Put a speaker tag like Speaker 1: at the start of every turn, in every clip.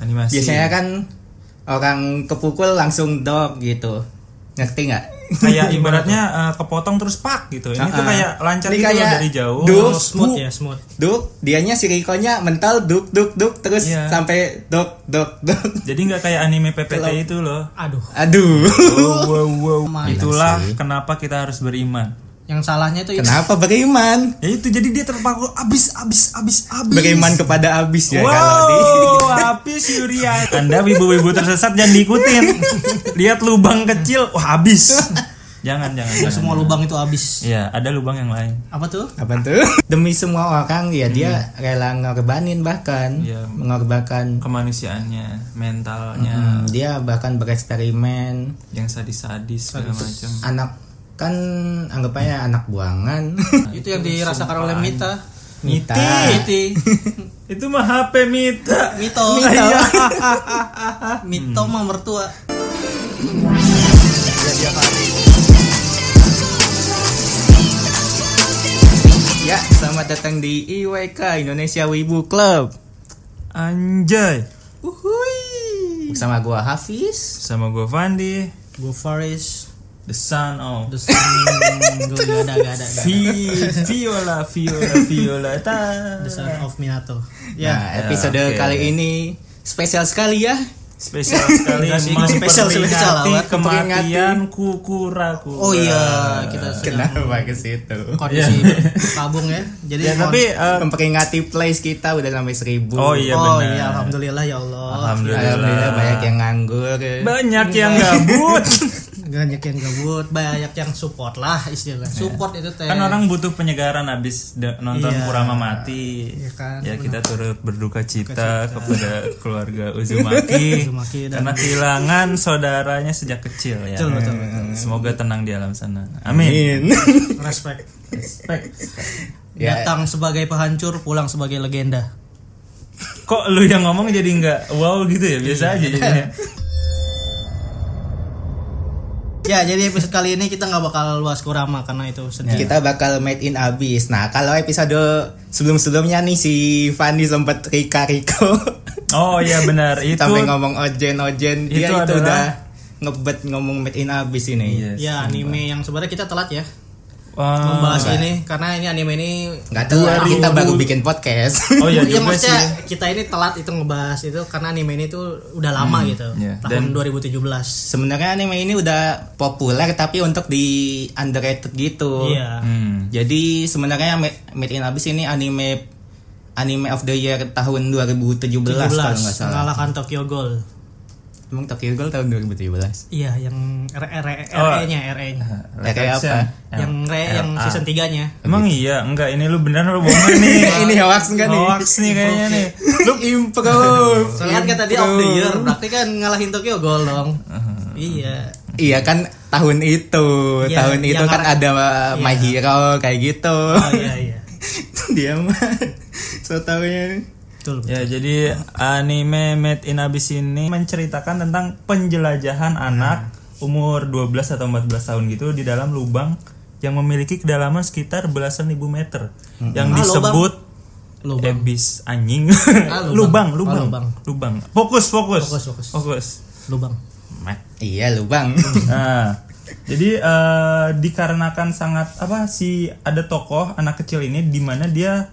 Speaker 1: Animasi.
Speaker 2: Biasanya kan orang kepukul langsung dog gitu. Ngerti nggak?
Speaker 1: kayak ibaratnya eh, kepotong terus pak gitu. Ini tuh
Speaker 2: Ah-ah.
Speaker 1: kayak lancar
Speaker 2: Ini
Speaker 1: gitu loh
Speaker 2: kayak
Speaker 1: dari jauh.
Speaker 2: duk,
Speaker 3: Oh, smooth
Speaker 2: duk,
Speaker 3: ya, smooth.
Speaker 2: Duk, dianya si Rikonya mental duk duk duk terus
Speaker 1: Iya.
Speaker 2: sampai dok dok dok.
Speaker 1: Jadi nggak kayak anime PPT
Speaker 2: Kalau-
Speaker 1: itu loh.
Speaker 3: Aduh,
Speaker 2: Aduh.
Speaker 1: Wow, wow, wow.
Speaker 3: Mana
Speaker 1: Itulah
Speaker 2: sih?
Speaker 1: kenapa kita harus beriman.
Speaker 3: yang salahnya tuh itu.
Speaker 2: Kenapa beriman?
Speaker 1: Ya itu jadi dia terpaku abis abis abis abis.
Speaker 2: Beriman kepada habis ya kalau di
Speaker 1: Wow, habis Yuria. Anda wibu-wibu tersesat jangan diikutin. Lihat lubang kecil, wah habis. Jangan, jangan.
Speaker 3: Nggak
Speaker 1: jangan,
Speaker 3: semua
Speaker 1: jangan.
Speaker 3: lubang itu habis.
Speaker 1: Iya, ada lubang yang lain.
Speaker 3: Apa tuh?
Speaker 2: apa tuh? Demi semua orang ya dia rela ngorbanin bahkan
Speaker 1: Iya.
Speaker 2: mengorbankan
Speaker 1: Kemanusiaannya, mentalnya,
Speaker 2: Hmm, dia bahkan bereksperimen
Speaker 1: yang sadis-sadis segala macam.
Speaker 2: anak kan anggapannya anak buangan
Speaker 3: Itu yang dirasakan oleh Mita.
Speaker 2: Mita
Speaker 3: Miti.
Speaker 1: Itu mah HP Mita.
Speaker 3: Mito. Mito mah mertua.
Speaker 2: ya selamat datang di IWK Indonesia Wibu Club
Speaker 1: Anjay.
Speaker 3: Uhui.
Speaker 2: bersama gua Hafiz
Speaker 1: Sama gue Fandi,
Speaker 3: Gue Faris.
Speaker 1: the son of
Speaker 3: The sun. Gue gak ada, gak ada. nggak ada.
Speaker 1: Vi, Viola, Viola, Viola. Ta.
Speaker 3: The son of Minato.
Speaker 2: ya
Speaker 3: Ya.
Speaker 2: episode
Speaker 1: oke.
Speaker 2: kali ini spesial sekali ya
Speaker 1: Spesial sekali
Speaker 3: Enggak sih,
Speaker 1: memang
Speaker 3: spesial, spesial
Speaker 1: memperingati
Speaker 3: awal.
Speaker 1: kematian kukuraku.
Speaker 3: Oh
Speaker 1: Eh,
Speaker 3: iya, kita sedang
Speaker 2: kenapa ke situ Iya.
Speaker 3: kondisi kabung ya.
Speaker 1: Nah,
Speaker 3: Jadi
Speaker 1: iya. Ya,
Speaker 3: mohon-
Speaker 1: tapi eh,
Speaker 2: memperingati place kita udah sampai seribu
Speaker 1: oh iya
Speaker 3: oh
Speaker 1: benar.
Speaker 3: iya, alhamdulillah ya Allah.
Speaker 1: Alhamdulillah.
Speaker 2: Alhamdulillah banyak yang nganggur
Speaker 3: Iya.
Speaker 1: Banyak yang gabut.
Speaker 3: Banyak yang gabut, banyak yang support lah istilahnya. Support itu teh.
Speaker 1: kan orang butuh penyegaran abis da- nonton
Speaker 3: Hmm. Iya.
Speaker 1: Kurama mati.
Speaker 3: Iya kan,
Speaker 1: ya kita turut berduka cita kepada keluarga Uzumaki,
Speaker 3: Uzumaki dan-
Speaker 1: karena kehilangan saudaranya sejak kecil ya.
Speaker 3: Betul, betul,
Speaker 1: Semoga tenang di alam sana. Amin.
Speaker 3: respect.
Speaker 2: Ya.
Speaker 3: Datang sebagai pehancur, pulang sebagai legenda.
Speaker 1: Kok lu yang ngomong jadi nggak wow gitu ya biasa aja
Speaker 3: Iya.
Speaker 1: jadinya.
Speaker 3: Ya, jadi episode kali ini kita nggak bakal luas kurama karena itu
Speaker 2: Ya.
Speaker 3: sedikit.
Speaker 2: Kita
Speaker 1: Iya.
Speaker 2: bakal made in abis. Nah, kalau episode sebelum-sebelumnya nih si Fandi sempat Rika Riko
Speaker 1: Oh iya benar itu.
Speaker 2: sampai ngomong ojen ojen
Speaker 1: Itu
Speaker 2: dia itu
Speaker 1: adalah-
Speaker 2: udah ngebet ngomong made in abis ini.
Speaker 1: Yes.
Speaker 3: Ya, anime yang sebenarnya kita telat
Speaker 1: Iya.
Speaker 3: ya
Speaker 1: Wah.
Speaker 3: membahas ini karena ini anime ini
Speaker 2: Nggak tahu lah, kita baru bikin podcast.
Speaker 1: Oh iya
Speaker 3: Iya,
Speaker 1: juga
Speaker 3: maksudnya
Speaker 1: sih.
Speaker 3: kita ini telat itu ngebahas itu karena anime ini tuh udah lama gitu.
Speaker 1: iya. Dan-
Speaker 3: Tahun 2017.
Speaker 2: Sebenarnya anime ini udah populer tapi untuk di underrated gitu.
Speaker 3: Iya.
Speaker 1: Hmm.
Speaker 2: Jadi sebenarnya Ma- made in abis ini anime anime of the year tahun 2017 kalau nggak
Speaker 3: 17
Speaker 2: salah.
Speaker 3: mengalahkan Tokyo Ghoul.
Speaker 2: Emang Tokyo Ghoul tahun 2017.
Speaker 3: Iya, yang RE
Speaker 1: Oh.
Speaker 3: nya RE-nya.
Speaker 2: Kayak apa?
Speaker 3: Ya, Yang re yang season 3-nya.
Speaker 1: Emang iya, enggak ini lu beneran lu bohong nih.
Speaker 2: ini hoax enggak nih?
Speaker 1: Iya. Hoax nih kayaknya nih.
Speaker 2: Lu improve.
Speaker 3: Soalnya kan kata dia of the year, berarti kan ngalahin Tokyo Ghoul dong.
Speaker 2: Uh-huh.
Speaker 3: Iya.
Speaker 2: Iya kan tahun itu,
Speaker 3: Iya,
Speaker 2: tahun
Speaker 3: iya,
Speaker 2: itu kan
Speaker 3: ngarang.
Speaker 2: ada My Hero kayak gitu.
Speaker 3: Oh iya iya.
Speaker 2: Dia mah so taunya.
Speaker 3: Betul. betul.
Speaker 1: Ya, jadi anime Made in Abyss ini menceritakan tentang penjelajahan anak umur 12 atau 14 tahun gitu di dalam lubang yang memiliki kedalaman sekitar belasan ribu meter yang
Speaker 3: Ah,
Speaker 1: disebut
Speaker 3: Lubang.
Speaker 1: abyss anjing.
Speaker 3: lubang.
Speaker 1: lubang,
Speaker 3: Oh,
Speaker 1: lubang,
Speaker 3: lubang.
Speaker 1: lubang. Fokus, fokus.
Speaker 3: Fokus, fokus.
Speaker 1: Fokus.
Speaker 3: Lubang.
Speaker 1: Mek.
Speaker 2: Iya lu bang.
Speaker 1: Nah, jadi eh, dikarenakan sangat apa sih ada tokoh anak kecil ini di mana dia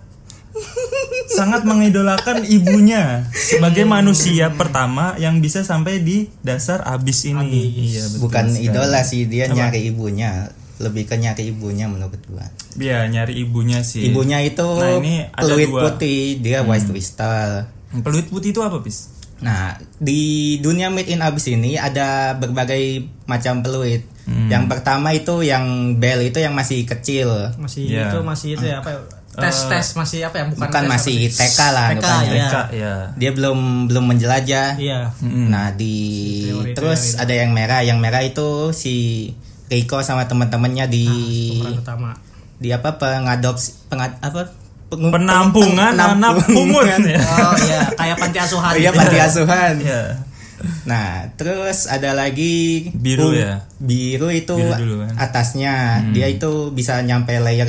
Speaker 1: sangat mengidolakan ibunya sebagai manusia pertama yang bisa sampai di dasar abis ini. Iya, betul
Speaker 2: Bukan
Speaker 1: sekali.
Speaker 2: idola sih dia nyari ibunya, lebih ke nyari ibunya menurut gua.
Speaker 1: Iya, nyari ibunya sih.
Speaker 2: Ibunya itu
Speaker 1: Nah, ini ada
Speaker 2: peluit
Speaker 1: dua. Hmm.
Speaker 2: putih, dia white crystal.
Speaker 1: Peluit putih itu apa, Bis?
Speaker 2: Nah, di dunia made in abis ini ada berbagai macam peluit.
Speaker 1: Hmm.
Speaker 2: Yang pertama itu yang bell itu yang masih kecil.
Speaker 3: Masih
Speaker 1: Iya.
Speaker 3: itu masih itu ya apa ya? Tes tes masih apa ya? Bukan,
Speaker 2: Uh, Bukan
Speaker 3: tes,
Speaker 2: masih
Speaker 3: apa sih?
Speaker 2: TK lah
Speaker 3: TK,
Speaker 2: bukannya.
Speaker 3: Iya.
Speaker 1: Eka, ya.
Speaker 2: Dia belum belum menjelajah.
Speaker 3: Iya.
Speaker 1: Hmm.
Speaker 2: Nah di
Speaker 3: Teori-teori
Speaker 2: terus
Speaker 1: ya,
Speaker 2: ada yang merah, yang merah itu si Rico sama teman-temannya di
Speaker 1: Ah,
Speaker 3: Pemeran utama.
Speaker 2: di apa pengadopsi pengad apa pengu-
Speaker 1: Penampungan
Speaker 2: penampungan.
Speaker 1: anak pungut ya.
Speaker 3: Oh iya, kayak panti asuhan.
Speaker 2: Iya
Speaker 3: gitu.
Speaker 2: panti asuhan.
Speaker 1: Iya.
Speaker 2: Nah terus ada lagi
Speaker 1: Biru ya?
Speaker 2: Biru itu
Speaker 1: Biru dulu kan.
Speaker 2: atasnya dia itu bisa nyampe layer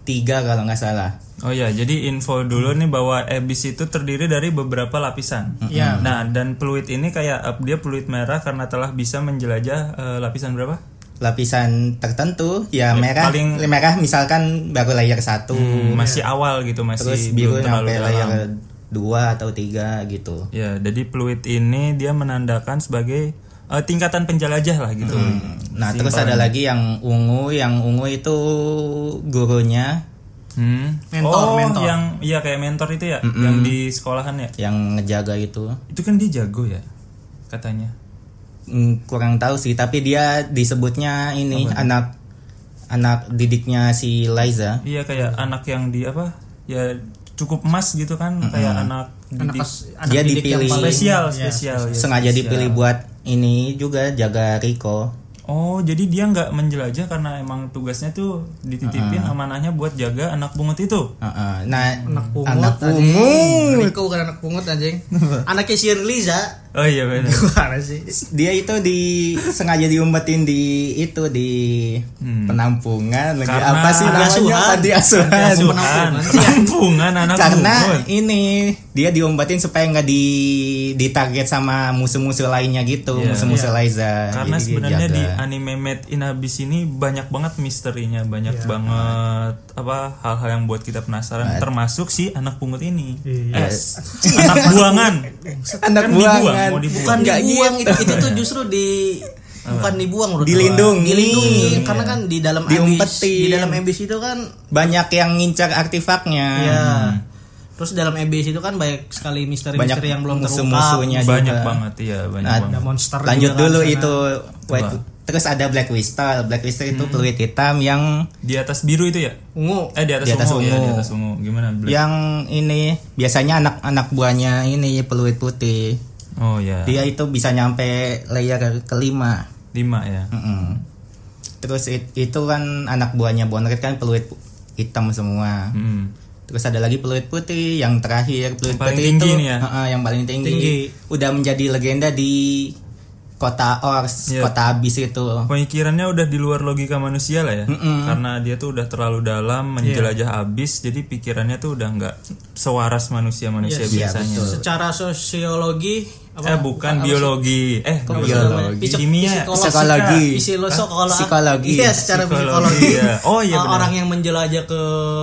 Speaker 2: 3 kalau nggak salah.
Speaker 1: Oh ya, jadi info dulu nih bahwa EBIS itu terdiri dari beberapa lapisan.
Speaker 3: Iya.
Speaker 1: Nah, dan peluit ini kayak eh, dia peluit merah karena telah bisa menjelajah eh, lapisan berapa?
Speaker 2: lapisan tertentu ya merah
Speaker 1: paling-
Speaker 2: merah misalkan baru layer satu
Speaker 1: Hmm, masih awal gitu, masih
Speaker 2: Iya. terus biru
Speaker 1: belum terlalu
Speaker 2: sampai
Speaker 1: dalam.
Speaker 2: layer dua atau tiga gitu
Speaker 1: Ya, jadi peluit ini dia menandakan sebagai eh, tingkatan penjelajah lah gitu.
Speaker 2: nah terus
Speaker 1: ya.
Speaker 2: ada lagi yang ungu yang ungu itu gurunya
Speaker 1: Hmm.
Speaker 3: Mentor,
Speaker 1: oh,
Speaker 3: mentor.
Speaker 1: yang iya kayak mentor itu ya, yang di sekolahan ya.
Speaker 2: yang ngejaga itu
Speaker 1: Itu kan dia jago ya katanya.
Speaker 2: Hmm, kurang tahu sih tapi dia disebutnya ini anak anak didiknya si Liza
Speaker 1: Iya kayak anak yang di apa? Ya cukup emas gitu kan, kayak anak
Speaker 3: anak
Speaker 1: didik.
Speaker 3: pas anak
Speaker 2: Dia
Speaker 3: didik
Speaker 2: dipilih.
Speaker 3: yang paling
Speaker 1: spesial,
Speaker 3: Iya.
Speaker 1: spesial. ya,
Speaker 2: sengaja
Speaker 1: spesial.
Speaker 2: dipilih buat ini juga jaga Rico
Speaker 1: Oh, jadi dia nggak menjelajah karena emang tugasnya tuh dititipin
Speaker 2: Ah.
Speaker 1: amanahnya buat jaga anak pungut itu.
Speaker 2: Heeh. nah
Speaker 3: anak pungut
Speaker 2: anak
Speaker 3: anjing.
Speaker 2: pungut.
Speaker 3: Riko bukan anak pungut anjing anaknya si Liza
Speaker 1: Oh iya benar.
Speaker 3: gimana sih
Speaker 2: dia itu di sengaja diumpetin di itu di penampungan lagi
Speaker 1: Hmm. Karena
Speaker 2: apa sih namanya
Speaker 3: asuhan.
Speaker 2: Panti asuhan
Speaker 1: Asuhan, penampungan anak
Speaker 2: karena Iya,
Speaker 1: pungut.
Speaker 2: ini dia diumpetin supaya nggak di ditarget sama musuh-musuh lainnya gitu
Speaker 1: Iya.
Speaker 2: musuh-musuh Liza
Speaker 1: Karena
Speaker 2: Jadi dia
Speaker 1: sebenarnya
Speaker 2: jaga.
Speaker 1: di anime Made in Abyss ini banyak banget misterinya, banyak banget apa hal-hal yang buat kita penasaran, termasuk si anak pungut ini. S. anak buangan.
Speaker 2: anak
Speaker 1: kan dibuang,
Speaker 2: buangan
Speaker 1: mau dibuang.
Speaker 3: bukan
Speaker 2: Nggak
Speaker 3: dibuang itu, itu tuh justru di bukan dibuang menurut gua.
Speaker 2: Dilindungi. Iya.
Speaker 3: dilindungi karena kan di dalam ambis
Speaker 2: Diumpetin. Hmm.
Speaker 3: di dalam ambis itu kan
Speaker 2: banyak yang ngincar artefaknya
Speaker 3: ya terus dalam ambis itu kan banyak sekali misteri-misteri
Speaker 2: Banyak
Speaker 3: yang belum terungkap
Speaker 2: musuh-musuhnya
Speaker 1: banyak
Speaker 2: juga.
Speaker 1: banget iya, banyak
Speaker 2: Nah,
Speaker 1: banget.
Speaker 3: ada monster
Speaker 2: lanjut
Speaker 3: juga kan
Speaker 2: dulu
Speaker 3: di sana.
Speaker 2: itu White- terus ada Black Whistle Black Whistle itu peluit hitam yang
Speaker 1: Di atas biru itu ya?
Speaker 3: Hmm. ungu
Speaker 1: Eh di atas,
Speaker 2: Di atas
Speaker 1: ungu, ya,
Speaker 2: ungu.
Speaker 1: di atas ungu. Gimana? Black?
Speaker 2: yang ini biasanya anak-anak buahnya ini peluit putih
Speaker 1: Oh ya.
Speaker 2: dia itu bisa nyampe layer kelima
Speaker 1: Lima ya.
Speaker 2: Mm-mm. terus it- itu kan anak buahnya Bonret kan peluit pu- hitam semua
Speaker 1: Hmm.
Speaker 2: terus ada lagi peluit putih yang terakhir peluit
Speaker 1: Yang paling
Speaker 2: putih
Speaker 1: tinggi
Speaker 2: itu
Speaker 1: nih ya?
Speaker 2: Heeh, yang paling tinggi.
Speaker 3: Tinggi.
Speaker 2: udah menjadi legenda di kota Ors
Speaker 1: Iya.
Speaker 2: kota abis itu
Speaker 1: Pemikirannya udah di luar logika manusia lah ya, karena dia tuh udah terlalu dalam
Speaker 3: Iya.
Speaker 1: menjelajah abis, jadi pikirannya tuh udah nggak sewaras manusia-manusia
Speaker 2: Iya,
Speaker 1: biasanya.
Speaker 2: betul.
Speaker 3: secara sosiologi apa
Speaker 1: eh bukan biologi, eh
Speaker 3: Apa
Speaker 1: biologi.
Speaker 3: sih namanya?
Speaker 2: Biologi.
Speaker 3: Psik-
Speaker 1: Kimia.
Speaker 3: psikologi.
Speaker 2: Psikologi.
Speaker 3: Psikologi.
Speaker 2: Psikologi.
Speaker 3: Iya, secara
Speaker 1: Psikologi,
Speaker 3: psikologi.
Speaker 1: iya. Oh, iya,
Speaker 3: Eh,
Speaker 1: benar.
Speaker 3: Orang yang menjelajah ke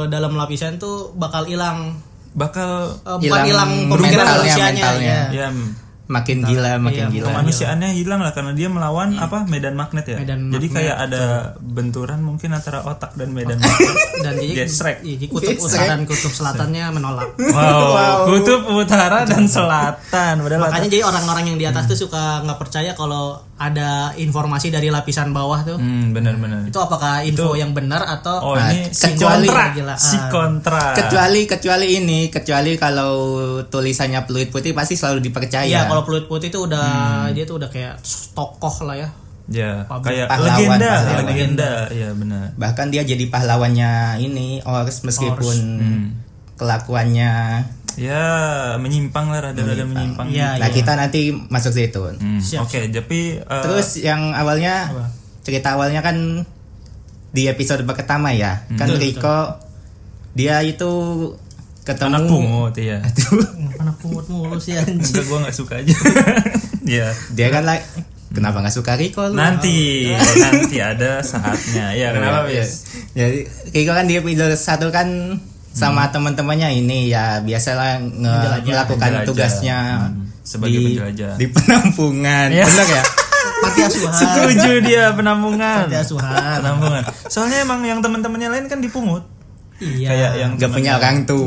Speaker 3: dalam lapisan tuh bakal hilang
Speaker 1: bakal
Speaker 3: eh, bukan
Speaker 2: Hilang
Speaker 3: hilang pemikiran
Speaker 2: mentalnya,
Speaker 3: manusianya.
Speaker 2: mentalnya.
Speaker 3: iya.
Speaker 1: ya
Speaker 2: makin gila makin
Speaker 3: Iya,
Speaker 2: gila
Speaker 1: kemanusiaannya hilang lah karena dia melawan apa medan magnet ya.
Speaker 3: Medan
Speaker 1: jadi
Speaker 3: magnet,
Speaker 1: kayak ada benturan mungkin antara otak dan medan magnet.
Speaker 3: Dan jadi,
Speaker 1: Gesrek.
Speaker 3: iya, jadi kutub utara dan kutub selatannya menolak.
Speaker 1: Wow, kutub utara dan selatan. Padahal
Speaker 3: Makanya jadi orang-orang yang di atas
Speaker 1: Hmm.
Speaker 3: tuh suka nggak percaya kalau ada informasi dari lapisan bawah tuh.
Speaker 1: Hmm, benar-benar.
Speaker 3: Itu apakah info yang benar atau
Speaker 1: Oh,
Speaker 2: Nah,
Speaker 1: ini si
Speaker 2: kecuali-
Speaker 1: kontra.
Speaker 3: Kegilaan.
Speaker 1: Si kontra.
Speaker 2: kecuali kecuali ini kecuali kalau tulisannya peluit putih pasti selalu dipercaya
Speaker 3: Iya, kalau peluit putih itu
Speaker 1: Hmm.
Speaker 3: udah dia tuh udah kayak tokoh lah ya.
Speaker 1: Ya, kayak
Speaker 2: Pahlawan,
Speaker 1: legenda,
Speaker 2: pahlawan.
Speaker 1: legenda. Ya, benar.
Speaker 2: bahkan dia jadi pahlawannya ini ors meskipun kelakuannya
Speaker 1: Ya, menyimpang lah rada-rada menyimpang.
Speaker 3: Iya,
Speaker 2: nah kita nanti masuk situ
Speaker 1: Hmm,
Speaker 3: Siap.
Speaker 1: Oke, tapi eh,
Speaker 2: terus yang awalnya cerita awalnya kan di episode pertama ya
Speaker 1: Hmm.
Speaker 2: kan Riko dia itu ketemu
Speaker 1: anak pungut ya.
Speaker 3: Anak pungut mulu sih anjing.
Speaker 1: Enggak gua nggak suka aja. ya.
Speaker 2: dia kan like kenapa nggak suka Riko lu?
Speaker 1: Nanti, nanti ada saatnya. Ya, kenapa,
Speaker 2: Iya.
Speaker 1: Bis?
Speaker 2: Jadi Riko kan di episode satu kan
Speaker 1: Hmm.
Speaker 2: sama teman-temannya ini ya biasalah nge- melakukan
Speaker 1: Menjelajah.
Speaker 2: tugasnya
Speaker 1: Hmm. Sebagai
Speaker 2: di,
Speaker 1: penjelajah.
Speaker 2: di penampungan
Speaker 1: Iya.
Speaker 2: bener ya
Speaker 3: Panti asuhan.
Speaker 1: Setuju dia penampungan.
Speaker 3: Panti asuhan.
Speaker 1: Penampungan. Soalnya emang yang teman-temannya lain kan dipungut.
Speaker 3: Iya.
Speaker 1: Kayak yang
Speaker 2: nggak punya orang tua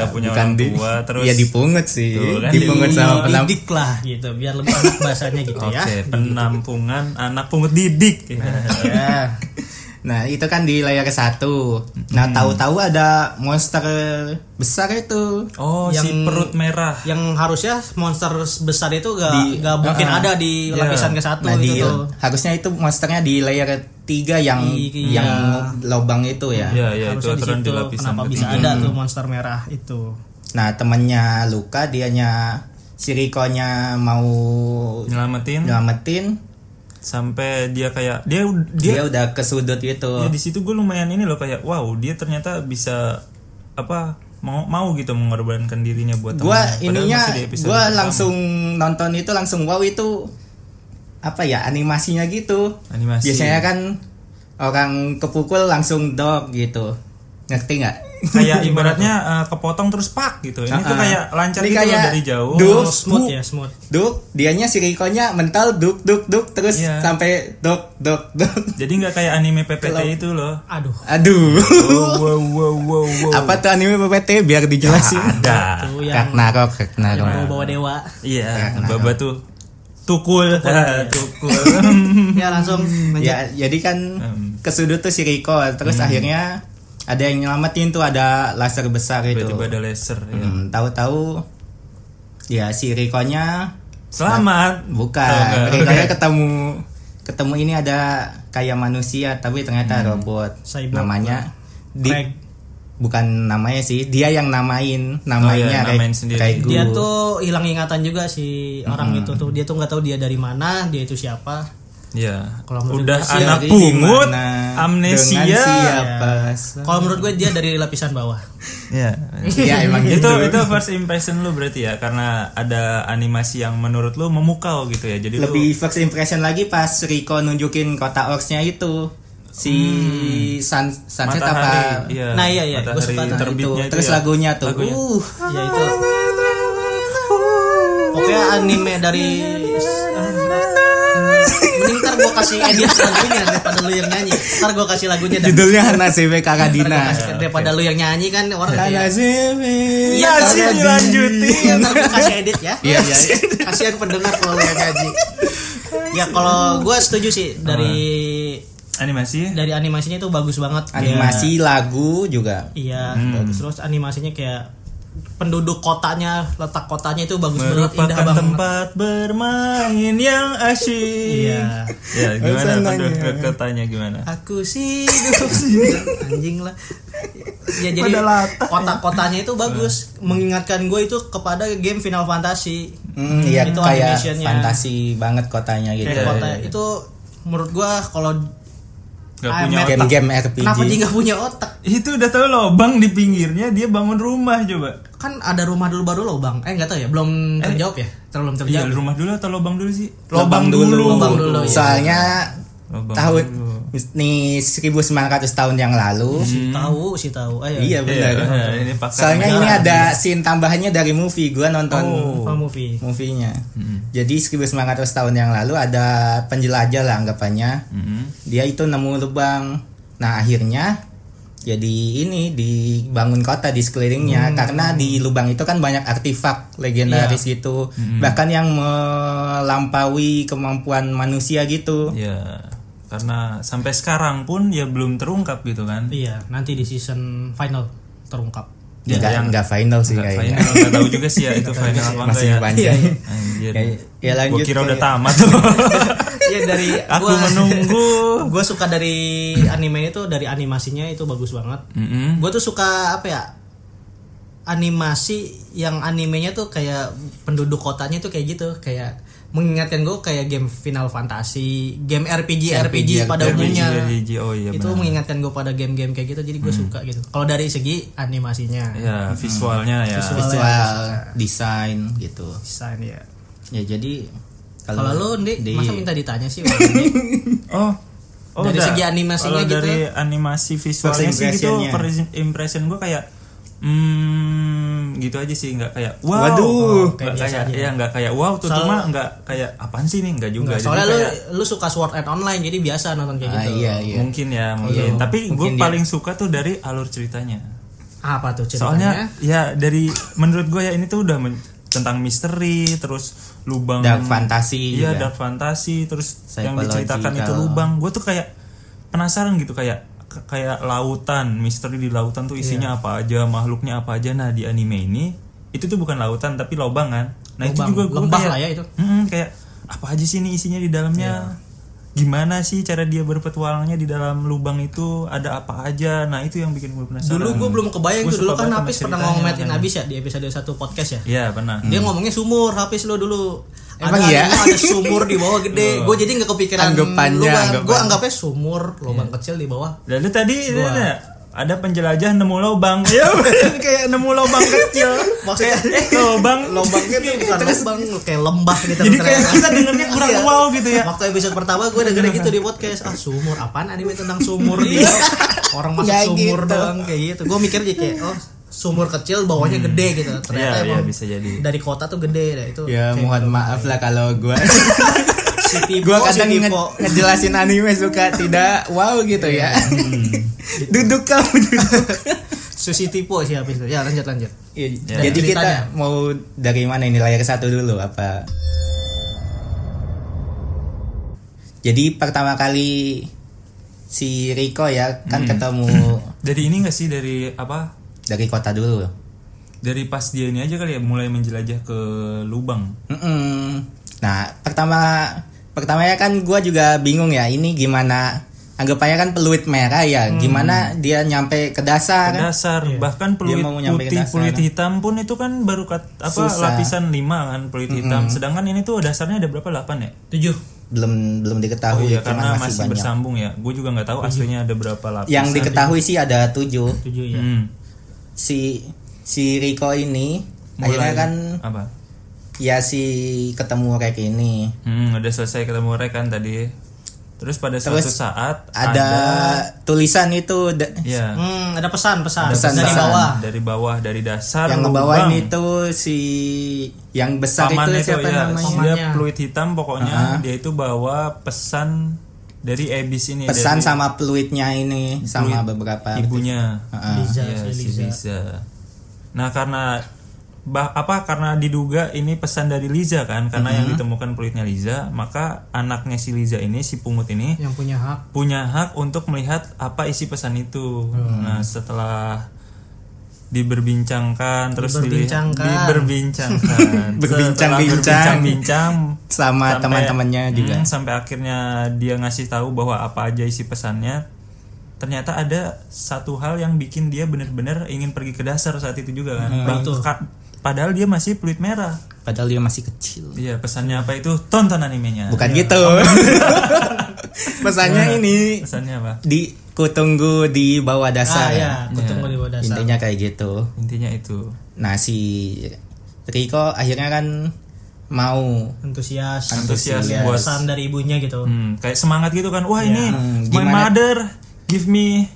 Speaker 1: Nggak punya
Speaker 2: Bukan
Speaker 1: orang
Speaker 2: di-
Speaker 1: tua, terus-
Speaker 2: ya dipungut sih
Speaker 1: Tuh, kan,
Speaker 2: dipungut sama penampungan
Speaker 3: didik Iya, lah gitu biar lebih enak bahasanya gitu
Speaker 1: Oke,
Speaker 3: ya.
Speaker 1: penampungan anak pungut didik.
Speaker 2: Ya. Nah itu kan di layar satu. Nah
Speaker 1: Hmm.
Speaker 2: tahu-tahu ada monster besar itu.
Speaker 1: Oh, si
Speaker 3: Yang-
Speaker 1: perut merah.
Speaker 3: Yang harusnya monster besar itu gak,
Speaker 2: Di-
Speaker 3: gak mungkin
Speaker 2: Ah,
Speaker 3: ada di
Speaker 1: iya.
Speaker 3: lapisan ke satu
Speaker 2: Nah di,
Speaker 3: itu tuh.
Speaker 2: harusnya itu monsternya di layar tiga yang
Speaker 3: Iya.
Speaker 2: yang lobang itu ya.
Speaker 1: Ya, ya itu
Speaker 3: Harusnya di
Speaker 1: aturan di
Speaker 3: situ.
Speaker 1: lapisan. Hmm.
Speaker 3: Kenapa bisa ada tuh monster merah itu?
Speaker 2: Nah temennya luka dianya si Rikonya mau
Speaker 1: Nyelamatin
Speaker 2: Ya. nyelamatin
Speaker 1: sampai dia kayak dia dia,
Speaker 2: Iya.
Speaker 1: ya,
Speaker 2: dia, udah ke sudut
Speaker 1: dia
Speaker 2: gitu. itu.
Speaker 1: di situ gue lumayan ini loh kayak wow, dia ternyata bisa apa mau mau gitu mengorbankan dirinya buat
Speaker 2: Gua
Speaker 1: temannya. Padahal
Speaker 2: ininya
Speaker 1: masih di episode
Speaker 2: gua
Speaker 1: pertama.
Speaker 2: langsung nonton itu langsung wow itu apa ya animasinya gitu.
Speaker 1: animasi
Speaker 2: Biasanya kan orang kepukul langsung dog gitu. Ngerti nggak?
Speaker 1: kayak ibaratnya eh, kepotong terus pak gitu ini tuh
Speaker 2: Ah, ah.
Speaker 1: kayak lancar
Speaker 2: Ini
Speaker 1: gitu loh
Speaker 2: kayak
Speaker 1: dari jauh
Speaker 2: dus,
Speaker 3: smooth ya smooth
Speaker 2: Duk, dianya si Rikonya mental duk duk duk terus
Speaker 1: Iya.
Speaker 2: sampai dok dok dok.
Speaker 1: jadi nggak kayak anime PPT itu loh
Speaker 3: aduh
Speaker 2: Aduh.
Speaker 1: wow wow wow wow, wow. Iya
Speaker 2: Apa tuh anime PPT biar dijelasin.
Speaker 1: ada
Speaker 3: tuh Gitu, ya. yang
Speaker 2: Ragnarok, Ragnarok.
Speaker 3: mau bawa dewa
Speaker 2: Nah,
Speaker 1: iya baba tuh tukul Ah, tukul
Speaker 3: ya langsung menja-
Speaker 2: Ya, jadi kan
Speaker 1: Hmm.
Speaker 2: kesudut tuh si Riko, terus akhirnya ada yang nyelamatin tuh ada laser besar itu.
Speaker 1: tiba-tiba ada laser ya.
Speaker 2: Hmm, tahu-tahu ya si Rikonya
Speaker 1: selamat
Speaker 2: bukan, Rikonya ketemu ketemu ini ada kayak manusia tapi ternyata
Speaker 1: Hmm.
Speaker 2: robot.
Speaker 3: Cyborg.
Speaker 2: Namanya di
Speaker 3: Craig.
Speaker 2: bukan namanya sih, dia yang namain namanya
Speaker 1: Oh, iya, namain
Speaker 2: Craig-
Speaker 1: sendiri.
Speaker 2: Craig
Speaker 3: dia
Speaker 2: Gu.
Speaker 3: tuh hilang ingatan juga si orang itu tuh dia tuh nggak tahu dia dari mana dia itu siapa
Speaker 1: ya
Speaker 3: Kalau menurut
Speaker 1: udah
Speaker 3: gue sih,
Speaker 1: anak
Speaker 2: Dari
Speaker 1: pungut
Speaker 2: dimana, dengan
Speaker 1: amnesia
Speaker 2: siapa?
Speaker 3: kalau menurut gue dia dari lapisan bawah
Speaker 1: ya
Speaker 2: Iya emang
Speaker 1: itu
Speaker 2: gitu.
Speaker 1: itu first impression lu berarti ya karena ada animasi yang menurut lu memukau gitu ya jadi lu
Speaker 2: lebih first impression lagi pas Riko nunjukin kota orcsnya itu si sun, sunset
Speaker 1: Hmm.
Speaker 2: apa
Speaker 1: matahari iya,
Speaker 3: Nah, iya, iya, gua
Speaker 1: matahari
Speaker 3: suka tuh.
Speaker 2: itu
Speaker 1: terbitnya itu,
Speaker 2: terus
Speaker 1: ya.
Speaker 2: lagunya tuh
Speaker 1: Lagunya.
Speaker 2: uh
Speaker 3: ya itu pokoknya anime dari eh, mending ntar gue kasih edit lagunya daripada lu yang nyanyi ntar gue kasih lagunya dan
Speaker 2: judulnya
Speaker 1: Iya,
Speaker 2: Hanasebe
Speaker 3: Ntar gua
Speaker 2: Kakadina
Speaker 3: kasih- daripada lu yang nyanyi kan orang kayak
Speaker 2: Hanasebe
Speaker 1: iya sih dilanjutin
Speaker 3: Iya, ntar gue kasih edit ya.
Speaker 2: Iya, iya.
Speaker 3: Kasihan pendengar kalau lihat gaji. Ya kalau gue setuju sih dari
Speaker 1: animasi
Speaker 3: dari animasinya itu bagus banget.
Speaker 2: animasi lagu juga
Speaker 3: Kayak- Iya,
Speaker 1: Hmm.
Speaker 3: bagus. terus animasinya kayak penduduk kotanya, letak kotanya itu bagus banget, indah
Speaker 1: merupakan
Speaker 3: banget.
Speaker 1: tempat bermain yang asyik
Speaker 3: Iya.
Speaker 1: ya gimana
Speaker 2: Senangnya.
Speaker 1: penduduk kotanya gimana
Speaker 3: Aku sih duduk sini anjing lah. Ya jadi
Speaker 1: Pada latak,
Speaker 3: kota-kotanya itu bagus, mengingatkan gue itu kepada game Final Fantasy.
Speaker 2: Hmm, iya
Speaker 3: Itu
Speaker 2: kayak
Speaker 3: animationnya.
Speaker 2: fantasi banget kotanya gitu
Speaker 3: Kayak
Speaker 1: Iya,
Speaker 3: kota itu menurut gue kalau
Speaker 1: Gak
Speaker 3: Ah,
Speaker 1: punya
Speaker 3: Matt.
Speaker 1: otak.
Speaker 2: game-game RPG
Speaker 3: Kenapa dia nggak punya otak?
Speaker 1: itu udah tahu lobang di pinggirnya dia bangun rumah coba
Speaker 3: Kan ada rumah dulu baru lobang. Eh nggak tahu ya, belum terjawab ya? Belum
Speaker 1: Iya,
Speaker 3: terjawab.
Speaker 1: rumah dulu atau lobang dulu sih?
Speaker 2: lobang dulu,
Speaker 3: Lobang dulu, iya.
Speaker 2: soalnya
Speaker 1: Lobang
Speaker 2: tahun
Speaker 1: dulu.
Speaker 2: nih 1900 tahun yang lalu
Speaker 3: Si tahu, si tahu. Eh, Ayo.
Speaker 2: Iya
Speaker 1: Iya,
Speaker 2: benar.
Speaker 1: iya, ini pakar
Speaker 2: Soalnya
Speaker 1: beneran.
Speaker 2: ini ada scene tambahannya dari movie. Gua nonton
Speaker 1: Oh.
Speaker 3: Apa movie?
Speaker 2: movie-nya. Jadi 1900 tahun yang lalu ada penjelajah lah anggapannya.
Speaker 1: Mhm.
Speaker 2: Dia itu nemu lubang. Nah, akhirnya jadi ini dibangun kota di sekelilingnya
Speaker 3: Hmm.
Speaker 2: karena di lubang itu kan banyak artefak legendaris
Speaker 3: Iya.
Speaker 2: gitu. Bahkan yang melampaui kemampuan manusia gitu.
Speaker 1: Ya, karena sampai sekarang pun ya belum terungkap gitu kan.
Speaker 3: Iya, nanti di season final terungkap.
Speaker 1: Ya,
Speaker 2: Nggak-
Speaker 1: yang-
Speaker 2: nggak final sih
Speaker 1: Nggak
Speaker 2: kayaknya.
Speaker 1: final, nggak tahu juga sih ya itu final apa enggak
Speaker 2: Masih
Speaker 1: ya.
Speaker 2: panjang.
Speaker 1: Anjir.
Speaker 2: Ya- ya
Speaker 1: Gua
Speaker 2: lanjut
Speaker 1: kira
Speaker 2: ke-
Speaker 1: udah tamat tuh.
Speaker 3: Iya dari
Speaker 1: Aku
Speaker 3: gua-
Speaker 1: menunggu.
Speaker 3: Gua suka dari anime itu dari animasinya itu bagus banget.
Speaker 1: Mm-mm.
Speaker 3: Gua tuh suka apa ya? Animasi yang animenya tuh kayak penduduk kotanya tuh kayak gitu, kayak mengingatkan gue kayak game Final Fantasy, game RPG RPG, pada
Speaker 1: RPG,
Speaker 3: umumnya.
Speaker 1: RPG, oh iya
Speaker 3: itu
Speaker 1: benar. Hmm.
Speaker 3: mengingatkan gue pada game-game kayak gitu jadi gue suka gitu kalau dari segi animasinya
Speaker 1: Ya, visualnya ya.
Speaker 2: Visual
Speaker 3: Iya.
Speaker 2: design gitu.
Speaker 3: desain ya
Speaker 2: Ya jadi
Speaker 3: kalau lu Ndi,
Speaker 2: di-
Speaker 3: masa minta ditanya sih Wak, Ndi?
Speaker 1: Oh. Oh,
Speaker 3: Dari
Speaker 1: udah.
Speaker 3: segi
Speaker 1: Kalau
Speaker 3: animasinya gitu.
Speaker 1: dari animasi visualnya
Speaker 2: First
Speaker 1: sih gitu
Speaker 2: impression-nya.
Speaker 1: first impression gue kayak Hmm, gitu aja sih nggak kayak wow.
Speaker 2: Waduh.
Speaker 1: Oh, nggak
Speaker 3: Kayak biasa
Speaker 1: kayak
Speaker 3: aja.
Speaker 1: ya nggak kayak wow tuh
Speaker 3: Soal-
Speaker 1: cuma nggak kayak apaan sih nih nggak juga. Nah, Jadi
Speaker 3: Nah, soalnya lu
Speaker 1: kayak-
Speaker 3: lu suka Sword Art Online jadi biasa nonton kayak
Speaker 2: Ah,
Speaker 3: gitu
Speaker 2: iya iya.
Speaker 1: mungkin ya mungkin tapi gue
Speaker 2: mungkin dia-
Speaker 1: paling suka tuh dari alur ceritanya
Speaker 3: apa tuh
Speaker 1: soalnya
Speaker 3: ceritanya
Speaker 1: ya dari menurut gue ya ini tuh udah men- tentang misteri terus lubang
Speaker 2: Dark fantasy
Speaker 1: iya
Speaker 3: kan?
Speaker 2: juga.
Speaker 1: dark fantasi terus yang
Speaker 2: Psychological.
Speaker 1: diceritakan itu lubang gue tuh kayak penasaran gitu kayak k- kayak lautan misteri di lautan tuh
Speaker 3: Iya.
Speaker 1: isinya apa aja makhluknya apa aja nah di anime ini itu tuh bukan lautan tapi lubang kan nah itu
Speaker 3: Lubang,
Speaker 1: juga gue
Speaker 3: lembah
Speaker 1: kayak
Speaker 3: lah ya itu. Iya.
Speaker 1: Mm-mm, kayak apa aja sih ini isinya di dalamnya? Gimana sih cara dia berpetualangnya di dalam lubang itu? Ada apa aja? Nah, itu yang bikin gue penasaran.
Speaker 3: dulu gue belum kebayang
Speaker 1: Gua
Speaker 3: tuh dulu
Speaker 1: suka
Speaker 3: kan
Speaker 1: banget sama
Speaker 3: Hafiz pernah
Speaker 1: ceritanya,
Speaker 3: ngometin Abis ya di episode 1 podcast ya
Speaker 1: Iya, pernah.
Speaker 3: dia ngomongnya sumur Hafiz lu dulu
Speaker 2: Emang
Speaker 3: ada,
Speaker 2: iya?
Speaker 3: anime ada sumur di bawah
Speaker 1: Oh.
Speaker 3: gede gue jadi nggak kepikiran
Speaker 2: Anggapannya,
Speaker 3: lubang gue
Speaker 2: anggapan.
Speaker 1: Iya.
Speaker 3: anggapnya sumur lubang kecil di bawah
Speaker 1: Lalu tadi ini ada ada penjelajah nemu lubang ya
Speaker 3: Iya,
Speaker 1: bener, kayak nemu lubang kecil
Speaker 3: Maksudnya-
Speaker 1: kayak eh, lubang
Speaker 3: lombangnya tuh gitu, bukan lubang kayak lembah gitu
Speaker 1: jadi
Speaker 3: ternyata.
Speaker 1: kayak kita dengernya kurang
Speaker 3: Iya.
Speaker 1: wow gitu ya
Speaker 3: waktu episode pertama gue dengerin gitu di podcast ah sumur apaan anime tentang sumur gitu orang masuk
Speaker 2: Nggak
Speaker 3: sumur
Speaker 2: gitu.
Speaker 3: doang kayak gitu gue mikir aja kayak oh sumur kecil bawahnya gede gitu ternyata
Speaker 1: Iya, iya,
Speaker 3: emang
Speaker 1: bisa jadi.
Speaker 3: dari kota tuh gede ya itu
Speaker 2: ya mohon maaf lah kalau gue
Speaker 3: city
Speaker 2: gue kadang nge- ngejelasin anime suka tidak wow gitu ya duduk kamu duduk
Speaker 3: susi tipe sih habis itu ya lanjut lanjut
Speaker 2: Ya,
Speaker 1: Ya.
Speaker 2: jadi kita
Speaker 3: Ceritanya.
Speaker 2: mau dari mana ini layar satu dulu apa jadi pertama kali si Riko ya kan ketemu
Speaker 1: dari ini gak sih dari apa
Speaker 2: dari kota dulu
Speaker 1: dari pas dia ini aja kali ya mulai menjelajah ke lubang
Speaker 2: Mm-mm. Nah, pertama pertamanya kan gua juga bingung ya, ini gimana anggapannya kan peluit merah ya, gimana dia nyampe ke dasar?
Speaker 1: Ke dasar bahkan peluit
Speaker 2: iya, Dia mau nyampe ke
Speaker 1: putih
Speaker 2: dasar.
Speaker 1: peluit hitam pun itu kan baru kat, apa
Speaker 2: Susah.
Speaker 1: lapisan 5 kan peluit hitam sedangkan ini tuh dasarnya ada berapa 8 ya
Speaker 3: tujuh
Speaker 2: Belum belum diketahui,
Speaker 1: Oh iya,
Speaker 2: cuman
Speaker 1: karena
Speaker 2: masih,
Speaker 1: masih,
Speaker 2: banyak. Iya.
Speaker 1: bersambung ya. Gue juga nggak tahu aslinya ada berapa lapis.
Speaker 2: Yang diketahui sih ada tujuh.
Speaker 3: tujuh ya
Speaker 1: Hmm.
Speaker 2: Si si Riko ini akhirnya kan
Speaker 1: apa?
Speaker 2: ya si ketemu Rek ini.
Speaker 1: Hmm, udah selesai ketemu rekan tadi. Terus pada suatu saat
Speaker 2: Ada, tulisan itu da-
Speaker 1: ya
Speaker 3: hmm, ada pesan pesan,
Speaker 2: pesan,
Speaker 3: dari
Speaker 2: pesan.
Speaker 3: bawah
Speaker 1: dari bawah dari dasar
Speaker 2: yang
Speaker 1: lubang.
Speaker 2: ngebawain itu si yang besar
Speaker 1: Paman
Speaker 2: itu
Speaker 1: itu,
Speaker 2: siapa
Speaker 1: ya,
Speaker 2: namanya?
Speaker 1: dia
Speaker 3: Pamannya.
Speaker 1: peluit hitam pokoknya
Speaker 2: Ah.
Speaker 1: dia itu bawa pesan dari Ebis ini dari
Speaker 2: Pesan
Speaker 1: Iya.
Speaker 2: sama peluitnya ini sama beberapa
Speaker 1: ibunya.
Speaker 2: Ah,
Speaker 3: Liza,
Speaker 1: Iya,
Speaker 3: si
Speaker 1: si
Speaker 3: Liza.
Speaker 1: Liza. Nah, karena bah, apa karena diduga ini pesan dari Liza kan karena yang
Speaker 2: Mm-hmm.
Speaker 1: ditemukan pelitnya Liza, maka anaknya si Liza ini si pungut ini
Speaker 3: yang punya hak
Speaker 1: punya hak untuk melihat apa isi pesan itu. Nah, setelah diberbincangkan terus dilihat-
Speaker 3: Diberbincangkan.
Speaker 1: diberbincangkan
Speaker 2: Berbincang-bincang.
Speaker 1: bincang bincang
Speaker 2: sama
Speaker 1: Sampai-
Speaker 2: teman-temannya juga.
Speaker 1: Hmm, sampai akhirnya dia ngasih tahu bahwa apa aja isi pesannya. Ternyata ada satu hal yang bikin dia benar-benar ingin pergi ke dasar saat itu juga kan.
Speaker 2: Hmm,
Speaker 1: Bahkan- padahal dia masih peluit merah.
Speaker 2: Padahal dia masih kecil.
Speaker 1: Iya, pesannya apa itu? Tonton animenya.
Speaker 2: Bukan gitu. Pesannya ini
Speaker 1: Pesannya apa?
Speaker 2: di kutunggu di bawah dasar.
Speaker 3: ah ya kutunggu di bawah dasar
Speaker 2: Intinya kayak gitu.
Speaker 1: Intinya itu.
Speaker 2: Nah, si Riko akhirnya kan mau
Speaker 3: antusias Iya,
Speaker 1: Antusias
Speaker 2: Antusias.
Speaker 1: buat
Speaker 3: pesan dari ibunya gitu
Speaker 1: hmm, kayak semangat gitu kan. Wah, ini
Speaker 2: Hmm,
Speaker 1: my
Speaker 2: gimana?
Speaker 1: mother give me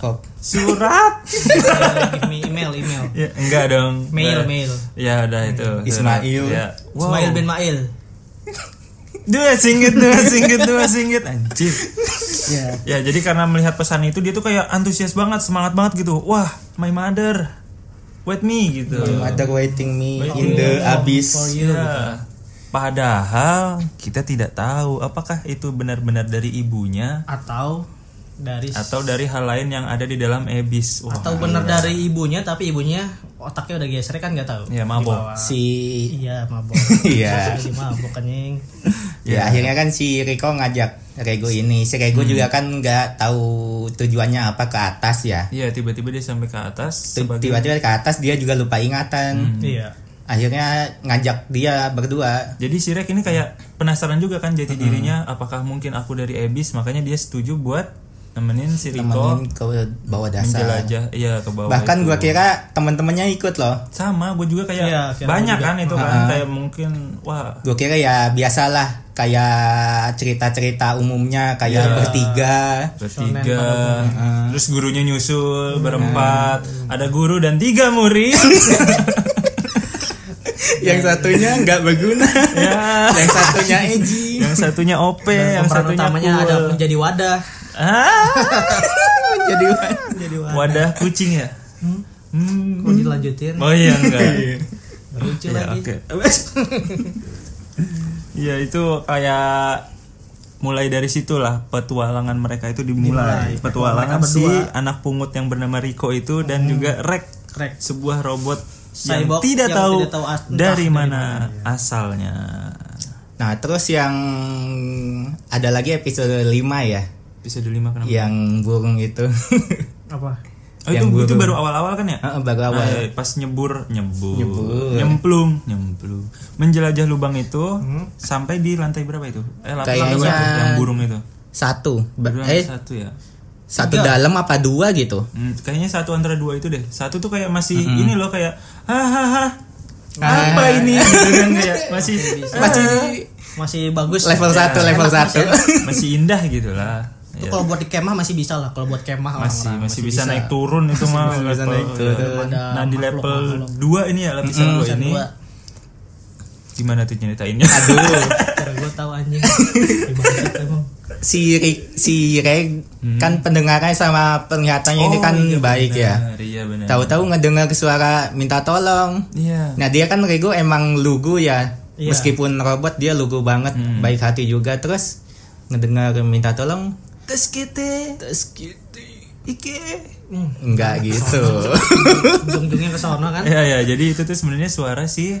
Speaker 2: hop
Speaker 1: surat.
Speaker 3: Eh, give me email email
Speaker 1: ya, enggak dong.
Speaker 3: Mail,
Speaker 1: Enggak.
Speaker 3: mail.
Speaker 1: Ya, udah itu.
Speaker 2: Ismail.
Speaker 1: Ya. Wow.
Speaker 3: Ismail bin Mail
Speaker 1: Dua singgit, dua singgit, dua singgit Anjir
Speaker 2: Ya.
Speaker 1: Ya jadi karena melihat pesan itu Dia tuh kayak antusias banget Semangat banget gitu Wah my mother Wait me gitu
Speaker 2: Mother gitu. waiting me in the
Speaker 3: for
Speaker 2: abyss.
Speaker 3: you
Speaker 1: Ya. Padahal kita tidak tahu Apakah itu benar-benar dari ibunya
Speaker 3: atau dari
Speaker 1: Atau ya. dari hal lain yang ada di dalam Ebis Wah,
Speaker 3: atau benar dari ibunya tapi ibunya otaknya udah geser kan nggak tahu
Speaker 1: Ya mabok
Speaker 2: Si
Speaker 3: iya mabok
Speaker 2: Iya.
Speaker 3: Lagi mabok kenyang
Speaker 1: Hmm.
Speaker 2: Ya, akhirnya kan si Riko ngajak Rego ini. Si Rego juga kan nggak tahu tujuannya apa ke atas ya.
Speaker 1: Iya tiba-tiba dia sampai ke atas Sebagai Hmm.
Speaker 2: Tiba-tiba ke atas dia juga lupa ingatan.
Speaker 3: iya
Speaker 2: akhirnya ngajak dia berdua
Speaker 1: Jadi si Rek ini kayak penasaran juga kan jati dirinya apakah mungkin aku dari Ebis makanya dia setuju buat nemenin si Riko
Speaker 2: temenin ke bawah dasar
Speaker 1: menjelajah iya ke bawah.
Speaker 2: bahkan
Speaker 1: itu.
Speaker 2: gua kira teman-temannya ikut loh
Speaker 1: sama gue juga kayak
Speaker 3: Iya, kira
Speaker 1: banyak
Speaker 3: juga.
Speaker 1: kan itu kan kayak mungkin wah
Speaker 2: gua kira ya biasalah kayak cerita-cerita umumnya kayak
Speaker 1: Iya.
Speaker 2: bertiga
Speaker 1: bertiga terus gurunya nyusul berempat ada guru dan tiga murid Iya.
Speaker 2: yang satunya nggak berguna
Speaker 1: ya
Speaker 2: yang satunya Eji
Speaker 1: yang satunya OP Eh, yang
Speaker 3: peran
Speaker 1: satunya
Speaker 3: utamanya
Speaker 1: cool.
Speaker 3: ada menjadi wadah
Speaker 1: Ah,
Speaker 2: jadi
Speaker 3: jadi wadah
Speaker 1: wadah kucing ya Hmm.
Speaker 3: mau dilanjutin
Speaker 1: oh iya enggak
Speaker 3: lucu
Speaker 1: Ya,
Speaker 3: lagi
Speaker 1: oke. ya itu kayak mulai dari situlah petualangan mereka itu dimulai.
Speaker 3: Dimulai.
Speaker 1: Petualangan
Speaker 3: Mereka
Speaker 1: si
Speaker 3: berdua. Hmm.
Speaker 1: anak pungut yang bernama Riko itu dan juga Rek,
Speaker 3: Rek.
Speaker 1: sebuah robot yang
Speaker 3: Cyborg
Speaker 1: tidak
Speaker 3: yang
Speaker 1: tahu,
Speaker 3: tidak tahu as- entah
Speaker 1: dari
Speaker 3: dari
Speaker 1: mana asalnya.
Speaker 2: nah terus yang ada lagi episode 5 ya
Speaker 1: Episode 5 kenapa?
Speaker 3: Iya,
Speaker 2: yang burung itu
Speaker 3: apa
Speaker 1: Oh, itu,
Speaker 2: yang
Speaker 1: itu
Speaker 2: burung.
Speaker 1: baru awal-awal kan
Speaker 3: Ah,
Speaker 1: ya?
Speaker 2: Heeh, baru awal
Speaker 1: Nah, pas nyebur, nyebur,
Speaker 2: Nyebur.
Speaker 1: nyemplung, nyemplung, menjelajah lubang itu
Speaker 3: Hmm.
Speaker 1: sampai di lantai berapa itu? Eh, lantai
Speaker 2: Kayaknya-
Speaker 1: berapa itu yang burung itu?
Speaker 2: satu Ba-
Speaker 1: Burung
Speaker 2: eh
Speaker 1: satu ya.
Speaker 2: satu dalam apa dua gitu
Speaker 1: Hmm, kayaknya satu antara dua itu deh. Satu tuh kayak masih ini loh kayak hahaha apa ini gitu kan kayak masih
Speaker 2: Ah. masih
Speaker 3: masih bagus
Speaker 2: level
Speaker 3: Ya.
Speaker 2: satu level
Speaker 3: Enak
Speaker 2: satu
Speaker 3: Eh. masih enak.
Speaker 1: masih indah gitu lah. Ya,
Speaker 3: Itu kalau buat di kemah masih bisa lah kalau buat kemah
Speaker 1: masih,
Speaker 3: orang-orang
Speaker 1: masih bisa, naik turun itu mah
Speaker 2: masih bisa
Speaker 1: level-
Speaker 2: naik turun. Hmm.
Speaker 3: Ada
Speaker 1: Nah di
Speaker 3: makhluk,
Speaker 1: level
Speaker 3: makhluk.
Speaker 1: 2 ini ya lapisan
Speaker 2: Mm-mm.
Speaker 1: dua
Speaker 3: Urusan
Speaker 1: ini
Speaker 3: dua.
Speaker 1: gimana tuh ceritainnya?
Speaker 3: Cara gue tahu anjing. Ibarat emang.
Speaker 2: si Rick- si Reg kan pendengarannya sama penglihatannya ini kan
Speaker 1: iya
Speaker 2: baik ya
Speaker 1: benar, Iya benar.
Speaker 2: tahu-tahu ngedengar suara minta tolong
Speaker 1: Iya.
Speaker 2: nah dia kan Rego emang lugu ya
Speaker 3: Iya.
Speaker 2: meskipun robot dia lugu banget baik hati juga terus ngedengar minta tolong
Speaker 1: Terus kita
Speaker 2: terus gitu
Speaker 1: Ike.
Speaker 2: enggak gitu
Speaker 3: Ujung-ujungnya ke sono kan.
Speaker 1: Ya ya jadi itu tuh sebenarnya suara si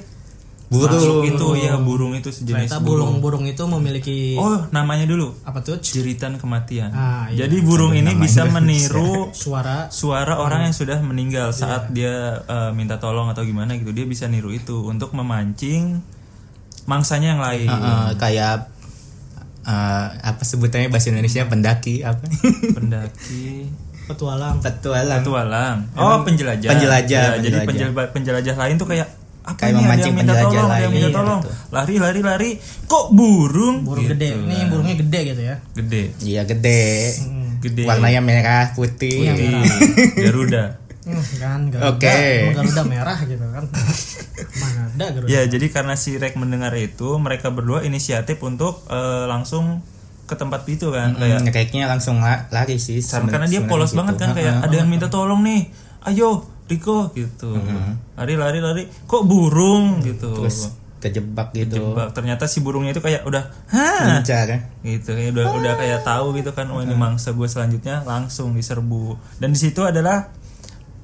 Speaker 2: burung
Speaker 1: makhluk itu ya burung itu sejenis
Speaker 3: Ternyata burung-burung itu memiliki
Speaker 1: Oh namanya dulu
Speaker 3: apa tuh? c-
Speaker 1: jeritan kematian.
Speaker 3: Ah, iya.
Speaker 1: Jadi burung ini bisa meniru
Speaker 2: iya.
Speaker 3: Suara
Speaker 1: suara orang yang
Speaker 2: Hmm.
Speaker 1: sudah meninggal saat dia eh, minta tolong atau gimana gitu dia bisa niru itu untuk memancing mangsanya yang lain.
Speaker 2: Eh, kayak eh, apa sebutannya bahasa Indonesia pendaki apa
Speaker 1: Pendaki
Speaker 3: petualang.
Speaker 2: petualang
Speaker 1: petualang. Oh penjelajah.
Speaker 2: Kan penjelajah,
Speaker 1: Ya, Jadi penjelajah,
Speaker 2: penjelajah.
Speaker 1: penjelajah lain tuh kayak apa
Speaker 2: Kayak
Speaker 1: nih, ada
Speaker 2: memancing
Speaker 1: yang minta
Speaker 2: penjelajah
Speaker 1: tolong, ada yang
Speaker 2: lain,
Speaker 1: minta
Speaker 2: iya,
Speaker 1: tolong.
Speaker 2: betul.
Speaker 1: Lari lari lari. Kok burung? Iya.
Speaker 3: Burung gede. Nih
Speaker 1: Nah.
Speaker 3: burungnya gede gitu ya.
Speaker 1: Gede.
Speaker 2: iya gede
Speaker 1: Hmm, Gede.
Speaker 2: warnanya merah putih
Speaker 1: Iya, Garuda.
Speaker 3: Hmm, kan Garuda.
Speaker 2: Oke.
Speaker 3: Emang Garuda merah gitu kan. Mana ada Garuda.
Speaker 1: Ya, jadi karena si Rek mendengar itu, mereka berdua inisiatif untuk eh, langsung ke tempat itu kan, kayak
Speaker 2: Hmm, kayaknya langsung la- lari sih gitu.
Speaker 1: Karena- karena dia polos banget kan kayak ada yang minta tolong nih ayo Riko gitu lari lari lari kok burung gitu
Speaker 2: terus kejebak gitu
Speaker 1: Bah, ternyata si burungnya itu kayak udah hah
Speaker 2: mencar
Speaker 1: gitu kayak udah udah kayak tahu gitu kan oh ini mangsa gue selanjutnya langsung diserbu dan di situ adalah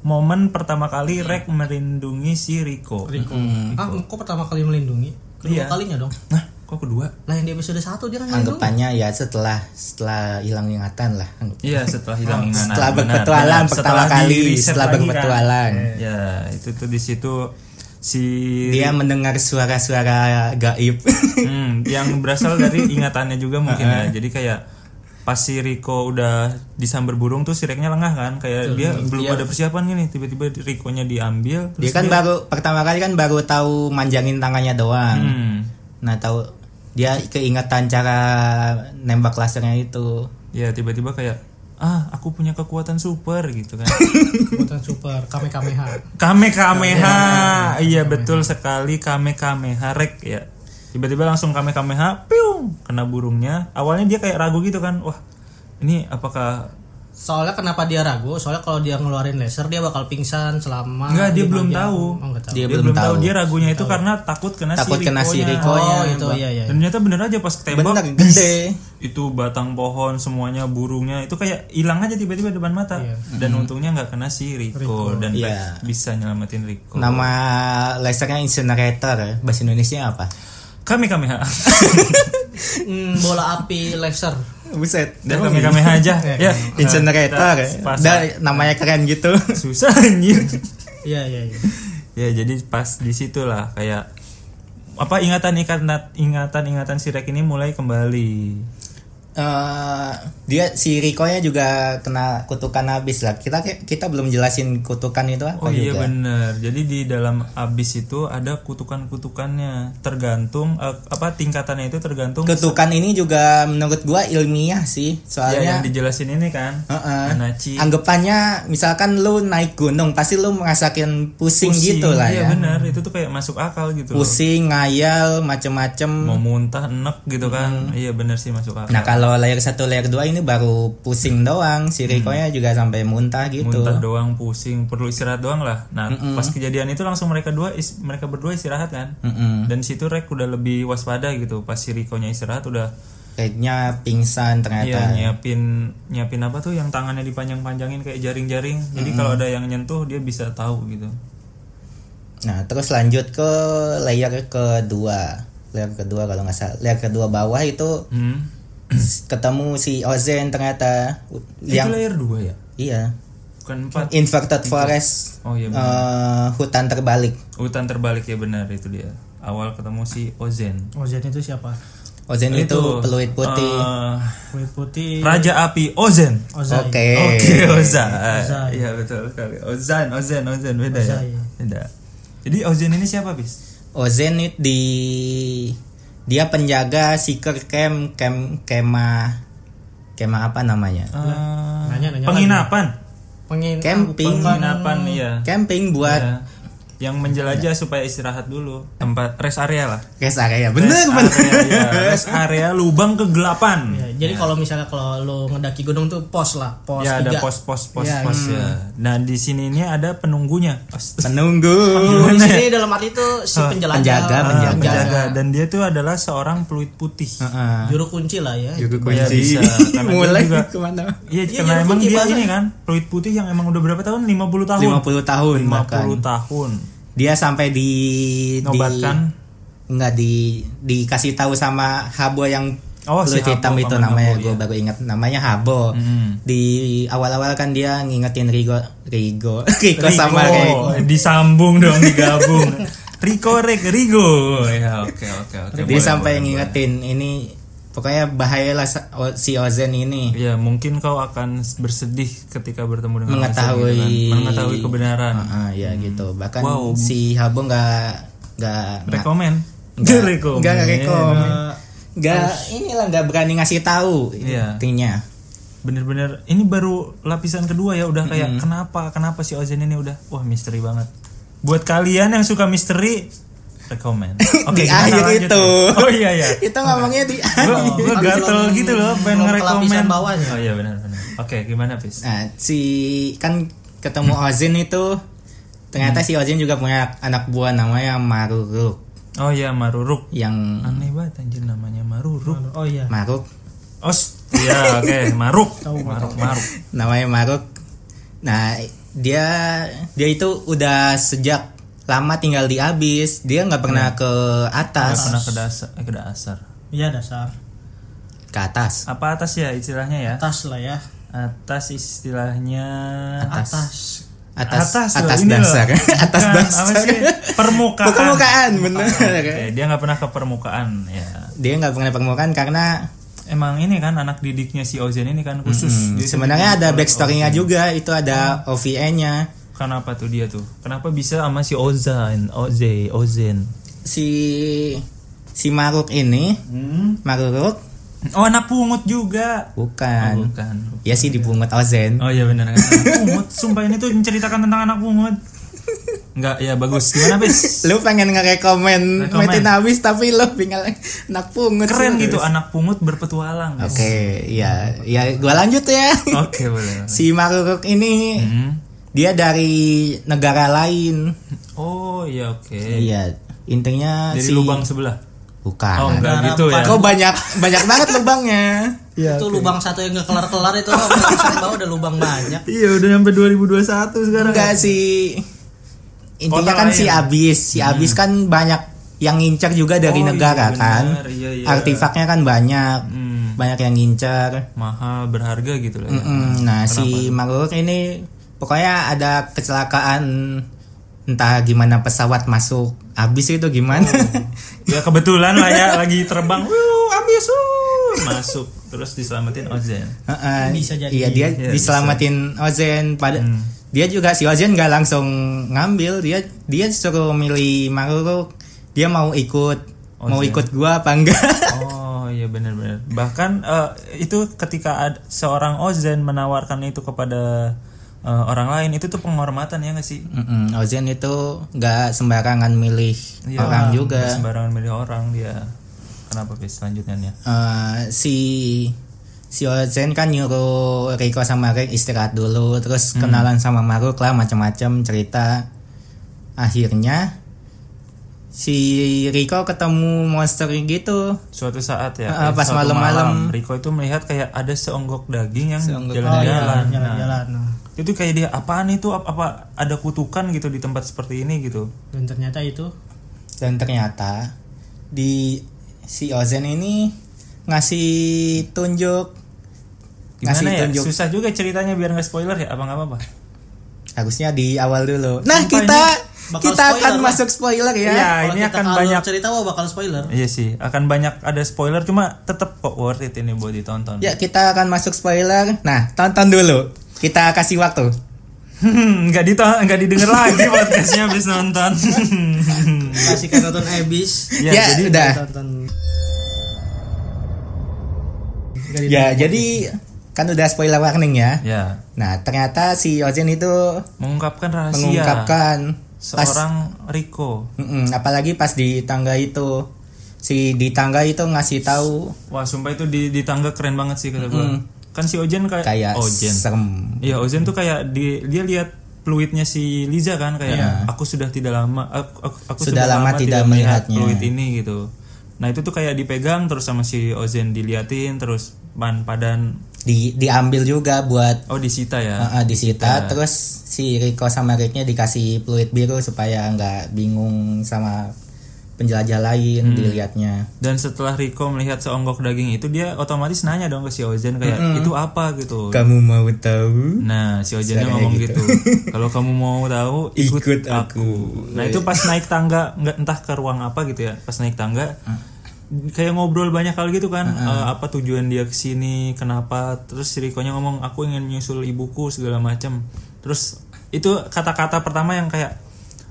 Speaker 1: momen pertama kali Rek merindungi si Riko
Speaker 3: Riko. Ah, kok pertama kali melindungi? Kedua
Speaker 1: Iya.
Speaker 3: kalinya dong.
Speaker 1: nah kok kedua
Speaker 3: Lah yang di episode 1 dia kan melindungi.
Speaker 2: anggapannya ya setelah setelah hilang ingatan lah
Speaker 1: Iya setelah hilang ingatan.
Speaker 2: Oh, setelah
Speaker 1: Benar,
Speaker 2: berpetualang
Speaker 1: benar.
Speaker 2: pertama
Speaker 1: Setelah
Speaker 2: kali,
Speaker 1: di-reset
Speaker 2: setelah
Speaker 1: lagi kan.
Speaker 2: berpetualang.
Speaker 1: Ya itu tuh di situ si
Speaker 2: dia mendengar suara-suara gaib
Speaker 1: Hmm, yang berasal dari ingatannya juga mungkin ya. Jadi kayak pas si Riko udah disambar burung tuh si Reknya lengah kan, kayak dia belum
Speaker 2: Iya.
Speaker 1: ada persiapan gini, tiba-tiba Rikonya diambil.
Speaker 2: dia kan baru pertama kali kan baru tahu manjangin tangannya doang
Speaker 1: Hmm.
Speaker 2: nah tahu dia keingetan cara nembak lasernya itu
Speaker 1: Ya tiba-tiba kayak ah aku punya kekuatan super gitu kan.
Speaker 3: Kekuatan super Kamehameha.
Speaker 1: Kame Kameha. Iya betul sekali Kame Kameha Rek ya. Tiba-tiba langsung Kame Kameha piung kena burungnya. Awalnya dia kayak ragu gitu kan. Wah, ini apakah
Speaker 3: Soalnya kenapa dia ragu? Soalnya kalau dia ngeluarin laser dia bakal pingsan selama
Speaker 1: Enggak, dia
Speaker 3: lima
Speaker 1: belum
Speaker 3: jam.
Speaker 1: tahu.
Speaker 3: Ah, Oh, enggak tahu.
Speaker 2: dia,
Speaker 1: dia, belum tahu. Dia ragunya itu karena takut kena
Speaker 2: takut
Speaker 1: si
Speaker 2: kena si
Speaker 1: Rikonya.
Speaker 2: Rikonya
Speaker 3: Oh, itu iya iya.
Speaker 1: Dan ternyata bener aja pas ketembak
Speaker 2: bener gede
Speaker 1: itu batang pohon semuanya burungnya itu kayak hilang aja tiba-tiba depan mata.
Speaker 3: Iya.
Speaker 1: Dan untungnya nggak kena si Riko, dan
Speaker 2: Hmm. Iya. Nah.
Speaker 1: bisa nyelamatin Riko.
Speaker 2: nama lasernya incinerator ya? bahasa Indonesia apa
Speaker 1: Kame Kameha.
Speaker 3: Hmm, bola api laser.
Speaker 2: buset
Speaker 1: Dan Kame Kameha aja. ya.
Speaker 2: iya. incinerator ya?
Speaker 1: Nah, Pas-
Speaker 2: Dah, namanya keren gitu
Speaker 1: susah anjir
Speaker 3: Iya iya iya.
Speaker 1: ya jadi pas di situ lah kayak apa ingatan ingatan ingatan ingatan si Rek ini mulai kembali
Speaker 2: Eh, dia si Rikonya juga kena kutukan habis lah kita kita belum jelasin kutukan itu
Speaker 1: oh
Speaker 2: apa
Speaker 1: iya
Speaker 2: juga
Speaker 1: bener jadi di dalam abis itu ada kutukan kutukannya tergantung eh, apa tingkatannya itu tergantung
Speaker 2: kutukan ini juga menurut gua ilmiah
Speaker 1: ya, yang
Speaker 2: sih soalnya
Speaker 1: dijelasin ini kan
Speaker 2: Heeh.
Speaker 1: Anachi
Speaker 2: anggapannya misalkan lu naik gunung pasti lu merasakan pusing, gitu lah
Speaker 1: iya
Speaker 2: ya
Speaker 1: bener itu tuh kayak masuk akal gitu loh.
Speaker 2: pusing ngayal macem-macem
Speaker 1: mau muntah enek gitu kan iya bener sih masuk akal
Speaker 2: nah kalau layer satu layer dua ini baru pusing doang si Rikonya juga sampai muntah gitu
Speaker 1: Hmm. muntah doang pusing perlu istirahat doang lah nah pas kejadian itu langsung mereka dua is- mereka berdua istirahat kan
Speaker 2: Mm-mm.
Speaker 1: dan di situ rek udah lebih waspada gitu pas si Rikonya istirahat udah
Speaker 2: kayaknya
Speaker 1: ya
Speaker 2: pingsan ternyata
Speaker 1: nyiapin nyiapin apa tuh yang tangannya dipanjang-panjangin kayak jaring-jaring jadi kalau ada yang nyentuh dia bisa tahu gitu
Speaker 2: Nah, terus lanjut ke layer kedua. Layer kedua kalau nggak salah. Layer kedua bawah itu
Speaker 1: hmm.
Speaker 2: s- ketemu si Ozen ternyata U- yang
Speaker 1: itu layer 2 ya
Speaker 2: iya,
Speaker 1: bukan 4
Speaker 2: inverted forest.
Speaker 1: oh iya benar.
Speaker 2: eh, hutan terbalik.
Speaker 1: hutan terbalik ya benar itu dia awal ketemu si Ozen
Speaker 3: Ozen itu siapa?
Speaker 2: Ozen
Speaker 1: Oh,
Speaker 2: itu, peluit putih.
Speaker 1: eh,
Speaker 3: kulit putih
Speaker 1: Raja Api Ah, Ozen.
Speaker 3: Ozai
Speaker 2: Oke.
Speaker 1: Oke, Oza.
Speaker 3: Ozai.
Speaker 1: Iya betul sekali. Ozan, Ozen, Ozen beda ya.
Speaker 3: Ozai.
Speaker 1: Beda. Jadi Ozen ini siapa, Bis?
Speaker 2: Ozen itu di dia penjaga seeker camp camp kema kema apa namanya?
Speaker 1: Eh,
Speaker 3: nanya-nanya
Speaker 1: penginapan.
Speaker 3: pengin
Speaker 2: Camping.
Speaker 1: Penginapan iya.
Speaker 2: Camping buat
Speaker 1: Iya. Yang menjelajah supaya istirahat dulu. Tempat rest area lah.
Speaker 2: rest area. Bener
Speaker 1: Rest
Speaker 2: bener.
Speaker 1: area, iya. Rest area lubang kegelapan.
Speaker 3: Ya, jadi kalau misalnya kalau lo ngedaki gunung tuh pos lah pos
Speaker 1: ya Iya. ada
Speaker 3: tiga
Speaker 1: pos pos pos
Speaker 2: Ya,
Speaker 1: pos ya. Nah di sini ini ada penunggunya. Pasti.
Speaker 2: Menunggu.
Speaker 3: di sini dalam arti itu si penjelajah Ah,
Speaker 2: penjaga, penjaga.
Speaker 1: Penjaga dan dia tuh adalah seorang peluit putih.
Speaker 2: Heeh.
Speaker 3: juru kunci lah ya
Speaker 2: Juga
Speaker 1: Ya, bisa.
Speaker 2: kunci.
Speaker 1: Karena dia
Speaker 2: Mulai
Speaker 1: juga-
Speaker 2: kemana?
Speaker 1: Iya, karena
Speaker 3: Iya, jadi
Speaker 1: emang
Speaker 3: kunci
Speaker 1: dia
Speaker 3: bahasa.
Speaker 1: ini kan peluit putih yang emang udah berapa tahun? 50 tahun.
Speaker 2: 50 tahun
Speaker 1: 50
Speaker 2: bahkan.
Speaker 1: tahun.
Speaker 2: Dia sampai di
Speaker 1: Nobatkan.
Speaker 2: di enggak di dikasih tahu sama Habo yang
Speaker 1: Oh, si
Speaker 2: kulit
Speaker 1: Habo,
Speaker 2: hitam itu
Speaker 1: paman
Speaker 2: namanya
Speaker 1: Habo,
Speaker 2: gue
Speaker 1: iya.
Speaker 2: baru ingat namanya Habo. Di awal-awal kan dia ngingetin Rigo Rigo Rico sama Rico.
Speaker 1: disambung dong digabung. Rico Rek Rigo. Ya, oke oke oke.
Speaker 2: Dia
Speaker 1: Boleh,
Speaker 2: sampai
Speaker 1: boleh,
Speaker 2: ngingetin ini pokoknya bahayalah sa- o- si Ozen ini.
Speaker 1: boleh. Ya, mungkin kau akan bersedih ketika bertemu dengan
Speaker 2: Mengetahui-
Speaker 1: orang gitu kan. mengetahui kebenaran.
Speaker 2: Heeh, ya gitu. Bahkan
Speaker 1: Wow.
Speaker 2: si Habo nggak nggak
Speaker 1: Rekomen.
Speaker 2: nggak
Speaker 1: Rekomen.
Speaker 2: nggak rekom. Nggak inilah nggak berani ngasih tahu
Speaker 1: Iya.
Speaker 2: intinya.
Speaker 1: Bener-bener ini baru lapisan kedua ya udah kayak kenapa kenapa si Ozen ini udah wah misteri banget. Buat kalian yang suka misteri rekomen.
Speaker 2: Di
Speaker 1: kita
Speaker 2: akhir
Speaker 1: lanjut
Speaker 2: itu.
Speaker 1: nih. Oh iya ya.
Speaker 2: Kita ngomongnya di
Speaker 1: Gue gue
Speaker 3: kan
Speaker 1: gatel
Speaker 3: belum-
Speaker 1: gitu loh pengen
Speaker 3: belum
Speaker 1: ngerekomen
Speaker 3: kelapisan bawahnya.
Speaker 1: Oh iya benar benar. Oke, gimana, Pis?
Speaker 2: Nah, si kan ketemu Ozin itu ternyata si Ozin juga punya anak buah namanya Maruruk
Speaker 1: Oh iya Maruruk.
Speaker 2: yang
Speaker 1: Aneh banget anjir namanya Maruruk.
Speaker 3: oh iya
Speaker 2: Maruk
Speaker 1: Os. Iya, oke, Maruk. Maruk, Maruk.
Speaker 2: namanya Maruk. Nah, dia dia itu udah sejak lama tinggal di Abis, dia nggak pernah ke
Speaker 1: Iya. Nggak
Speaker 2: atas,
Speaker 1: pernah ke dasar, eh, ke dasar.
Speaker 3: iya dasar
Speaker 2: ke atas.
Speaker 1: Apa atas ya istilahnya ya?
Speaker 3: tas lah ya
Speaker 1: Atas istilahnya
Speaker 3: atas
Speaker 2: Atas atas,
Speaker 1: loh, ini loh.
Speaker 2: dasar. atas
Speaker 1: Bukan, apa
Speaker 2: dasar.
Speaker 1: sih? permukaan
Speaker 2: Permukaan bener.
Speaker 1: Oke, dia nggak pernah ke permukaan ya
Speaker 2: Dia nggak pernah permukaan karena
Speaker 1: emang ini kan anak didiknya si Ozen ini kan khusus Jadi
Speaker 2: Sebenarnya ada backstory-nya juga, itu ada
Speaker 1: Hmm.
Speaker 2: OVA-nya.
Speaker 1: kenapa tuh dia tuh kenapa bisa sama si Ozan Oze Ozen
Speaker 2: Si si Maruk ini,
Speaker 1: Hmm?
Speaker 2: Maruruk
Speaker 1: oh anak pungut juga
Speaker 2: bukan.
Speaker 1: bukan
Speaker 2: Ya sih dipungut Ozen.
Speaker 1: oh iya benar kan anak pungut sumpah ini tuh menceritakan tentang anak pungut nggak ya bagus gimana bis
Speaker 2: Lu pengen ngerekomen
Speaker 1: Rekomen.
Speaker 2: Metin Abis tapi lu tinggal nak pungut.
Speaker 1: keren
Speaker 2: sih.
Speaker 1: gitu anak pungut berpetualang
Speaker 2: Oke,
Speaker 1: guys.
Speaker 2: ya, ya gua lanjut ya.
Speaker 1: oke boleh
Speaker 2: Si Maruruk ini
Speaker 1: Hmm.
Speaker 2: dia dari negara lain.
Speaker 1: oh iya oke
Speaker 2: Iya, intinya
Speaker 1: dari
Speaker 2: si
Speaker 1: lubang sebelah
Speaker 2: bukan.
Speaker 1: oh enggak
Speaker 3: Negara
Speaker 1: gitu ya
Speaker 2: Kok banyak banyak banget lubangnya.
Speaker 3: itu lubang satu yang gak kelar kelar itu oh, loh lapisan bawah udah lubang banyak
Speaker 1: Iya udah sampai 2021 sekarang.
Speaker 2: Enggak sih. Intinya
Speaker 1: Kota
Speaker 2: kan
Speaker 1: lain.
Speaker 2: si Abis, si
Speaker 1: Hmm.
Speaker 2: Abis kan banyak yang ngincer juga
Speaker 1: Oh,
Speaker 2: dari
Speaker 1: iya,
Speaker 2: negara
Speaker 1: benar.
Speaker 2: kan.
Speaker 1: Iya, iya.
Speaker 2: Artifaknya kan banyak.
Speaker 1: Hmm.
Speaker 2: Banyak yang ngincer.
Speaker 1: Mahal berharga gitu lah. ya.
Speaker 2: Mm, nah, si Marur ini pokoknya ada kecelakaan entah gimana pesawat masuk Abis itu gimana.
Speaker 1: Ya kebetulan lah ya lagi terbang. Wuh, habis wuh. Masuk terus diselamatin Ozen.
Speaker 2: Heeh.
Speaker 3: Bisa jadi.
Speaker 2: Iya, dia
Speaker 1: Iya, Hmm.
Speaker 2: diselamatin Ozen pada dia juga si Ozen nggak langsung ngambil, dia dia suruh milih Maruruk. Dia mau ikut mau ikut gua apa enggak?
Speaker 1: Oh iya benar-benar. Bahkan eh, itu ketika ad- seorang Ozen menawarkan itu kepada eh, orang lain itu tuh penghormatan ya nggak sih?
Speaker 2: Mm-mm, Ozen itu nggak sembarangan milih orang
Speaker 1: Iya.
Speaker 2: juga.
Speaker 1: Nggak Sembarangan milih orang dia. Kenapa bis selanjutnya?
Speaker 2: Eh, si si Ozen kan nyuruh Riko sama Rick istirahat dulu, terus
Speaker 1: Hmm.
Speaker 2: kenalan sama Maruk lah macam-macam cerita. Akhirnya si Riko ketemu monster gitu.
Speaker 1: Suatu saat ya,
Speaker 2: Ah,
Speaker 1: eh,
Speaker 2: pas
Speaker 1: suatu
Speaker 2: malam-malam.
Speaker 1: Rico itu melihat kayak ada seonggok daging yang
Speaker 2: Seonggok
Speaker 1: jalan-jalan. Nah,
Speaker 3: jalan-jalan Nah,
Speaker 1: itu kayak dia apaan itu apa, apa ada kutukan gitu di tempat seperti ini gitu
Speaker 3: dan ternyata itu
Speaker 2: Dan ternyata di si Ozen ini ngasih tunjuk
Speaker 1: gimana
Speaker 2: ngasih
Speaker 1: ya
Speaker 2: tunjuk
Speaker 1: susah juga ceritanya biar nggak spoiler ya apa nggak apa-apa
Speaker 2: harusnya di awal dulu. Nah,
Speaker 1: Sumpah
Speaker 2: kita
Speaker 1: ini
Speaker 3: bakal
Speaker 2: kita akan
Speaker 3: spoiler lah.
Speaker 2: masuk spoiler
Speaker 1: Iya.
Speaker 2: ya.
Speaker 3: Kalau
Speaker 1: ini
Speaker 3: kita
Speaker 1: akan
Speaker 3: alur
Speaker 1: banyak-
Speaker 3: cerita wah bakal spoiler.
Speaker 1: Iya sih, akan banyak ada spoiler cuma tetap kok worth it ini buat ditonton.
Speaker 2: Ya, kita akan masuk spoiler. Nah, tonton dulu. Kita kasih waktu.
Speaker 1: Hmm, nggak ditonton, nggak didengar lagi podcastnya habis nonton.
Speaker 3: Kasihkan nonton Abyss.
Speaker 1: ya,
Speaker 2: Ya,
Speaker 1: jadi
Speaker 2: udah.
Speaker 3: Tonton.
Speaker 2: Ya, jadi kan udah spoiler warning ya.
Speaker 1: ya
Speaker 2: Nah, ternyata si Ozen itu
Speaker 1: mengungkapkan rahasia
Speaker 2: mengungkapkan pas
Speaker 1: seorang Rico.
Speaker 2: Mm-mm, apalagi pas di tangga itu si di tangga itu ngasih tahu
Speaker 1: Wah, sumpah itu di, di tangga keren banget sih kata gua. Kan si Ojen kayak,
Speaker 2: kayak
Speaker 1: Ojen.
Speaker 2: serem.
Speaker 1: Iya, Ozen tuh kayak di, dia lihat fluidnya si Liza kan kayak
Speaker 2: Iya.
Speaker 1: aku sudah tidak lama aku, aku- aku
Speaker 2: Sudah lama tidak melihatnya."
Speaker 1: fluid ini gitu. Nah, itu tuh kayak dipegang terus sama si Ozen diliatin terus ban padan
Speaker 2: Di diambil juga buat
Speaker 1: oh disita ya.
Speaker 2: uh, disita terus si Rico sama Ricknya dikasih fluid biru supaya nggak bingung sama penjelajah
Speaker 1: Hmm.
Speaker 2: lain dilihatnya.
Speaker 1: Dan setelah Rico melihat seonggok daging itu dia otomatis nanya dong ke si Ozen kayak itu apa gitu.
Speaker 2: Kamu mau tahu?
Speaker 1: Nah, si Ojennya ngomong gitu. Kalau kamu mau tahu, ikut,
Speaker 2: Ikut
Speaker 1: aku. Nah, itu pas naik tangga, nggak entah ke ruang apa gitu ya. Pas naik tangga, kayak ngobrol banyak kali gitu kan. Eh, apa tujuan dia kesini, kenapa? Terus si Rikonya ngomong, aku ingin menyusul ibuku segala macam. Terus itu kata-kata pertama yang kayak,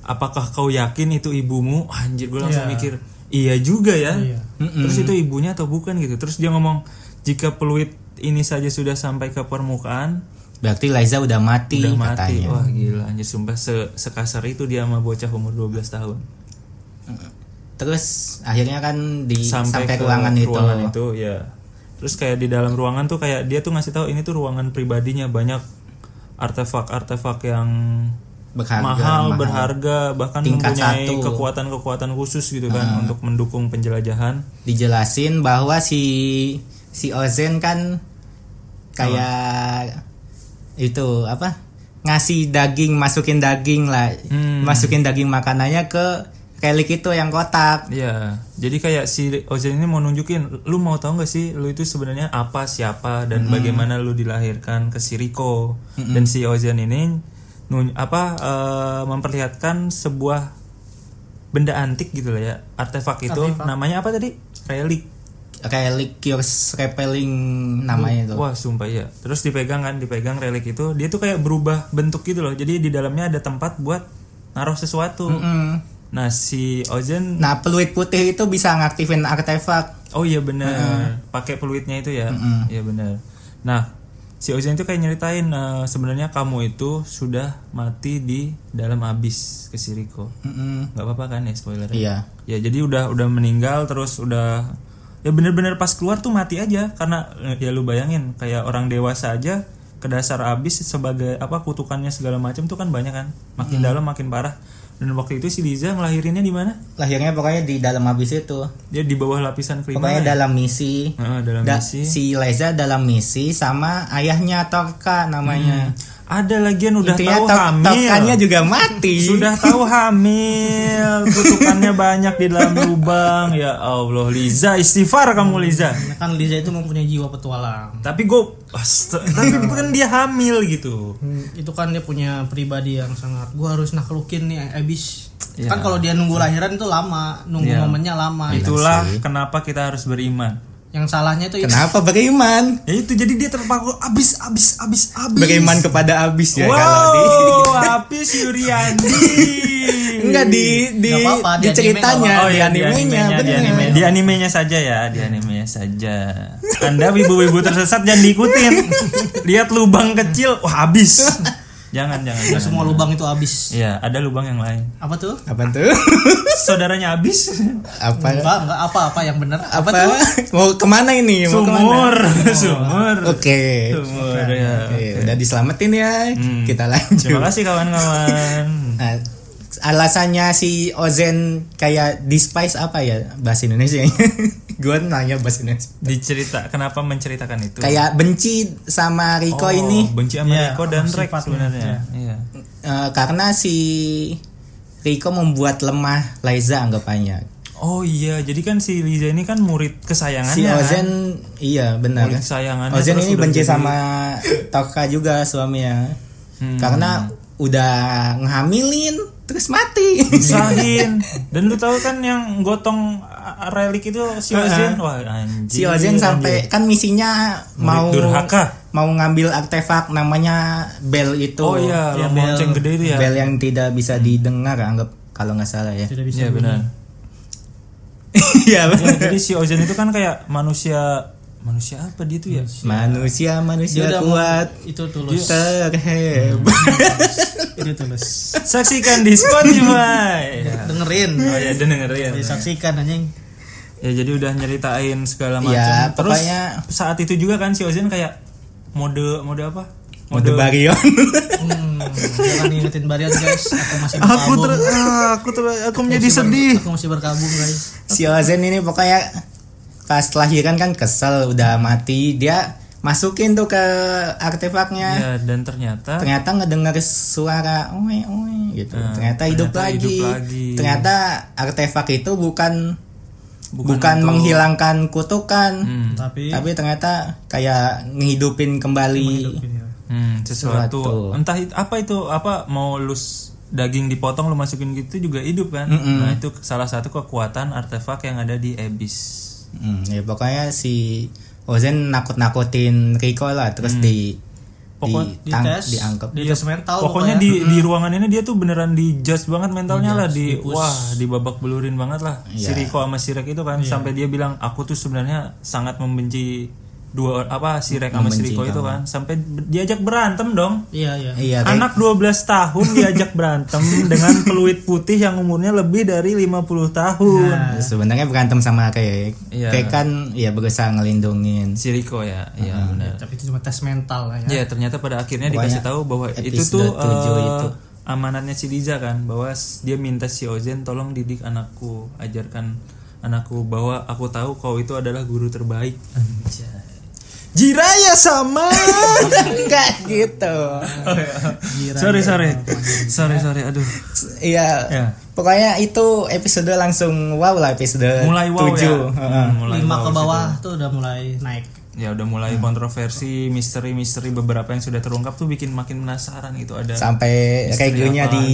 Speaker 1: apakah kau yakin itu ibumu? Anjir, gue langsung mikir, iya juga ya. Terus itu ibunya atau bukan gitu. Terus dia ngomong, jika peluit ini saja sudah sampai ke permukaan
Speaker 2: Berarti Liza udah mati
Speaker 1: udah mati
Speaker 2: katanya.
Speaker 1: wah gila anjir sumpah se- sekasar itu dia sama bocah umur 12 tahun
Speaker 2: Terus akhirnya kan di sampai,
Speaker 1: sampai, ke
Speaker 2: ruangan, itu.
Speaker 1: ruangan itu ya terus kayak di dalam ruangan tuh kayak dia tuh ngasih tahu ini tuh ruangan pribadinya banyak artefak-artefak yang
Speaker 2: Berharga,
Speaker 1: mahal, berharga bahkan
Speaker 2: Tingkat
Speaker 1: mempunyai
Speaker 2: satu. Ah.
Speaker 1: kekuatan-kekuatan khusus gitu kan untuk mendukung penjelajahan
Speaker 2: dijelasin bahwa si si Ozen kan kayak itu apa ngasih daging masukin daging lah
Speaker 1: Hmm.
Speaker 2: masukin daging makanannya ke relik itu yang kotak
Speaker 1: Iya, jadi kayak si Ozen ini mau nunjukin, lu mau tahu nggak sih, lu itu sebenarnya apa, siapa, dan bagaimana lu dilahirkan ke si Riko. Dan si Ozen ini nun- apa eh, memperlihatkan sebuah benda antik gitu lah ya, artefak itu, namanya apa tadi? Relik.
Speaker 2: relik cures repelling namanya itu
Speaker 1: Wah sumpah ya. Terus dipegang kan, dipegang relik itu, dia tuh kayak berubah bentuk gitu loh. Jadi di dalamnya ada tempat buat naruh sesuatu.
Speaker 2: Mm.
Speaker 1: Nah si Ozen
Speaker 2: nah peluit putih itu bisa ngaktifin artefak
Speaker 1: Oh iya benar, pakai peluitnya itu ya. Iya benar. Nah, si Ozen itu kayak nyeritain eh, sebenarnya kamu itu sudah mati di dalam abis ke si Riko.
Speaker 2: Mm-mm.
Speaker 1: Gak apa-apa kan ya spoiler.
Speaker 2: iya
Speaker 1: Ya jadi udah udah meninggal terus udah ya bener-bener pas keluar tuh mati aja karena eh, ya lu bayangin kayak orang dewasa aja ke dasar abis sebagai apa kutukannya segala macam tuh kan banyak kan makin dalam makin parah dan waktu itu si Liza ngelahirinnya di mana
Speaker 2: lahirnya pokoknya di dalam habis itu
Speaker 1: dia di bawah lapisan kelima
Speaker 2: pokoknya dalam misi
Speaker 1: Heeh, dalam
Speaker 2: Da-
Speaker 1: misi
Speaker 2: si Liza dalam misi sama ayahnya Torka namanya
Speaker 1: ada lagian udah tahu
Speaker 2: Intinya Tor-
Speaker 1: hamil
Speaker 2: Torkanya ya, juga mati
Speaker 1: sudah tahu hamil kutukannya banyak di dalam lubang ya Allah Liza istighfar
Speaker 2: Hmm.
Speaker 1: kamu Liza
Speaker 3: Karena kan Liza itu mempunyai jiwa petualang.
Speaker 1: tapi gue tapi
Speaker 2: Hmm.
Speaker 1: kan dia hamil gitu
Speaker 3: Hmm, itu kan dia punya pribadi yang sangat gua harus naklukin nih abis kan kalau dia nunggu lahiran itu lama nunggu
Speaker 1: Iya.
Speaker 3: momennya lama
Speaker 1: itulah
Speaker 2: Iya
Speaker 1: kenapa kita harus beriman
Speaker 3: yang salahnya itu itu
Speaker 2: kenapa beriman
Speaker 1: ya itu jadi dia terpaku abis abis abis abis
Speaker 2: beriman kepada abis ya kalau di
Speaker 1: wow habis Yuriandi
Speaker 2: enggak di di,
Speaker 3: Nggak apa-apa,
Speaker 2: di
Speaker 3: di anime
Speaker 2: ceritanya
Speaker 3: nggak
Speaker 2: Ah, di
Speaker 1: ya,
Speaker 2: animenya
Speaker 1: di,
Speaker 2: bener. Hmm.
Speaker 1: anime. Di animenya saja ya, di animenya saja. Anda wibu-wibu tersesat jangan diikutin. Lihat lubang kecil, wah habis. Jangan, jangan. jangan.
Speaker 3: semua lubang itu abis
Speaker 1: Iya, ada lubang yang lain.
Speaker 3: apa tuh
Speaker 2: apa tuh
Speaker 1: Saudaranya habis.
Speaker 2: apa
Speaker 3: enggak enggak apa apa yang benar
Speaker 2: apa mau kemana ini mau kemana
Speaker 1: Sumur, sumur.
Speaker 2: oke
Speaker 1: Sumur ya.
Speaker 2: Oke, udah diselamatin ya kita lanjut
Speaker 1: Terima kasih kawan-kawan.
Speaker 2: Nah, alasannya si Ozen kayak despise apa ya bahasa Indonesia gue nanya bahasa Indonesia
Speaker 1: Dicerita kenapa menceritakan itu?
Speaker 2: kayak benci sama Rico
Speaker 1: Oh,
Speaker 2: ini
Speaker 1: benci sama
Speaker 3: Iya,
Speaker 1: Riko dan
Speaker 3: sama
Speaker 1: Rek
Speaker 3: sifatnya.
Speaker 1: sebenarnya. Iya.
Speaker 2: eh, karena si Rico membuat lemah Liza anggapannya
Speaker 1: Oh iya, jadi kan si Liza ini kan murid kesayangannya.
Speaker 2: si
Speaker 1: kan?
Speaker 2: Ozen iya benar
Speaker 1: Murid kesayangannya,
Speaker 2: Ozen
Speaker 1: terus
Speaker 2: ini
Speaker 1: udah
Speaker 2: benci
Speaker 1: jadi-
Speaker 2: sama
Speaker 1: Hmm.
Speaker 2: Toka juga suaminya karena udah ngehamilin terus mati
Speaker 1: Sahin dan lu tahu kan yang gotong uh, relik itu si Ozen
Speaker 2: Uh-huh.
Speaker 1: wah anjing
Speaker 2: si Ozen sampai kan misinya mau
Speaker 1: Iya, Murid durhaka.
Speaker 2: mau ngambil artefak namanya bel itu
Speaker 1: oh iya
Speaker 3: Ya,
Speaker 1: yang lonceng
Speaker 3: Bel.
Speaker 1: gede itu ya Hmm.
Speaker 2: bel yang tidak bisa didengar anggap kalau nggak salah ya
Speaker 3: Tidak
Speaker 1: iya
Speaker 3: bisa.
Speaker 1: benar
Speaker 2: Iya,
Speaker 1: Ya, jadi si Ozen itu kan kayak manusia manusia apa dia tuh ya
Speaker 2: manusia manusia kuat
Speaker 3: itu tulus.
Speaker 2: terhebat
Speaker 1: Hmm,
Speaker 3: itu tulus.
Speaker 1: saksikan di Spotify ya.
Speaker 3: Dengerin.
Speaker 1: oh ya dengerin
Speaker 3: Disaksikan anjing.
Speaker 1: ya jadi udah nyeritain segala macam
Speaker 2: Iya,
Speaker 1: terus
Speaker 2: pokoknya-
Speaker 1: saat itu juga kan si Ozen kayak mode mode apa
Speaker 2: mode barion
Speaker 3: Hmm, jangan ingetin Barian guys. Aku masih
Speaker 1: aku
Speaker 3: berkabung.
Speaker 1: ter ah, aku ter aku menjadi sedih
Speaker 3: Aku masih berkabung guys.
Speaker 2: si Ozen ini pokoknya pas lahiran kan kesel udah mati dia masukin tuh ke artefaknya
Speaker 1: ya dan ternyata
Speaker 2: ternyata ngedengar suara oe oe gitu
Speaker 1: Nah,
Speaker 2: ternyata, hidup,
Speaker 1: ternyata
Speaker 2: lagi.
Speaker 1: hidup lagi.
Speaker 2: ternyata artefak itu bukan
Speaker 1: Bukan
Speaker 2: bukan,
Speaker 1: untuk-
Speaker 2: menghilangkan kutukan
Speaker 1: hmm,
Speaker 3: Tapi
Speaker 2: tapi ternyata kayak ngehidupin kembali
Speaker 1: hmm, sesuatu
Speaker 2: Suatu.
Speaker 1: entah itu, apa itu apa mau lu s- daging dipotong lu masukin gitu juga hidup kan nah itu salah satu kekuatan artefak yang ada di Abyss
Speaker 2: Hmm, ya pokoknya si Ozen nakut-nakutin Rico lah terus di
Speaker 1: Hmm. Pokok-
Speaker 2: di,
Speaker 3: di
Speaker 2: tang-
Speaker 3: tes,
Speaker 2: dianggap
Speaker 3: di tes mental
Speaker 1: pokoknya di di ruangan ini dia tuh beneran di judge banget mentalnya lah di wah di babak belurin banget lah si Riko sama si Rek itu kan sampai dia bilang aku tuh sebenarnya sangat membenci dua apa si Rek sama si Riko itu kan sampai be- diajak berantem dong
Speaker 3: Iya iya.
Speaker 2: iya Rico.
Speaker 1: anak 12 tahun diajak berantem dengan peluit putih yang umurnya lebih dari 50 tahun
Speaker 2: sebenarnya berantem sama kayak
Speaker 1: Iya.
Speaker 2: kayak kan ya berusaha ngelindungin
Speaker 1: si Riko ya iya benar
Speaker 3: Tapi itu cuma tes mental lah
Speaker 1: Ya
Speaker 3: ya.
Speaker 1: ternyata pada akhirnya dikasih tahu bahwa itu tuh
Speaker 2: episode tujuh
Speaker 1: eh,
Speaker 2: itu.
Speaker 1: amanatnya si Diza kan bahwa s- dia minta si Ozen tolong didik anakku ajarkan anakku bahwa aku tahu kau itu adalah guru terbaik.
Speaker 2: Jiraya sama enggak gitu
Speaker 1: sorry sorry sorry sorry aduh
Speaker 2: iya
Speaker 1: Ya.
Speaker 2: pokoknya itu episode langsung wow lah episode
Speaker 1: mulai wow ya
Speaker 2: tujuh. Heeh.
Speaker 1: Hmm, mulai
Speaker 3: Lima
Speaker 1: wow
Speaker 3: ke
Speaker 1: di situ.
Speaker 3: bawah tuh udah mulai naik.
Speaker 1: ya udah mulai kontroversi misteri-misteri beberapa yang sudah terungkap tuh bikin makin penasaran itu ada
Speaker 2: sampai
Speaker 1: apa,
Speaker 2: regunya
Speaker 1: kan.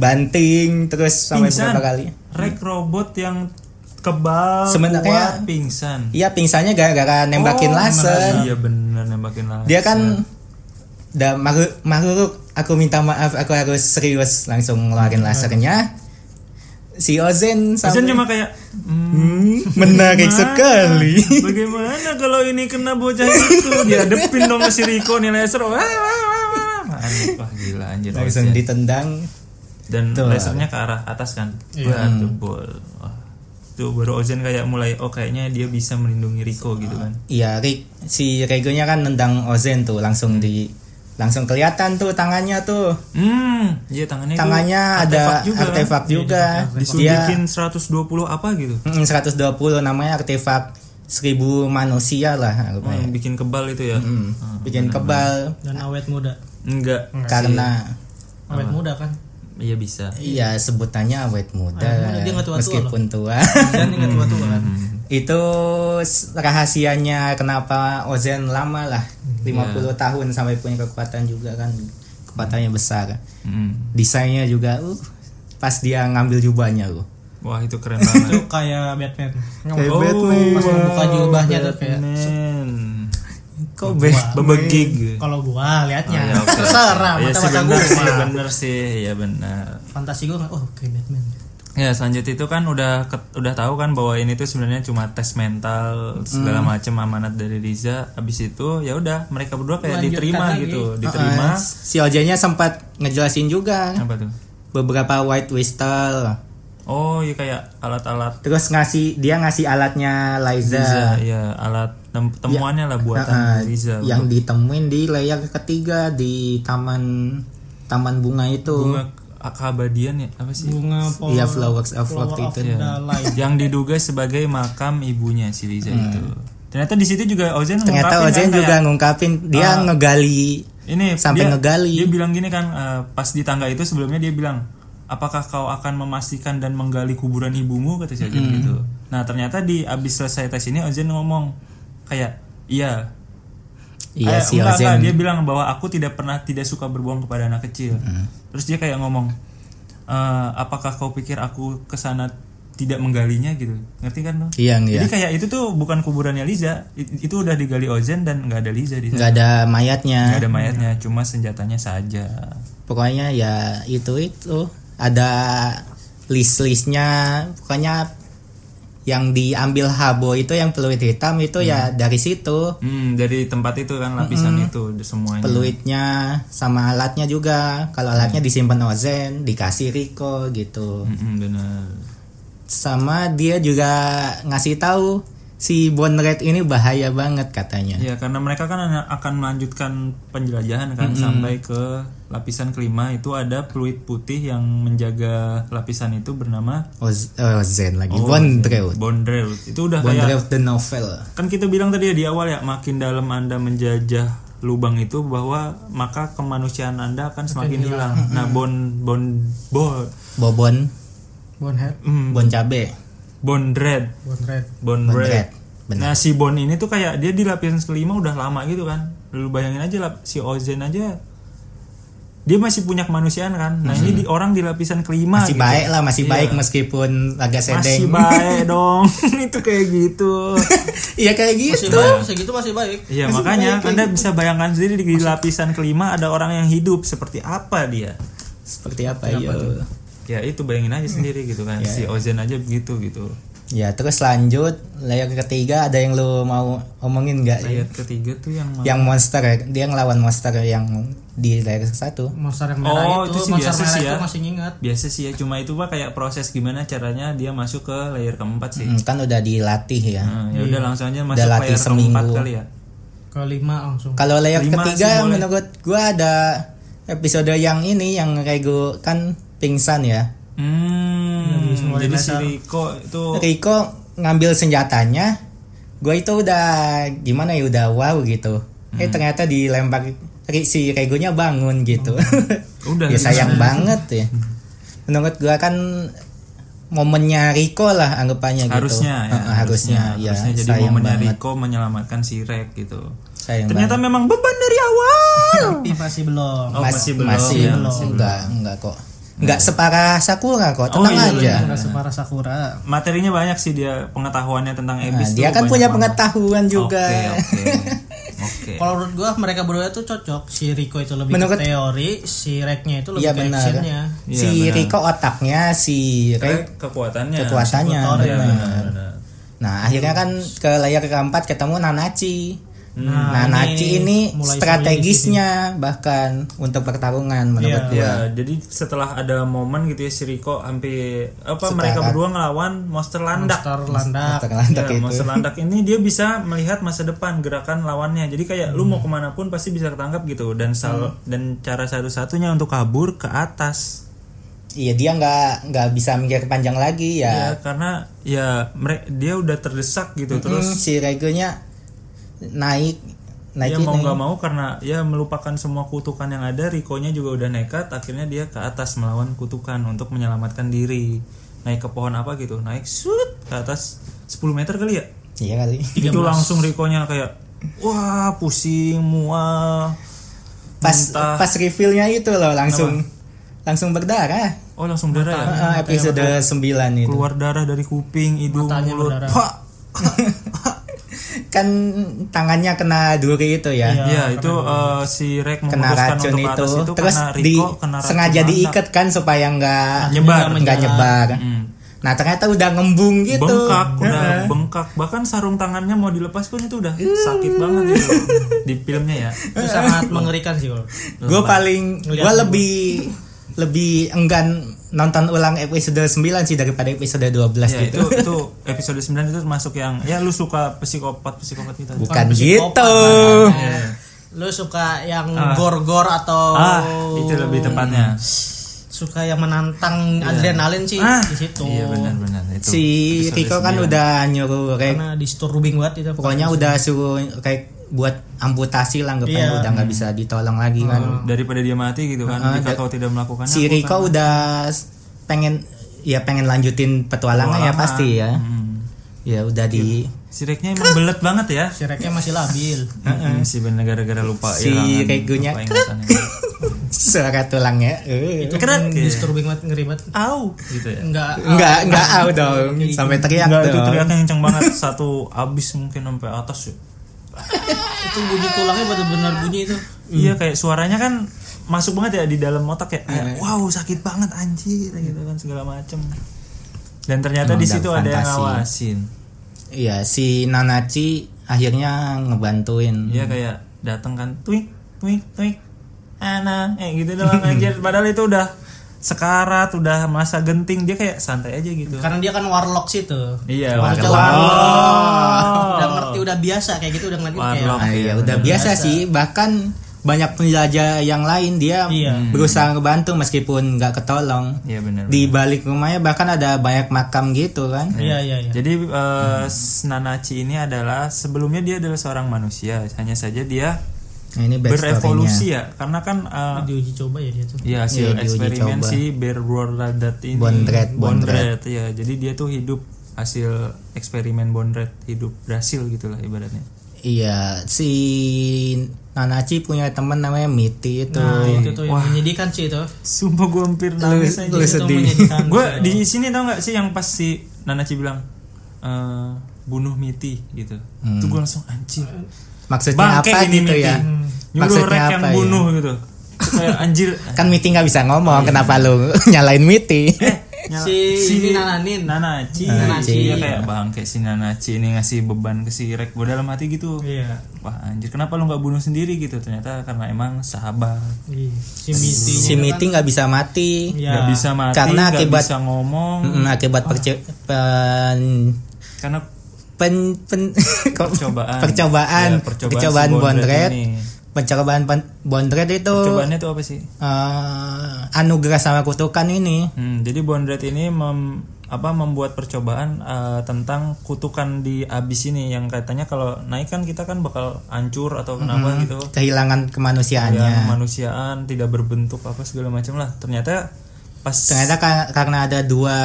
Speaker 2: dibanting terus sampai berapa kali
Speaker 1: rek robot yang kebal tua,
Speaker 2: Sebenarnya-
Speaker 1: pingsan
Speaker 2: iya pingsannya gara-gara nembakin laser
Speaker 1: Iya bener nembakin laser.
Speaker 2: dia
Speaker 1: Iya.
Speaker 2: kan udah maru maruruk aku minta maaf aku harus serius langsung ngeluarin lasernya si Ozen
Speaker 1: Iya. Ozen
Speaker 2: sampai
Speaker 1: cuma kayak "Hmm,
Speaker 2: Hmm, menarik sekali
Speaker 1: Bagaimana kalau ini kena bocah itu? Dia depin dong si Riko nih laser. Wah, wah, wah, wah. Anjir, wah, gila anjir.
Speaker 2: langsung
Speaker 1: Ozen.
Speaker 2: ditendang
Speaker 1: Dan lasernya ke arah atas kan. Wah,
Speaker 2: Hmm.
Speaker 1: jebol. Wah. Tuh baru Ozen kayak mulai oh kayaknya dia bisa melindungi Riko gitu kan.
Speaker 2: iya Rick si Regonya kan nendang Ozen tuh langsung di langsung kelihatan tuh tangannya tuh
Speaker 1: Hmm, iya tangannya itu
Speaker 2: tangannya ada
Speaker 1: juga kan?
Speaker 2: artefak juga, dia
Speaker 1: Disuntikin 120 apa gitu.
Speaker 2: mm, 120 namanya artefak 1000 manusia lah
Speaker 1: Oh, yang bikin kebal itu ya.
Speaker 2: Nah, Hmm, bikin kebal
Speaker 3: Dan
Speaker 1: Ah.
Speaker 3: awet muda.
Speaker 1: Enggak.
Speaker 2: karena
Speaker 1: Ah.
Speaker 3: Awet muda kan.
Speaker 1: Iya bisa.
Speaker 2: Iya sebutannya awet muda,
Speaker 3: muda, dia nggak tua-tua
Speaker 2: meskipun tua.
Speaker 3: Dan
Speaker 1: Hmm.
Speaker 3: ingat tua tua kan.
Speaker 2: itu s- rahasianya kenapa Ozen lama lah 50 tahun sampai punya kekuatan juga kan kekuatannya besar
Speaker 1: Hmm.
Speaker 2: desainnya juga uh pas dia ngambil jubahnya uh. loh
Speaker 1: Wah, itu keren banget.
Speaker 3: Itu kayak Batman.
Speaker 2: Kayak
Speaker 1: Oh,
Speaker 2: Batman.
Speaker 1: pas
Speaker 3: membuka jubahnya tuh kayak,
Speaker 2: kok Batman?
Speaker 1: bebegig.
Speaker 3: Kalau gua liatnya
Speaker 1: Ya, oke.
Speaker 3: terserah
Speaker 1: Iya
Speaker 3: mata
Speaker 1: sih,
Speaker 3: mata
Speaker 1: bener sih,
Speaker 3: gua.
Speaker 1: bener sih, ya bener.
Speaker 3: Fantasi gua oh kayak Batman.
Speaker 1: Ya selanjutnya itu kan udah ke- udah tahu kan bahwa ini tuh sebenarnya cuma tes mental
Speaker 3: Hmm.
Speaker 1: segala macam amanat dari Riza. Abis itu ya udah mereka berdua kayak
Speaker 3: Lanjutkan
Speaker 1: diterima
Speaker 3: lagi.
Speaker 1: gitu, diterima.
Speaker 2: Uh, si Ozennya sempat ngejelasin juga
Speaker 1: Apa tuh?
Speaker 2: beberapa white whistle
Speaker 1: Oh ya kayak alat-alat
Speaker 2: terus ngasih dia ngasih alatnya Liza
Speaker 3: Iya.
Speaker 1: Riza, ya alat tem- temuannya lah buatan
Speaker 2: Nah,
Speaker 1: Riza.
Speaker 3: Iya,
Speaker 2: yang ditemuin di layar ketiga di taman taman bunga itu
Speaker 1: Bunga ke- keabadian ya apa sih? Iya.
Speaker 3: Bunga pol
Speaker 2: Iya, flowers of love itu.
Speaker 3: Dalai.
Speaker 1: yang diduga sebagai makam ibunya si Liza itu. Ternyata di situ juga Ozen
Speaker 2: Hmm.
Speaker 1: ngungkapin
Speaker 2: Ternyata
Speaker 1: kan
Speaker 2: Ozen
Speaker 1: kayak, Ah.
Speaker 2: juga ngungkapin dia ngegali
Speaker 1: ini
Speaker 2: sampai
Speaker 1: dia,
Speaker 2: ngegali.
Speaker 1: Dia bilang gini kan eh, pas di tangga itu sebelumnya dia bilang apakah kau akan memastikan dan menggali kuburan ibumu kata si
Speaker 2: Hmm.
Speaker 1: Ozen gitu. Nah ternyata di abis selesai tes ini Ozen ngomong kayak iya. Eh,
Speaker 2: Iya si
Speaker 1: enggak,
Speaker 2: Ozen.
Speaker 1: enggak.
Speaker 2: Hmm.
Speaker 1: dia bilang bahwa aku tidak pernah tidak suka berbohong kepada anak kecil. Terus dia kayak ngomong eh, apakah kau pikir aku kesana tidak menggalinya gitu ngerti kan lo
Speaker 2: Iya, iya.
Speaker 1: jadi kayak itu tuh bukan kuburannya Liza I- itu udah digali Ozen dan nggak ada Liza di sana
Speaker 2: nggak ada
Speaker 1: nggak
Speaker 2: mayatnya
Speaker 1: ada mayatnya cuma senjatanya saja
Speaker 2: pokoknya ya itu itu ada list listnya pokoknya yang diambil habo itu yang peluit hitam itu ya dari situ
Speaker 1: hmm dari tempat itu kan lapisan itu di- semuanya
Speaker 2: peluitnya sama alatnya juga kalau alatnya disimpan Ozen dikasih Riko gitu
Speaker 1: Mm-mm, bener
Speaker 2: sama dia juga ngasih tahu si Bonret ini bahaya banget katanya
Speaker 1: ya karena mereka kan hanya akan melanjutkan penjelajahan kan sampai ke lapisan kelima itu ada peluit putih yang menjaga lapisan itu bernama
Speaker 2: Oz- eh, Ozen lagi Bonreut
Speaker 1: Bondrel itu udah kayak
Speaker 2: Bonreut the novel
Speaker 1: kan kita bilang tadi ya di awal ya makin dalam anda menjajah lubang itu bahwa maka kemanusiaan anda akan semakin hilang. Nah bon bon bon
Speaker 2: Bobon
Speaker 3: Bonehead,
Speaker 1: mm,
Speaker 2: Bon cabe
Speaker 1: bondred
Speaker 3: Bonehead.
Speaker 2: Bonret
Speaker 1: bondred. Nah
Speaker 2: benar
Speaker 1: si Bon ini tuh kayak dia di lapisan kelima udah lama gitu kan. Lu bayangin aja lap- si Ozen aja dia masih punya kemanusiaan kan. Nah ini di orang di lapisan kelima
Speaker 2: Hmm. masih
Speaker 1: gitu.
Speaker 2: baik lah masih baik meskipun agak
Speaker 1: Masih
Speaker 2: sedeng
Speaker 1: baik dong. itu kayak gitu.
Speaker 2: iya kayak
Speaker 3: Masih
Speaker 2: gitu
Speaker 3: baik, Eh, segitu masih baik.
Speaker 1: Iya makanya Anda bisa bayangkan sendiri di lapisan kelima ada orang yang hidup seperti apa dia.
Speaker 2: seperti apa ya
Speaker 1: Ya itu bayangin
Speaker 2: Hmm.
Speaker 1: aja sendiri gitu kan. Si Ozen aja begitu gitu.
Speaker 2: ya terus lanjut layer ketiga ada yang lu mau omongin nggak
Speaker 1: Ayat ketiga tuh yang mana?
Speaker 2: yang monster ya? dia ngelawan monster yang di layer satu
Speaker 3: Monster yang merah
Speaker 1: Oh,
Speaker 3: itu,
Speaker 1: itu sih
Speaker 3: monster
Speaker 1: biasa
Speaker 3: merah
Speaker 1: sih ya.
Speaker 3: itu masih nginget.
Speaker 1: biasa sih ya cuma itu pak kayak proses gimana caranya dia masuk ke layer keempat sih.
Speaker 2: Hmm, kan udah dilatih ya
Speaker 1: Nah, ya udah langsung aja masuk
Speaker 2: latih
Speaker 1: layer keempat
Speaker 2: seminggu.
Speaker 1: kali ya.
Speaker 3: Kelima langsung.
Speaker 2: Kalau layer
Speaker 1: Lima sih boleh.
Speaker 2: ketiga menurut gua ada episode yang ini yang Rego kan pingsan ya. Iya,
Speaker 1: Hmm,
Speaker 3: semua
Speaker 1: jadi si
Speaker 3: layer.
Speaker 1: Riko itu
Speaker 2: Riko ngambil senjatanya, gua itu udah gimana ya udah wow gitu.
Speaker 1: Hmm.
Speaker 2: Eh ternyata dilempar Ri- si Regonya bangun gitu.
Speaker 1: Oh. udah Hmm.
Speaker 2: ya sayang banget ya. Menurut gua kan momennya Riko lah anggapannya gitu.
Speaker 1: harusnya ya,
Speaker 2: Heeh, harusnya, ya
Speaker 1: harusnya jadi
Speaker 2: sayang
Speaker 1: momennya
Speaker 2: banget.
Speaker 1: Riko menyelamatkan si Rek gitu.
Speaker 2: Sayang
Speaker 1: Ternyata memang beban dari awal.
Speaker 3: Tapi masih belum.
Speaker 1: Oh,
Speaker 2: banget.
Speaker 1: masih
Speaker 2: Mas-
Speaker 1: belum
Speaker 2: masih,
Speaker 1: ya,
Speaker 2: belum.
Speaker 1: masih belum. Hmm.
Speaker 2: enggak enggak kok. Enggak separah Sakura kok,
Speaker 1: Oh,
Speaker 2: tenang
Speaker 1: iya,
Speaker 2: aja.
Speaker 1: iya.
Speaker 3: Nggak separah Sakura.
Speaker 1: materinya banyak sih dia pengetahuannya tentang
Speaker 2: Nah,
Speaker 1: Ebis tuh
Speaker 2: dia kan
Speaker 1: banyak
Speaker 2: punya
Speaker 1: banget.
Speaker 2: pengetahuan juga.
Speaker 1: Oke, oke. Oke.
Speaker 3: Kalau menurut gua mereka berdua tuh cocok. Si Riko itu lebih
Speaker 2: Menurut-
Speaker 3: ke teori, si Reknya itu lebih
Speaker 2: Iya
Speaker 3: ke
Speaker 2: benar.
Speaker 3: actionnya.
Speaker 2: Si
Speaker 1: Iya, benar.
Speaker 2: Riko otaknya, si Rei
Speaker 1: Kayak kekuatannya.
Speaker 2: kekuatannya.
Speaker 1: Iya,
Speaker 2: benar.
Speaker 1: benar, benar.
Speaker 2: Nah, akhirnya kan ke layar keempat ketemu Nanachi. Nah, Nanachi ini,
Speaker 3: ini mulai
Speaker 2: strategisnya bahkan untuk pertarungan menurut gua.
Speaker 1: Ya, jadi setelah ada momen gitu ya si Riko hampir apa mereka berdua ngelawan monster landak.
Speaker 3: Star Landak.
Speaker 2: Terlantak
Speaker 1: Ya,
Speaker 2: itu.
Speaker 1: monster landak ini dia bisa melihat masa depan gerakan lawannya. Jadi kayak lu
Speaker 2: Hmm.
Speaker 1: mau kemana pun pasti bisa ketangkap gitu dan sal dan cara satu-satunya untuk kabur ke atas.
Speaker 2: Iya, dia nggak nggak bisa mikir panjang lagi
Speaker 1: Ya,
Speaker 2: ya.
Speaker 1: karena ya mere- dia udah terdesak gitu terus
Speaker 2: Terus Hmm, si Regonya naik
Speaker 1: ya
Speaker 2: naik ini.
Speaker 1: mau nggak mau karena ya melupakan semua kutukan yang ada Rikonya juga udah nekat akhirnya dia ke atas melawan kutukan untuk menyelamatkan diri naik ke pohon apa gitu naik shoot ke atas 10 meter kali ya
Speaker 2: Iya kali.
Speaker 1: itu langsung Rikonya kayak wah pusing mual
Speaker 2: Pas pas revealnya itu loh langsung langsung berdarah.
Speaker 1: oh langsung darah ya
Speaker 2: Ah, episode 9 itu.
Speaker 1: keluar darah dari kuping hidung mulut Wah!
Speaker 2: kan tangannya kena duri itu ya.
Speaker 1: ya itu eh, si Rek
Speaker 2: Kena
Speaker 1: memutuskan
Speaker 2: racun
Speaker 1: untuk ke
Speaker 2: itu,
Speaker 1: atas itu
Speaker 2: terus
Speaker 1: karena
Speaker 2: di
Speaker 1: Riko kena racun
Speaker 2: sengaja
Speaker 1: landak.
Speaker 2: diikat kan supaya nggak
Speaker 1: nyebar.
Speaker 2: nggak nyebar.
Speaker 1: Hmm.
Speaker 2: Nah ternyata udah ngembung gitu.
Speaker 1: bengkak udah bengkak bahkan sarung tangannya mau dilepas pun itu udah sakit banget gitu di filmnya ya
Speaker 3: Itu sangat mengerikan sih kalau.
Speaker 2: Gue paling gue lebih lebih enggan nonton ulang episode 9 sih daripada episode 12
Speaker 1: ya
Speaker 2: gitu.
Speaker 1: itu itu episode 9 itu termasuk yang ya lu suka psikopat psikopat gitu
Speaker 2: Bukan
Speaker 3: psikopat,
Speaker 2: gitu.
Speaker 1: Uh.
Speaker 3: makanya. Iya. Lu suka yang gor-gor atau
Speaker 1: ah
Speaker 2: Oh.
Speaker 1: itu lebih tepatnya
Speaker 3: suka yang menantang adrenalin sih
Speaker 1: ah
Speaker 3: di situ.
Speaker 1: iya benar-benar itu
Speaker 2: Si Riko kan udah nyuruh Rek
Speaker 3: Karena disturbing banget itu
Speaker 2: pokoknya udah suruh kayak buat amputasi lah anggapannya
Speaker 3: Iya.
Speaker 2: udah nggak bisa ditolong lagi kan
Speaker 1: daripada dia mati gitu kan
Speaker 2: Ah,
Speaker 1: jika
Speaker 2: da-
Speaker 1: kau tidak melakukannya Nah,
Speaker 2: si
Speaker 1: aku
Speaker 2: Riko
Speaker 1: akan-
Speaker 2: udah s- pengen ya pengen lanjutin petualangan ya
Speaker 1: Petualangan.
Speaker 2: pasti ya
Speaker 1: Hmm.
Speaker 2: ya udah di
Speaker 1: si Reknya emang belet banget ya
Speaker 3: Si Reknya masih labil.
Speaker 1: Mm-mm, si bener gara-gara lupa
Speaker 2: Si
Speaker 1: kehilangan-
Speaker 2: Regonya.
Speaker 1: lupa ingatannya.
Speaker 2: suara tulangnya eh.
Speaker 1: Keren.
Speaker 3: itu
Speaker 1: Iya.
Speaker 3: keren Hmm, disturbing banget ngeri banget
Speaker 1: Au gitu ya.
Speaker 3: enggak
Speaker 2: nggak nggak out dong sampai teriak
Speaker 1: Enggak itu
Speaker 2: dong
Speaker 1: teriaknya kenceng banget satu abis mungkin sampai atas ya.
Speaker 2: Mm.
Speaker 3: itu bunyi tulangnya benar-benar bunyi itu
Speaker 1: Iya kayak suaranya kan masuk banget ya di dalam otak ya.
Speaker 2: Mm.
Speaker 1: Kayak, wow sakit banget anjir gitu kan segala macem. Dan ternyata
Speaker 2: Emang
Speaker 1: di situ
Speaker 2: dalam
Speaker 1: ada yang
Speaker 2: fantasi.
Speaker 1: ngawasin.
Speaker 2: iya si Nanachi akhirnya ngebantuin
Speaker 1: Iya kayak datang kan twik twik twik ana eh gitu doang anjir padahal itu udah sekarat udah masa genting dia kayak santai aja gitu.
Speaker 3: karena dia kan warlock sih tuh
Speaker 1: Iya,
Speaker 3: Harusnya
Speaker 1: warlock.
Speaker 3: warlock. udah ngerti udah biasa kayak gitu udah ngerti kayak
Speaker 1: Warlock.
Speaker 2: Ah, iya, udah biasa, sih bahkan banyak penjelajah yang lain dia
Speaker 3: Iya.
Speaker 2: berusaha ngebantu meskipun nggak ketolong
Speaker 1: Iya benar.
Speaker 2: di balik rumahnya bahkan ada banyak makam gitu kan
Speaker 3: iya iya iya
Speaker 1: Jadi eh, Nanachi ini adalah sebelumnya dia adalah seorang manusia, hanya saja dia
Speaker 2: nah, ini
Speaker 1: berevolusi
Speaker 2: backstorynya
Speaker 1: ya, karena kan eh,
Speaker 3: diuji coba ya dia tuh
Speaker 1: ya hasil
Speaker 2: Iya, diuji
Speaker 1: eksperimen
Speaker 2: coba.
Speaker 1: si Berwardadat ini
Speaker 2: Bondred, Bondred.
Speaker 1: Bondred, ya. Jadi dia tuh hidup hasil eksperimen Bondred hidup berhasil gitulah ibaratnya.
Speaker 2: iya si Nanachi punya temen namanya Miti itu
Speaker 3: nah
Speaker 1: iya.
Speaker 3: itu tuh yang menyedihkan sih itu
Speaker 1: Sumpah gue hampir nangis aja.
Speaker 2: lu
Speaker 3: Itu
Speaker 2: sedih.
Speaker 3: menyedihkan gitu
Speaker 1: Gue di sini tau nggak sih yang pas si Nanachi bilang eh, bunuh Miti gitu. Tuh gue langsung anjir.
Speaker 2: Hmm. maksudnya
Speaker 1: Bangke
Speaker 2: apa
Speaker 1: ini
Speaker 2: gitu
Speaker 1: Miti. Hmm,
Speaker 2: ya
Speaker 1: Nyuruh
Speaker 2: maksudnya
Speaker 1: rek
Speaker 2: apa
Speaker 1: yang
Speaker 2: ya?
Speaker 1: bunuh gitu. Itu Kayak anjir
Speaker 2: kan Miti nggak bisa
Speaker 1: Iya.
Speaker 2: ngomong kenapa lu nyalain Miti
Speaker 1: Eh, Nyala-
Speaker 3: Si ini nananin.
Speaker 1: Nanachi,
Speaker 2: Nanachi.
Speaker 1: Dia kayak bangke si Nanachi ini ngasih beban ke si Rek gue dalam hati gitu
Speaker 3: iya
Speaker 1: wah anjir kenapa lu nggak bunuh sendiri gitu ternyata karena emang sahabat
Speaker 3: Iya. si miti
Speaker 2: si Miti nggak bisa mati
Speaker 3: Iya.
Speaker 1: nggak bisa mati
Speaker 2: Karena
Speaker 1: nggak
Speaker 2: akibat-
Speaker 1: bisa ngomong
Speaker 2: Mm, akibat perce-
Speaker 1: Ah.
Speaker 2: pen
Speaker 1: karena
Speaker 2: pen, pen kok-
Speaker 1: Percobaan.
Speaker 2: percobaan
Speaker 1: Ya, percobaan
Speaker 2: percobaan
Speaker 1: si Bondred
Speaker 2: bondret
Speaker 1: ini.
Speaker 2: percobaan pen- bondret itu
Speaker 1: cobaannya tuh apa sih
Speaker 2: eh, anugerah sama kutukan ini
Speaker 1: Hmm, jadi Bondred ini mem- apa membuat percobaan eh, tentang kutukan di abis ini yang katanya kalau naik kan kita kan bakal hancur atau kenapa
Speaker 2: Mm-hmm.
Speaker 1: gitu.
Speaker 2: kehilangan
Speaker 1: Ya,
Speaker 2: kemanusiaannya
Speaker 1: kemanusiaan tidak berbentuk apa segala macam lah. Ternyata pas
Speaker 2: ternyata ka- karena ada dua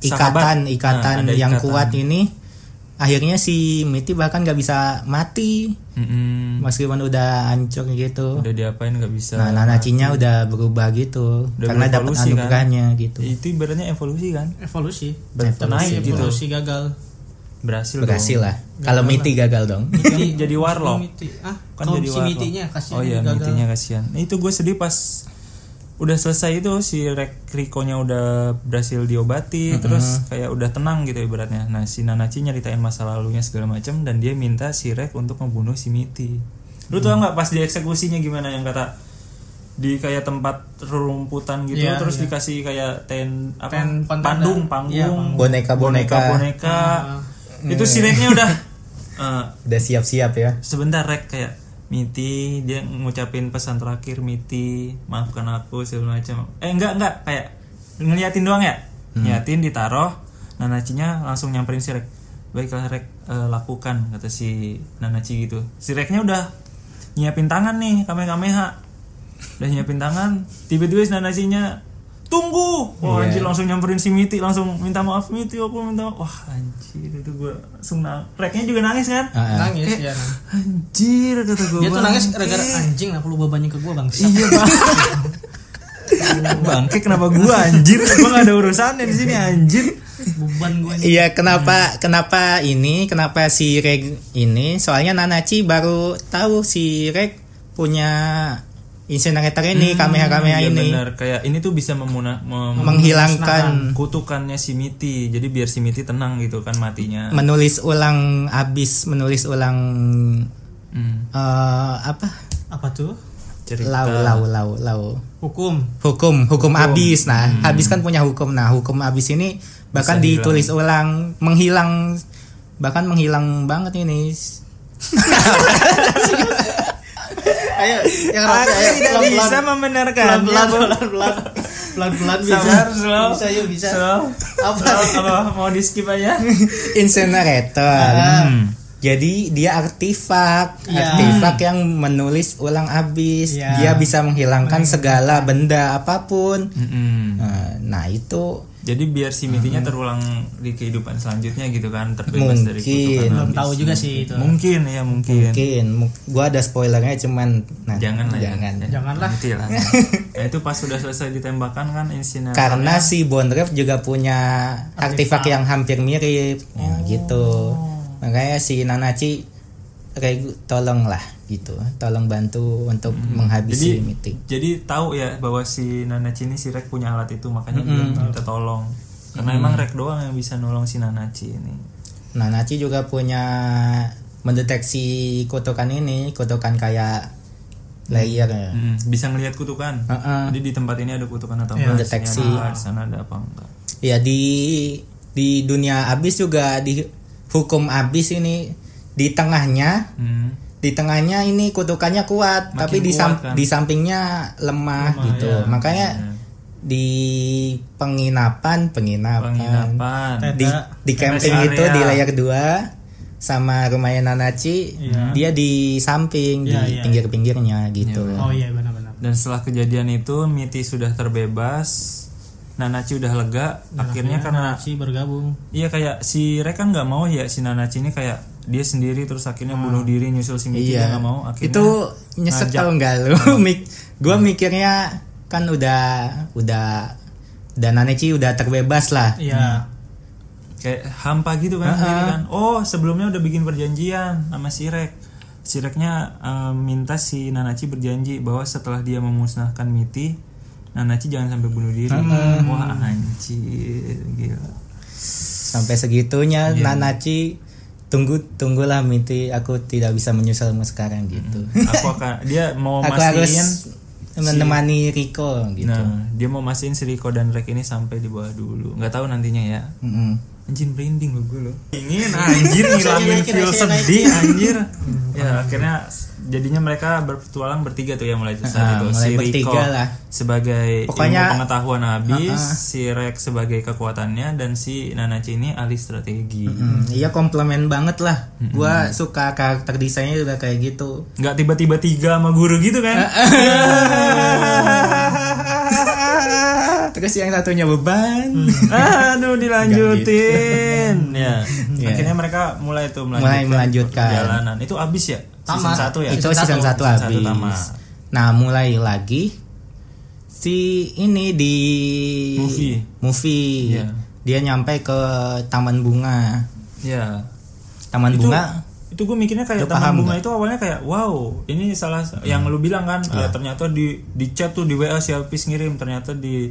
Speaker 2: ikatan
Speaker 1: Sahabat.
Speaker 2: ikatan
Speaker 1: Nah, ada
Speaker 2: yang
Speaker 1: ikatan.
Speaker 2: kuat ini akhirnya si Miti bahkan nggak bisa mati
Speaker 1: Mm-mm,
Speaker 2: meskipun udah hancur gitu
Speaker 1: udah diapain nggak bisa.
Speaker 2: nah nanacinya udah berubah gitu
Speaker 1: Udah
Speaker 2: karena dapat
Speaker 1: berevolusi, kan?
Speaker 2: anugerahnya gitu
Speaker 1: Itu ibaratnya evolusi kan?
Speaker 3: evolusi
Speaker 1: Naik gitu.
Speaker 3: evolusi gagal
Speaker 1: Berhasil, dong.
Speaker 2: berhasil lah kalau Miti gagal dong
Speaker 1: Kan jadi warlock.
Speaker 3: miti ah
Speaker 1: Kan
Speaker 3: kalau
Speaker 1: jadi
Speaker 3: si
Speaker 1: warlock.
Speaker 3: mitinya kasihan
Speaker 1: Oh iya,
Speaker 3: gagal.
Speaker 1: mitinya kasihan. Nah, itu gue sedih pas udah selesai itu si Rek Rikonya udah berhasil diobati terus kayak udah tenang gitu ibaratnya. Nah, si Nanachi nyeritain masa lalunya segala macam dan dia minta si Rek untuk membunuh si Miti. Lu tau nggak pas di eksekusinya gimana yang kata di kayak tempat rerumputan gitu
Speaker 3: Iya,
Speaker 1: terus dikasih kayak ten apa
Speaker 3: Ten
Speaker 1: pandung
Speaker 3: kontainer. Iya, Ah.
Speaker 1: panggung
Speaker 2: boneka boneka
Speaker 1: boneka itu si Reknya udah eh,
Speaker 2: udah siap siap ya
Speaker 1: sebentar rek kayak Miti dia ngucapin pesan terakhir Miti maafkan aku segala macam eh enggak enggak kayak ngeliatin doang ya ngeliatin ditaruh Nanacinya langsung nyamperin si rek baiklah rek eh, lakukan kata si Nanaci gitu si reknya udah nyiapin tangan nih kamehameha udah nyiapin tangan tiba-tiba si Nanacinya tunggu wah anjir langsung nyamperin si Miti langsung minta maaf Miti aku minta maaf wah anjir itu gue langsung nang reknya juga nangis kan
Speaker 2: Ah.
Speaker 3: nangis ya nangis.
Speaker 1: Anjir kata gue.
Speaker 3: dia tuh nangis
Speaker 1: bangke.
Speaker 3: gara-gara anjing lah lu bebannya ke gua bang
Speaker 1: Iya bang. bangke kenapa gue anjir? gue gak ada urusannya di sini anjir.
Speaker 3: beban gua nih.
Speaker 2: Iya kenapa kenapa ini kenapa si Reg ini soalnya Nanachi baru tahu si Reg punya incinerator ini kamera kamera
Speaker 1: Iya
Speaker 2: ini
Speaker 1: benar kayak ini tuh bisa memuna, mem-
Speaker 2: menghilangkan
Speaker 1: kutukannya si Miti. Jadi biar si Miti tenang gitu kan matinya.
Speaker 2: menulis ulang abis menulis ulang
Speaker 1: Hmm,
Speaker 2: eh, apa
Speaker 3: apa tuh
Speaker 1: cerita.
Speaker 2: lau lau lau lau
Speaker 3: hukum
Speaker 2: hukum hukum abis nah abis kan punya hukum nah hukum abis ini bahkan
Speaker 1: Bisa hilang.
Speaker 2: ditulis ulang menghilang bahkan menghilang banget ini
Speaker 3: ayo yang
Speaker 1: Aku tidak bisa
Speaker 3: pelan
Speaker 1: membenarkan.
Speaker 3: pelan pelan pelan pelan pelan bisa
Speaker 1: Sabar, slow.
Speaker 3: bisa yuk bisa
Speaker 1: Slow.
Speaker 3: apa
Speaker 1: Slow, apa mau di skip aja?
Speaker 2: incinerator
Speaker 1: Hmm.
Speaker 2: Jadi dia artefak,
Speaker 3: Iya.
Speaker 2: artefak yang menulis ulang abis.
Speaker 3: Iya.
Speaker 2: Dia bisa menghilangkan segala benda apapun.
Speaker 1: Mm-mm.
Speaker 2: Nah, Nah, itu
Speaker 1: Jadi biar si mitinya terulang di kehidupan selanjutnya gitu kan, terbebas dari
Speaker 2: Mungkin.
Speaker 1: kutukan.
Speaker 3: belum
Speaker 1: abis.
Speaker 3: tahu juga sih itu
Speaker 1: Mungkin ya mungkin.
Speaker 2: Mungkin mu- gua ada spoilernya cuman nah
Speaker 1: Jangan lah. ya.
Speaker 2: jangan.
Speaker 1: Ya,
Speaker 3: Janganlah.
Speaker 1: nanti lah. nah, itu pas sudah selesai ditembakkan kan insinyal.
Speaker 2: Karena si Bondrev juga punya artefak yang hampir mirip
Speaker 1: Oh.
Speaker 2: ya, gitu. Makanya si Nanachi kayak tolonglah gitu. Tolong bantu untuk menghabisi
Speaker 1: Hmm. Jadi-
Speaker 2: meeting.
Speaker 1: Jadi tahu ya bahwa si Nanachi ini si Rek punya alat itu makanya dia minta tolong. Karena emang Rek doang yang bisa nolong si Nanachi ini.
Speaker 2: Nanachi juga punya mendeteksi kutukan ini, kutukan kayak layer ya.
Speaker 1: Mm, bisa ngelihat kutukan.
Speaker 2: Heeh.
Speaker 1: Jadi di tempat ini ada kutukan atau enggak?
Speaker 2: Deteksi.
Speaker 1: Sini ada, apa, sana ada apa enggak?
Speaker 2: ya di di dunia abis juga di hukum abis ini di tengahnya
Speaker 1: Hmm.
Speaker 2: di tengahnya ini kutukannya kuat
Speaker 1: Makin
Speaker 2: tapi di
Speaker 1: kuat,
Speaker 2: sam-
Speaker 1: kan? iya.
Speaker 2: di sampingnya lemah, gitu makanya di penginapan penginapan,
Speaker 1: Penginapan.
Speaker 2: di di camping
Speaker 1: Rest
Speaker 2: itu
Speaker 1: area.
Speaker 2: di layar 2 sama rumahnya Nanachi
Speaker 1: Iya.
Speaker 2: dia di samping di pinggir-pinggirnya gitu
Speaker 3: oh iya benar-benar
Speaker 1: Dan setelah kejadian itu Miti sudah terbebas. Nanachi udah lega. Akhirnya karena
Speaker 3: si bergabung
Speaker 1: Iya kayak si Rek kan nggak mau ya si Nanachi ini kayak dia sendiri terus akhirnya bunuh diri nyusul si Miki dia nggak mau akhirnya
Speaker 2: Hmm. Iya. itu nyesek tau nggak lu Mik gue mikirnya kan udah udah dan Nanachi udah terbebas lah Hmm.
Speaker 3: iya
Speaker 1: ya, kayak hampa gitu kan, sendiri kan. oh sebelumnya udah bikin perjanjian sama si Rek si Reknya eh, minta si Nanachi berjanji bahwa setelah dia memusnahkan Miti Nanachi jangan sampai bunuh diri
Speaker 2: Hmm.
Speaker 1: wah anjir gila
Speaker 2: sampai segitunya
Speaker 1: Iya.
Speaker 2: Nanachi tunggu tunggulah Miti aku tidak bisa menyusulmu sekarang gitu
Speaker 1: aku akan dia Hmm. mau
Speaker 2: aku harus
Speaker 1: mastiin
Speaker 2: menemani Riko gitu
Speaker 1: nah dia mau mastiin si Riko dan Rek ini sampai di bawah dulu nggak tahu nantinya ya
Speaker 2: Mm-mm.
Speaker 1: Anjing merinding lo gue lo. Ingin
Speaker 2: Ah,
Speaker 1: anjir ngilangin feel sedih anjir.
Speaker 2: Hmm.
Speaker 1: Ya akhirnya jadinya mereka berpetualang bertiga tuh ya mulai saat itu.
Speaker 2: Ah, mulai
Speaker 1: si Rico
Speaker 2: bertiga lah.
Speaker 1: sebagai
Speaker 2: Pokoknya- Ah,
Speaker 1: ilmu pengetahuan habis, si Rex sebagai kekuatannya dan si Nanachi ini ahli strategi.
Speaker 2: Mm, iya komplement banget lah
Speaker 1: Hmm.
Speaker 2: gua suka karakter desainnya juga kayak gitu
Speaker 1: Nggak tiba-tiba tiga sama guru gitu
Speaker 2: Ah,
Speaker 1: kan? Ah,
Speaker 2: terus yang satunya beban
Speaker 1: Aduh dilanjutin. ya. Akhirnya mereka mulai tuh melanjutkan,
Speaker 2: gitu. Iya. Mulai melanjutkan.
Speaker 1: perjalanan. Itu habis ya? Season
Speaker 3: Tamat.
Speaker 1: satu ya?
Speaker 2: itu season satu
Speaker 1: Season satu
Speaker 2: habis.
Speaker 1: tamat.
Speaker 2: Nah, mulai lagi si ini di
Speaker 1: Movie.
Speaker 2: movie.
Speaker 1: Iya.
Speaker 2: Dia nyampe ke taman bunga.
Speaker 1: Ya.
Speaker 2: Taman
Speaker 1: itu
Speaker 2: bunga
Speaker 1: itu gue mikirnya kayak taman
Speaker 2: Lu Nah. paham
Speaker 1: bunga itu awalnya kayak wow ini salah yang lu bilang kan eh, ternyata di di chat tuh di wa si Alpis ngirim ternyata di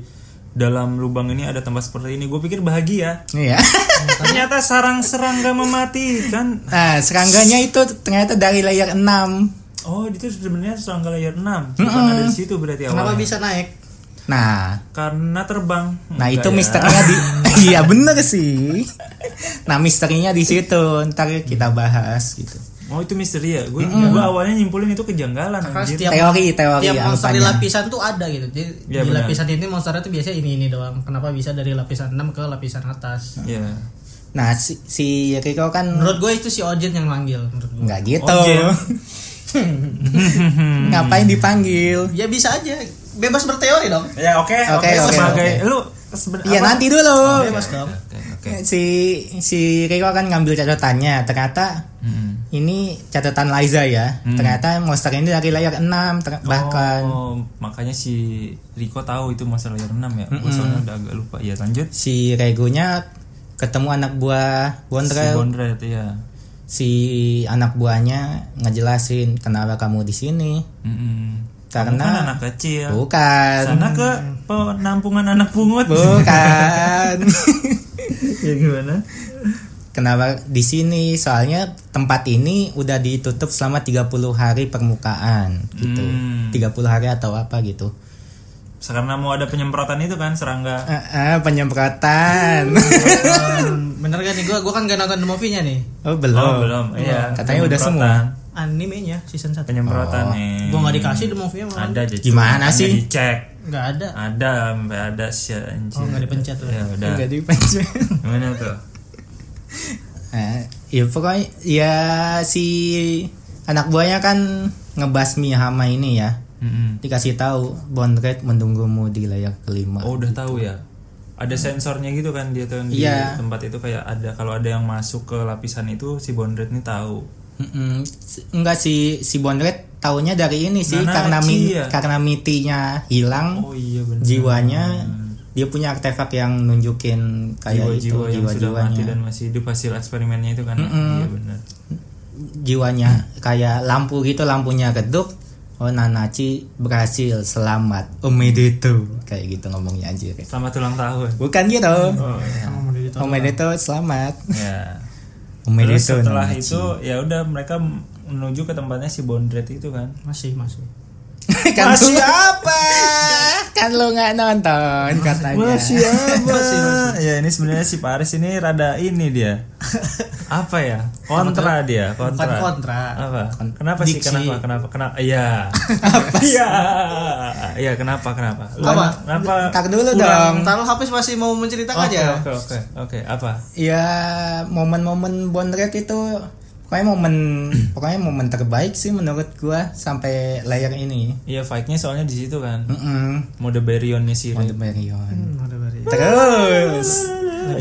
Speaker 1: dalam lubang ini ada tempat seperti ini gue pikir bahagia
Speaker 2: Iya.
Speaker 1: ternyata sarang serangga mematikan
Speaker 2: nah, serangganya itu ternyata dari layar 6.
Speaker 1: oh itu sebenarnya serangga layar 6 bukan ada di situ berarti
Speaker 3: kenapa
Speaker 1: awalnya
Speaker 3: bisa naik
Speaker 2: Nah,
Speaker 1: karena terbang
Speaker 2: nah
Speaker 1: Enggak
Speaker 2: itu
Speaker 1: ya.
Speaker 2: misterinya di Iya, bener sih. Nah, misterinya di situ. Ntar kita
Speaker 1: Hmm.
Speaker 2: bahas gitu.
Speaker 1: oh itu misteri ya gue awalnya nyimpulin itu kejanggalan
Speaker 3: karena
Speaker 1: anjir.
Speaker 3: setiap
Speaker 2: Teori,
Speaker 1: ya,
Speaker 2: teori
Speaker 3: tiap monster di
Speaker 2: anggapannya.
Speaker 3: lapisan tuh ada gitu jadi
Speaker 1: Iya,
Speaker 3: di
Speaker 1: benar.
Speaker 3: lapisan ini monsternya tuh biasanya ini ini doang kenapa bisa dari lapisan 6 ke lapisan atas
Speaker 1: ya
Speaker 2: Nah, si, si Riko kan
Speaker 3: menurut gue itu si Ojen yang manggil menurut gue
Speaker 2: nggak gitu.
Speaker 1: Ojek.
Speaker 2: Ngapain dipanggil?
Speaker 3: ya bisa aja bebas berteori dong
Speaker 1: ya oke oke
Speaker 2: Oke, oke,
Speaker 1: sebagai
Speaker 2: oke.
Speaker 1: lu seben- apa?
Speaker 2: Iya,
Speaker 1: Oh,
Speaker 2: nanti dulu.
Speaker 3: bebas dong
Speaker 1: oke oke
Speaker 2: si si Riko kan ngambil catatannya ternyata
Speaker 1: Mm-mm.
Speaker 2: ini catatan Liza ya ternyata monster ini dari layar 6 ter- bahkan
Speaker 1: Hmm. Oh, makanya si Riko tahu itu monster layer 6 ya. Gua soalnya udah agak lupa. Ya lanjut.
Speaker 2: si Regonya ketemu anak buah
Speaker 1: Si
Speaker 2: Bondrel
Speaker 1: Bondret ya.
Speaker 2: si, anak buahnya ngejelasin kenapa kamu di sini
Speaker 1: Mm-mm. Bukan
Speaker 2: karena
Speaker 1: anak kecil.
Speaker 2: bukan
Speaker 1: Sana ke penampungan anak pungut.
Speaker 2: bukan
Speaker 1: ya gimana?
Speaker 2: kenapa di sini soalnya tempat ini udah ditutup selama 30 hari permukaan gitu
Speaker 1: Hmm.
Speaker 2: 30 hari atau apa gitu
Speaker 1: Karena mau ada penyemprotan itu kan serangga.
Speaker 2: Ah, ah, penyemprotan.
Speaker 3: Hmm, bener gak nih gue gue kan gak nonton the movie-nya nih
Speaker 2: Oh, belum.
Speaker 1: Oh, belum. Iya.
Speaker 2: Katanya udah semua. Oh.
Speaker 1: Penyemprotan.
Speaker 3: animenya season 1 gue
Speaker 1: Penyemprotan nih.
Speaker 3: gak dikasih the movie-nya malah
Speaker 1: Ada aja.
Speaker 2: Gimana
Speaker 1: Makanya
Speaker 2: sih?
Speaker 1: Dicek.
Speaker 3: gak ada
Speaker 1: Ada, sampai ada sih anjir.
Speaker 3: oh gak dipencet tuh
Speaker 1: Ya udah.
Speaker 2: Nggak dipencet.
Speaker 1: Gimana tuh?
Speaker 2: Ah, ya pokoknya ya si anak buahnya kan ngebasmi hama ini ya.
Speaker 1: Mm-mm. Ah,
Speaker 2: Dikasih tahu Bondred menunggumu di layar kelima.
Speaker 1: Oh, udah Oh, tahu ya. ada sensornya gitu kan dia tuh yang di
Speaker 2: Iya.
Speaker 1: tempat itu kayak ada kalau ada yang masuk ke lapisan itu si Bondred ini tahu.
Speaker 2: Mm-mm. S- Enggak si si Bondret taunya dari ini sih
Speaker 1: Nana
Speaker 2: karena mi-
Speaker 1: Aci ya?
Speaker 2: karena mitinya hilang
Speaker 1: Oh iya benar.
Speaker 2: jiwanya dia punya artefak yang nunjukin kayak
Speaker 1: jiwa-jiwa yang
Speaker 2: itu
Speaker 1: sudah mati
Speaker 2: jiwa-jiwanya
Speaker 1: dan masih di hasil eksperimennya itu kan. Iya benar.
Speaker 2: jiwanya kayak lampu gitu lampunya redup oh Nanachi berhasil selamat omedeto kayak gitu ngomongnya anjir
Speaker 1: Selamat ulang tahun.
Speaker 2: bukan gitu
Speaker 1: Oh, iya.
Speaker 2: omedeto selamat
Speaker 1: ya. Terus
Speaker 2: omedeto
Speaker 1: setelah
Speaker 2: Nanachi.
Speaker 1: itu ya udah mereka menuju ke tempatnya si Bondret itu kan.
Speaker 3: masih masih
Speaker 2: kan
Speaker 1: Masih
Speaker 2: lu apa kan lu nggak nonton katanya
Speaker 1: siapa? ya ini sebenarnya si Paris ini rada ini dia. Apa ya? Kontra dia,
Speaker 3: bukan
Speaker 1: kontra.
Speaker 3: kontra
Speaker 1: Apa? Kenapa sih
Speaker 3: Diksi.
Speaker 1: kenapa? Kenapa? Kenapa? Iya. Apa Iya. Iya, kenapa? Kenapa? Lu-
Speaker 3: Apa?
Speaker 1: Kenapa?
Speaker 2: tak dulu dong
Speaker 3: Ntar lu habis masih mau menceritakan ya?
Speaker 1: Oke,
Speaker 3: aja
Speaker 1: oke, oke. Oke, apa?
Speaker 2: ya momen-momen Bondret itu pokoknya momen pokoknya momen terbaik sih menurut gua sampai layer ini
Speaker 1: Iya, fight-nya soalnya di situ kan.
Speaker 2: Mm-mm.
Speaker 1: Mode Barionnya si Ray.
Speaker 2: Mount Marion.
Speaker 3: Hmm, ada bari.
Speaker 2: terus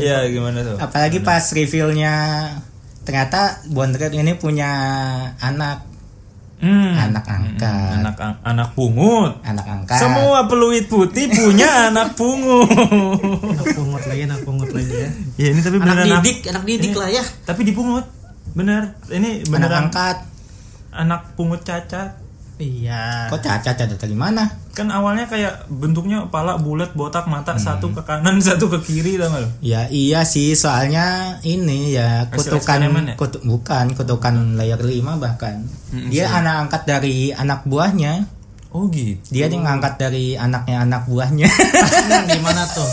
Speaker 1: Iya, gimana tuh?
Speaker 2: apalagi pas revealnya ternyata Bondret ini punya anak
Speaker 1: Hmm.
Speaker 2: anak angkat
Speaker 1: Anak ang- anak pungut.
Speaker 2: anak angkat
Speaker 1: Semua peluit putih punya anak pungut.
Speaker 3: Anak pungut lagi anak pungut lagi ya
Speaker 1: Ya ini tapi
Speaker 3: anak
Speaker 1: beneran anak-
Speaker 3: didik anak didik
Speaker 1: Ini-
Speaker 3: lah ya
Speaker 1: Tapi dipungut. Bener. Ini
Speaker 2: anak
Speaker 1: beneran anak,
Speaker 2: angkat
Speaker 1: pungut cacat.
Speaker 3: iya
Speaker 2: kok cacat ada dari mana
Speaker 1: Kan awalnya kayak bentuknya kepala bulat, botak, mata satu ke kanan, satu ke kiri tau gak lo?
Speaker 2: Ya iya sih soalnya ini ya
Speaker 1: Hasil
Speaker 2: kutukan
Speaker 1: eksperimen ya?
Speaker 2: kutu- bukan kutukan layer 5 bahkan. dia anak angkat dari anak buahnya.
Speaker 1: Oh gitu.
Speaker 2: Dia yang ngangkat dari anaknya anak buahnya.
Speaker 3: Hmm, gimana tuh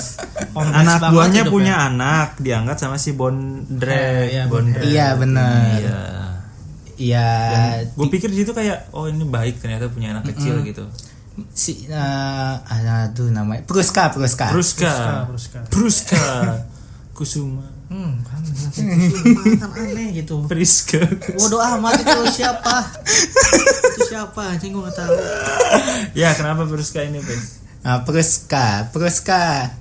Speaker 3: Kompleks
Speaker 1: anak
Speaker 3: banget
Speaker 1: buahnya
Speaker 3: hidupnya.
Speaker 1: punya anak diangkat sama si Bondre.
Speaker 3: Eh, iya,
Speaker 1: Bondre.
Speaker 2: iya bener.
Speaker 1: Iya.
Speaker 2: Iya.
Speaker 1: Gue pikir di situ kayak oh ini baik ternyata punya anak kecil gitu.
Speaker 2: Si eh, aduh namanya Pruska Pruska.
Speaker 1: Bruska.
Speaker 3: Bruska,
Speaker 1: Bruska. Kusuma.
Speaker 3: hmm kan kan- kan aneh gitu
Speaker 1: Priska.
Speaker 3: bodoh amat itu siapa itu siapa anjing gua nggak tahu
Speaker 1: ya kenapa Bruska ini, Pris?
Speaker 2: Nah, Pruska Pruska.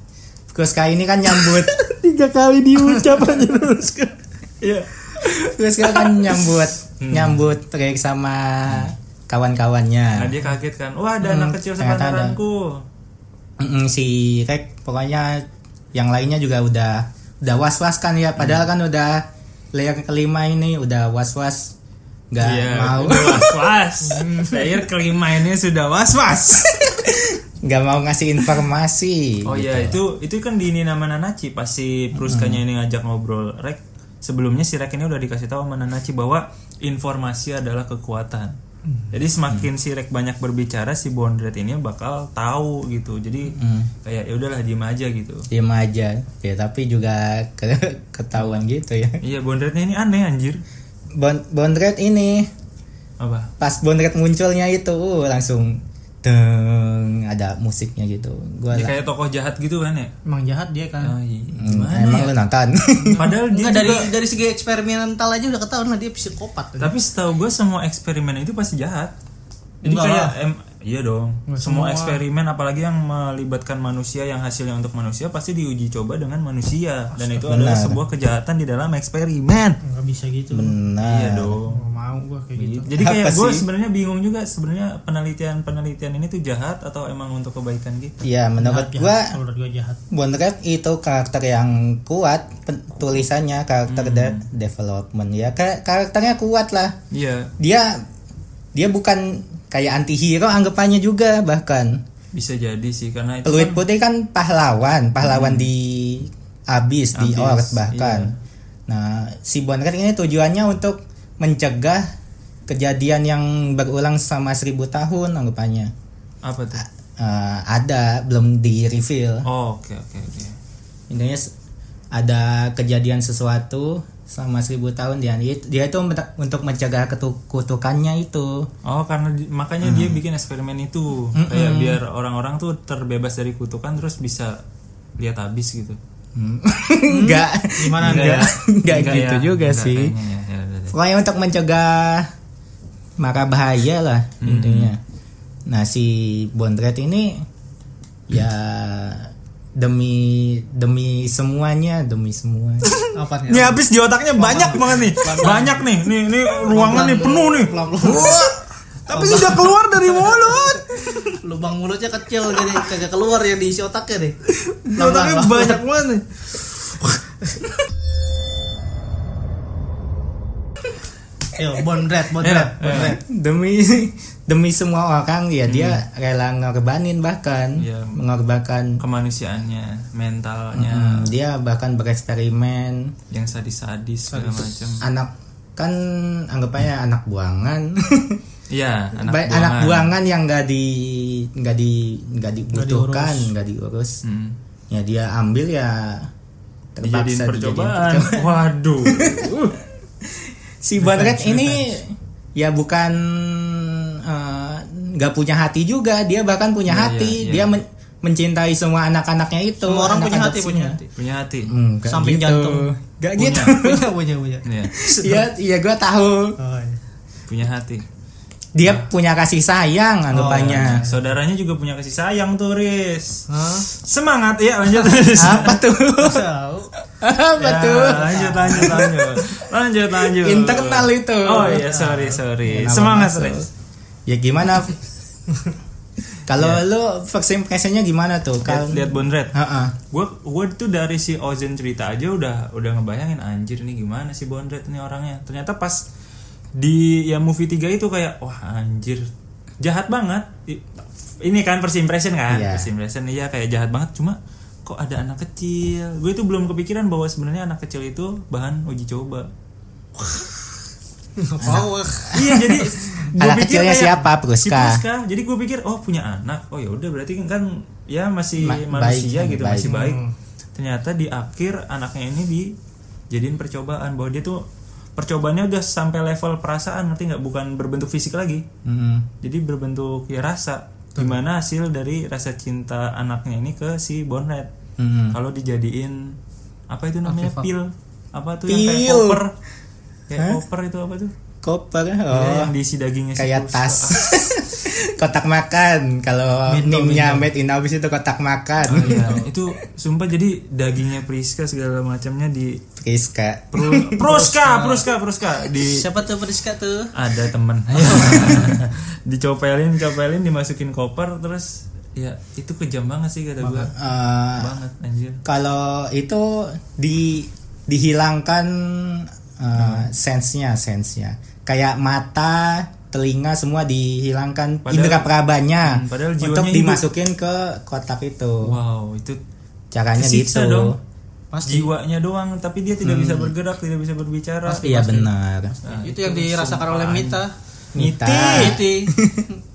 Speaker 2: Pruska ini kan nyambut tiga kali diucap aja Pruska.
Speaker 1: Iya.
Speaker 2: Pruska kan nyambut nyambut Rick sama
Speaker 1: Nah,
Speaker 2: kawan-kawannya.
Speaker 1: dia kaget kan. Wah, ada anak kecil
Speaker 2: Ah. Hmm, ternyata ada.
Speaker 1: sepantaranku.
Speaker 2: Mm-mm, si Rek pokoknya yang lainnya juga udah udah was was kan ya padahal kan udah layer kelima ini udah was was nggak
Speaker 1: Iya.
Speaker 2: mau
Speaker 1: was was. Player kelima ini sudah was was.
Speaker 2: nggak mau ngasih informasi
Speaker 1: Oh iya, itu itu kan di ini nama Nanaci pas si Pruskanya ini ngajak ngobrol. Rek, sebelumnya si Rek ini udah dikasih tahu sama Nanaci bahwa informasi adalah kekuatan. Jadi semakin si Rek banyak berbicara si Bondret ini bakal tahu gitu. Jadi kayak ya udahlah diem aja gitu.
Speaker 2: diem aja ya tapi juga ke- ketahuan gitu ya
Speaker 1: Iya, Bondretnya ini aneh anjir.
Speaker 2: Bond Bondret ini
Speaker 1: Apa?
Speaker 2: pas Bondret munculnya itu uh, langsung deng ada musiknya gitu gua
Speaker 1: Dia
Speaker 2: lah,
Speaker 1: Ya kayak tokoh jahat gitu kan ya?
Speaker 3: emang jahat dia kan
Speaker 1: Ah, iya.
Speaker 2: "Hmm, emang lu nonton
Speaker 1: Padahal dia
Speaker 3: Nggak, dari
Speaker 1: juga-
Speaker 3: dari segi eksperimental aja udah ketahuan lah dia psikopat
Speaker 1: Tapi setahu gue semua eksperimen itu pasti jahat. Jadi
Speaker 3: Enggak
Speaker 1: kayak
Speaker 3: lah.
Speaker 1: em, iya dong.
Speaker 3: Enggak
Speaker 1: semua,
Speaker 3: semua.
Speaker 1: eksperimen apalagi yang melibatkan manusia yang hasilnya untuk manusia pasti diuji coba dengan manusia dan itu adalah
Speaker 2: Benar.
Speaker 1: sebuah kejahatan di dalam eksperimen.
Speaker 3: nggak bisa gitu
Speaker 1: Iya
Speaker 2: benar
Speaker 1: dong.
Speaker 3: Nggak mau gua kayak gitu
Speaker 1: Jadi
Speaker 2: Apa
Speaker 1: kayak gue
Speaker 2: sih?
Speaker 1: sebenarnya bingung juga sebenarnya penelitian-penelitian ini tuh jahat atau emang untuk kebaikan gitu.
Speaker 2: Iya menurut
Speaker 3: Jahat,
Speaker 2: gua
Speaker 3: kalau menurut gua jahat
Speaker 2: Bonrep itu karakter yang kuat pen- tulisannya karakter de- development ya Ka- karakternya kuat lah
Speaker 1: Iya,
Speaker 2: dia dia bukan kayak anti hero anggapannya juga bahkan
Speaker 1: bisa jadi sih karena itu
Speaker 2: Peluit Putih kan pahlawan pahlawan di abis, di
Speaker 1: Abis,
Speaker 2: ort bahkan nah si Bonrep ini tujuannya untuk mencegah kejadian yang berulang sama seribu tahun anggapannya
Speaker 1: apa tuh?
Speaker 2: Eh, ada belum di reveal
Speaker 1: Oh, Oke, oke, oke.
Speaker 2: intinya s- ada kejadian sesuatu selama seribu tahun dia dia- dia itu men- untuk mencegah ketu- kutukannya itu
Speaker 1: Oh, karena di- makanya dia bikin eksperimen itu kayak biar orang-orang tuh terbebas dari kutukan terus bisa lihat habis gitu.
Speaker 2: enggak
Speaker 1: Gimana
Speaker 2: enggak enggak gitu
Speaker 1: ya?
Speaker 2: juga
Speaker 1: Enggak
Speaker 2: sih
Speaker 1: kayaknya ya. Ya, udah deh.
Speaker 2: pokoknya untuk mencegah maka bahaya lah
Speaker 1: Hmm.
Speaker 2: intinya nah si Bondret ini ya demi demi semuanya demi semuanya
Speaker 3: apa nih?
Speaker 1: Ini habis di otaknya banyak banget nih. Banyak nih. Nih nih ruangan nih penuh nih. Wah, Tapi sudah keluar dari mulut.
Speaker 3: Lubang mulutnya kecil jadi kagak keluar ya diisi otaknya deh.
Speaker 1: Di otaknya banyak banget nih.
Speaker 3: Yo, bondret,
Speaker 1: Enak,
Speaker 3: bondret, bondret.
Speaker 2: demi demi semua orang ya dia rela ngorbanin bahkan
Speaker 1: Iya.
Speaker 2: mengorbankan
Speaker 1: Kemanusiaannya, mentalnya
Speaker 2: Hmm, dia bahkan bereksperimen
Speaker 1: yang sadis-sadis segala macam.
Speaker 2: anak kan anggapannya anak buangan
Speaker 1: Iya,
Speaker 2: anak, buangan. anak buangan yang nggak di nggak di nggak dibutuhkan nggak diurus
Speaker 1: Hmm.
Speaker 2: ya dia ambil ya
Speaker 1: Dijadiin
Speaker 2: terpaksa
Speaker 1: percobaan.
Speaker 2: dijadiin percobaan.
Speaker 1: Waduh. Uh.
Speaker 2: si Bonret ini ya bukan eh, nggak punya hati juga dia bahkan punya hati
Speaker 1: iya, iya.
Speaker 2: dia men- mencintai semua anak-anaknya itu
Speaker 3: Semua orang punya
Speaker 2: anak
Speaker 3: hati, punya
Speaker 2: adopsinya.
Speaker 3: hati.
Speaker 1: Punya hati.
Speaker 2: Hmm, nggak
Speaker 3: Samping
Speaker 2: gitu.
Speaker 3: jantung.
Speaker 2: Nggak
Speaker 1: Punya.
Speaker 2: gitu
Speaker 3: punya, punya, punya.
Speaker 1: Iya,
Speaker 2: Iya, iya gue tahu.
Speaker 3: Oh, iya.
Speaker 1: punya hati. Nah.
Speaker 2: Dia punya kasih
Speaker 1: Oh,
Speaker 2: sayang anggapannya.
Speaker 1: iya. Saudaranya juga punya kasih sayang tuh, Riz.
Speaker 3: Hah?
Speaker 1: Semangat ya, lanjut.
Speaker 2: Apa tuh?
Speaker 3: Tahu.
Speaker 2: Apa
Speaker 1: Ya,
Speaker 2: tuh?
Speaker 1: lanjut, lanjut, lanjut. Lanjut, lanjut.
Speaker 2: Internal itu.
Speaker 1: Oh iya, sorry, sorry.
Speaker 2: Kenapa
Speaker 1: Semangat,
Speaker 2: masuk?
Speaker 1: Riz.
Speaker 2: Ya gimana? Kalau lu first impressionnya gimana
Speaker 1: Iya.
Speaker 2: tuh?
Speaker 1: Lihat,
Speaker 2: Kalau
Speaker 1: lihat Bondret.
Speaker 2: Heeh.
Speaker 1: Gue gue tuh dari si Ozen cerita aja udah udah ngebayangin anjir nih gimana si Bondret nih orangnya. Ternyata pas di ya movie 3 itu kayak wah anjir jahat banget. I- Ini kan first impression kan?
Speaker 2: Iya.
Speaker 1: First impression iya kayak jahat banget cuma kok ada anak kecil. Gue tuh belum kepikiran bahwa sebenarnya anak kecil itu bahan uji coba.
Speaker 3: Power.
Speaker 1: iya jadi gua
Speaker 2: Anak
Speaker 1: pikir
Speaker 2: kecilnya
Speaker 1: kayak
Speaker 2: siapa?
Speaker 1: si
Speaker 2: Priska.
Speaker 1: Priska. jadi gue pikir oh punya anak oh ya udah berarti kan ya masih
Speaker 2: Ma-
Speaker 1: manusia
Speaker 2: baik,
Speaker 1: gitu
Speaker 2: baik. Hmm.
Speaker 1: masih baik ternyata di akhir anaknya ini dijadiin percobaan bahwa dia tuh percobaannya udah sampai level perasaan ngerti nggak bukan berbentuk fisik lagi
Speaker 2: Mm-mm.
Speaker 1: jadi berbentuk ya rasa gimana hasil dari rasa cinta anaknya ini ke si Bonnet
Speaker 2: Mm-mm.
Speaker 1: kalau dijadiin apa itu namanya pil apa tuh yang kayak
Speaker 2: Pil.
Speaker 1: koper kayak koper itu apa tuh
Speaker 2: Koper.
Speaker 1: Ya,
Speaker 2: Oh,
Speaker 1: yang diisi dagingnya si Pus.
Speaker 2: kayak tas. kotak makan. Kalau meme-nya made in Abyss itu kotak makan.
Speaker 1: Iya, itu sumpah jadi dagingnya Priska segala macamnya di
Speaker 2: Priska.
Speaker 1: Pru- Pruska, Pruska, Pruska di
Speaker 3: Siapa tuh Priska tuh?
Speaker 1: ada temen dicopelin, copelin dimasukin koper terus ya itu kejam banget sih kata gua
Speaker 2: Eh,
Speaker 1: banget anjir
Speaker 2: kalau itu di dihilangkan
Speaker 1: Hmm.
Speaker 2: uh, sense-nya sense-nya kayak mata telinga semua dihilangkan
Speaker 1: Padahal-
Speaker 2: indera perabanya
Speaker 1: Hmm, padahal jiwanya
Speaker 2: untuk
Speaker 1: hidup.
Speaker 2: dimasukin ke kotak itu
Speaker 1: wow itu
Speaker 2: caranya
Speaker 1: Kesiksa
Speaker 2: gitu Hmm.
Speaker 1: dong.
Speaker 3: Pasti.
Speaker 1: jiwanya doang tapi dia tidak bisa bergerak tidak bisa berbicara
Speaker 2: iya benar
Speaker 1: Nah,
Speaker 3: itu yang dirasakan oleh Mita.
Speaker 2: Mita
Speaker 3: Miti.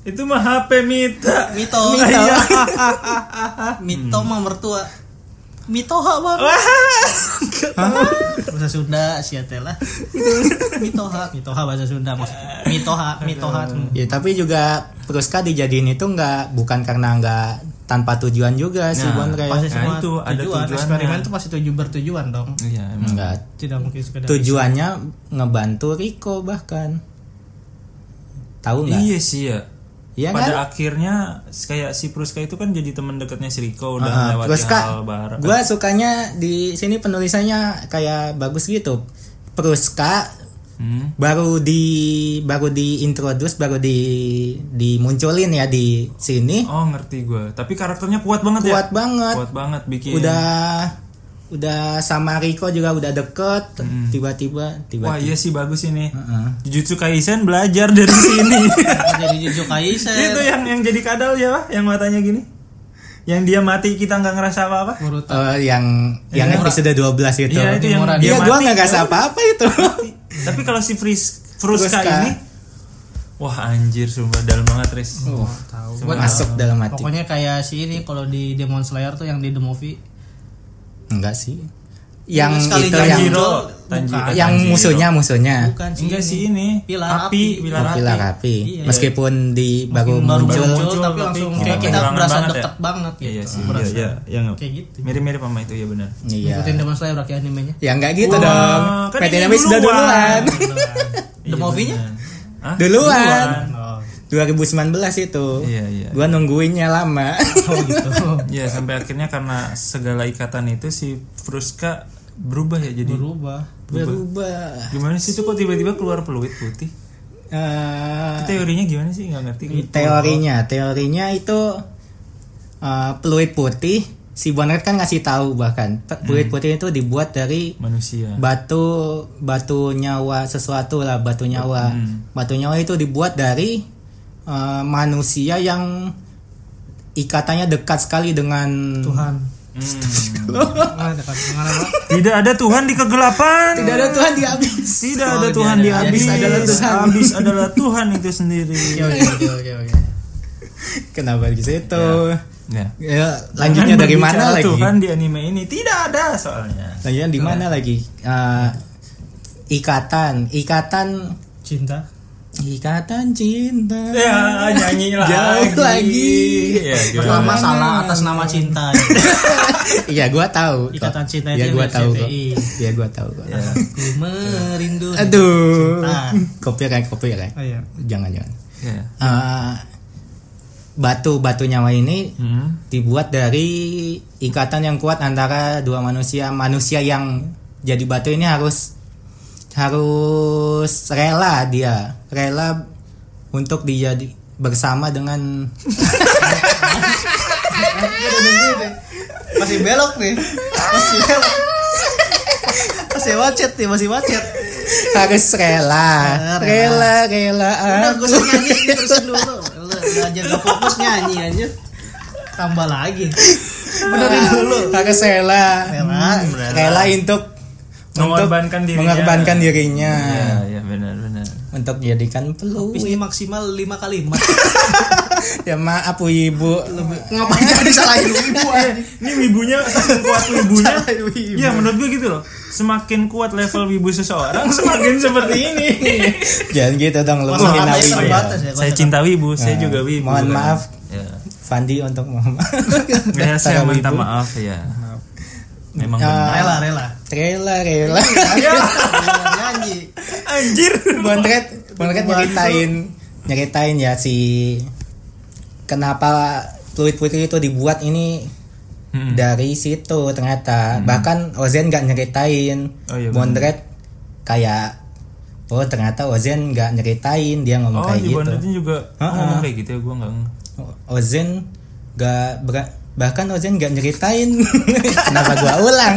Speaker 1: itu mah HP Mita
Speaker 3: Mito. Iya. Mito mah mertua. Mitoha bang. bahasa Sunda sia teh lah. Mitoha, Mitoha bahasa Sunda maksudnya. Mitoha, Mitoha.
Speaker 2: ya tapi juga Pruska dijadiin itu nggak bukan karena nggak tanpa tujuan juga sih
Speaker 1: Nah,
Speaker 2: Bonre
Speaker 3: ya. Pasti
Speaker 1: Nah,
Speaker 3: semua
Speaker 1: itu ada
Speaker 3: tujuan,
Speaker 1: tujuannya.
Speaker 3: eksperimen itu pasti tujuan bertujuan dong.
Speaker 1: iya emang
Speaker 2: nggak
Speaker 3: Tidak mungkin sekedar
Speaker 2: tujuannya ngebantu Riko bahkan tahu nggak
Speaker 1: Iya sih ya.
Speaker 2: Iya
Speaker 1: Pada
Speaker 2: kan?
Speaker 1: akhirnya kayak si Pruska itu kan jadi teman dekatnya si Riko udah
Speaker 2: Heeh,
Speaker 1: melewati
Speaker 2: terus Kak,
Speaker 1: hal bar-
Speaker 2: gue sukanya di sini penulisannya kayak bagus gitu. Pruska
Speaker 1: Hmm.
Speaker 2: baru di baru diintroduce baru di dimunculin ya di sini
Speaker 1: Oh ngerti gue. Tapi karakternya kuat banget ya.
Speaker 2: kuat banget.
Speaker 1: Kuat banget bikin.
Speaker 2: Udah udah sama Riko juga udah deket tiba-tiba
Speaker 1: Hmm. Wah
Speaker 2: tiba-tiba.
Speaker 1: iya sih bagus ini.
Speaker 2: Heeh.
Speaker 1: Jujutsu Kaisen belajar dari sini.
Speaker 3: jadi Jujutsu Kaisen.
Speaker 1: itu yang yang jadi kadal ya, Pak? yang matanya gini. Yang dia mati kita nggak ngerasa apa-apa.
Speaker 3: Kurut.
Speaker 2: Eh, yang yang episode 12 itu.
Speaker 1: Iya, itu yang
Speaker 2: Iya,
Speaker 1: dia
Speaker 2: gua
Speaker 1: mati,
Speaker 2: nggak
Speaker 1: ya.
Speaker 2: ngasih apa-apa itu.
Speaker 1: Tapi kalau si Fris Fruska
Speaker 2: Fruska.
Speaker 1: ini Wah anjir sumpah dalam banget Riz
Speaker 3: Tahu.
Speaker 2: Masuk dalam hati.
Speaker 3: Pokoknya kayak si ini kalau di Demon Slayer tuh yang di The Movie.
Speaker 2: Enggak sih. Yang
Speaker 3: Sekali
Speaker 2: itu yang
Speaker 3: Tanjiro.
Speaker 1: Tanjiro Tanjiro
Speaker 2: yang
Speaker 1: Tanjiro.
Speaker 2: musuhnya musuhnya.
Speaker 3: Bukan sih.
Speaker 1: Enggak sih ini
Speaker 3: Pilar api.
Speaker 1: api, pilar api.
Speaker 2: Pilar
Speaker 1: iya.
Speaker 2: api. Meskipun di baru
Speaker 3: baru
Speaker 2: muncul
Speaker 3: muncul,
Speaker 1: muncul,
Speaker 3: tapi
Speaker 1: tapi
Speaker 3: langsung
Speaker 1: kayak
Speaker 3: kayak kita
Speaker 1: penyerangan
Speaker 3: berasa
Speaker 1: banget ya.
Speaker 3: deket banget gitu.
Speaker 1: Iya sih,
Speaker 3: Berasa.
Speaker 1: iya, iya, iya,
Speaker 3: Kayak gitu.
Speaker 1: Mirip-mirip sama itu ya benar.
Speaker 2: Iya.
Speaker 3: Ikutin Demon Slayer berarti animenya.
Speaker 2: Ya enggak gitu
Speaker 1: Wah,
Speaker 2: dong.
Speaker 1: kan
Speaker 2: PT
Speaker 1: ini
Speaker 2: Dami sudah
Speaker 1: duluan.
Speaker 2: duluan.
Speaker 3: The
Speaker 1: Iya,
Speaker 3: movie-nya?
Speaker 1: benar. Hah?
Speaker 2: Duluan.
Speaker 3: Oh,
Speaker 1: Duluan.
Speaker 2: 2019 itu.
Speaker 1: Iya, iya.
Speaker 2: Gua nungguinnya lama.
Speaker 3: Oh gitu.
Speaker 1: Ya sampai akhirnya karena segala ikatan itu si Fruska berubah ya jadi
Speaker 3: Berubah.
Speaker 2: Berubah.
Speaker 1: gimana sih itu kok tiba-tiba keluar peluit putih?
Speaker 2: Eh,
Speaker 1: Itu teorinya gimana sih nggak ngerti.
Speaker 2: Iya.
Speaker 1: gue.
Speaker 2: teorinya, teorinya itu eh, peluit putih. Si Bonnet kan ngasih tahu bahkan
Speaker 1: Hmm.
Speaker 2: pe- peluit putih itu dibuat dari
Speaker 1: Manusia.
Speaker 2: batu batu nyawa sesuatu lah batu nyawa
Speaker 1: Hmm.
Speaker 2: batu nyawa itu dibuat dari eh, manusia yang ikatannya dekat sekali dengan
Speaker 3: Tuhan. Nggak ada kan? Nggak ada.
Speaker 1: Tidak ada Tuhan di kegelapan.
Speaker 2: tidak ada Tuhan di abis
Speaker 1: Tidak ada Tuhan di
Speaker 2: Habis
Speaker 1: abis.
Speaker 2: adalah Tuhan. Iya.
Speaker 1: Abis adalah Tuhan itu sendiri.
Speaker 3: Oke, oke, oke, oke, oke.
Speaker 2: kenapa di situ
Speaker 1: Ya.
Speaker 2: ya, lanjutnya
Speaker 1: Jangan
Speaker 2: dari
Speaker 1: Kan berbicara
Speaker 2: mana lagi
Speaker 1: Tuhan di anime ini tidak ada soalnya.
Speaker 2: lanjutnya di mana lagi Eh, ikatan ikatan
Speaker 3: Cinta.
Speaker 2: ikatan cinta
Speaker 1: Ya nyanyi lagi.
Speaker 2: Jauh lagi.
Speaker 1: Ya, gitu.
Speaker 3: Pertama salah atas nama cinta. ya.
Speaker 2: iya gua tahu
Speaker 3: Ikatan cinta
Speaker 2: iya
Speaker 3: itu
Speaker 2: gua
Speaker 3: yang
Speaker 2: tahu kok
Speaker 3: CTI.
Speaker 2: iya gua tahu kok
Speaker 3: Ku merindu.
Speaker 2: aduh
Speaker 3: Cinta.
Speaker 2: copyright copyright
Speaker 3: Oh, iya.
Speaker 2: jangan jangan
Speaker 1: Ya.
Speaker 2: Eh, batu batu nyawa ini
Speaker 1: Hmm.
Speaker 2: dibuat dari ikatan yang kuat antara dua manusia manusia yang jadi batu ini harus harus rela dia rela untuk dia bersama dengan
Speaker 3: Masih belok nih. Masih belok. Masih wacet nih, masih wacet.
Speaker 2: harus rela Ah, rela rela
Speaker 3: Udah
Speaker 2: aku.
Speaker 3: gue suruh nyanyi terusin dulu. Lu lu aja gak fokus nyanyi aja. Tambah lagi.
Speaker 2: harus rela Hmm,
Speaker 3: Rela,
Speaker 2: rela, untuk
Speaker 1: Mengorbankan
Speaker 2: untuk
Speaker 1: dirinya.
Speaker 2: mengorbankan dirinya
Speaker 1: Ya, ya benar-benar.
Speaker 2: untuk jadikan peluit
Speaker 3: Ini maksimal 5 kalimat.
Speaker 2: ya maaf Bu, ibu
Speaker 3: Ngapain jadi salahin ibu
Speaker 1: Eh, Ini wibunya semakin kuat wibunya.
Speaker 2: Salah wibu.
Speaker 1: Ya menurut gue gitu loh. Semakin kuat level wibu seseorang, semakin seperti ini. Iya.
Speaker 2: jangan gitu dong lu
Speaker 3: Masalah
Speaker 2: menghina
Speaker 3: apa ya,
Speaker 2: wibu.
Speaker 3: Bang? Terbatas ya,
Speaker 1: saya cinta wibu, saya juga wibu.
Speaker 2: mohon maaf.
Speaker 1: Ya.
Speaker 2: Fandi untuk mohon maaf
Speaker 1: Ya, saya
Speaker 2: Para
Speaker 1: minta
Speaker 2: wibu.
Speaker 1: maaf ya. Memang
Speaker 2: Ya.
Speaker 1: benar.
Speaker 3: Rela, rela.
Speaker 2: rela rela
Speaker 3: Nyanyi.
Speaker 1: Ya, Anjir.
Speaker 2: Bonret Bonret nyeritain nyeritain ya si kenapa fluid putih itu dibuat ini
Speaker 1: Hmm.
Speaker 2: dari situ ternyata bahkan Ozen nggak nyeritain
Speaker 1: Oh, iya,
Speaker 2: Bondret kayak oh ternyata Ozen nggak nyeritain dia ngomong
Speaker 1: Oh,
Speaker 2: kayak
Speaker 1: di
Speaker 2: gitu
Speaker 1: Bondotin juga
Speaker 2: Ha-ha.
Speaker 1: ngomong kayak gitu ya, gue nggak nge-
Speaker 2: Ozen nggak ber- bahkan Ozen nggak nyeritain kenapa gua ulang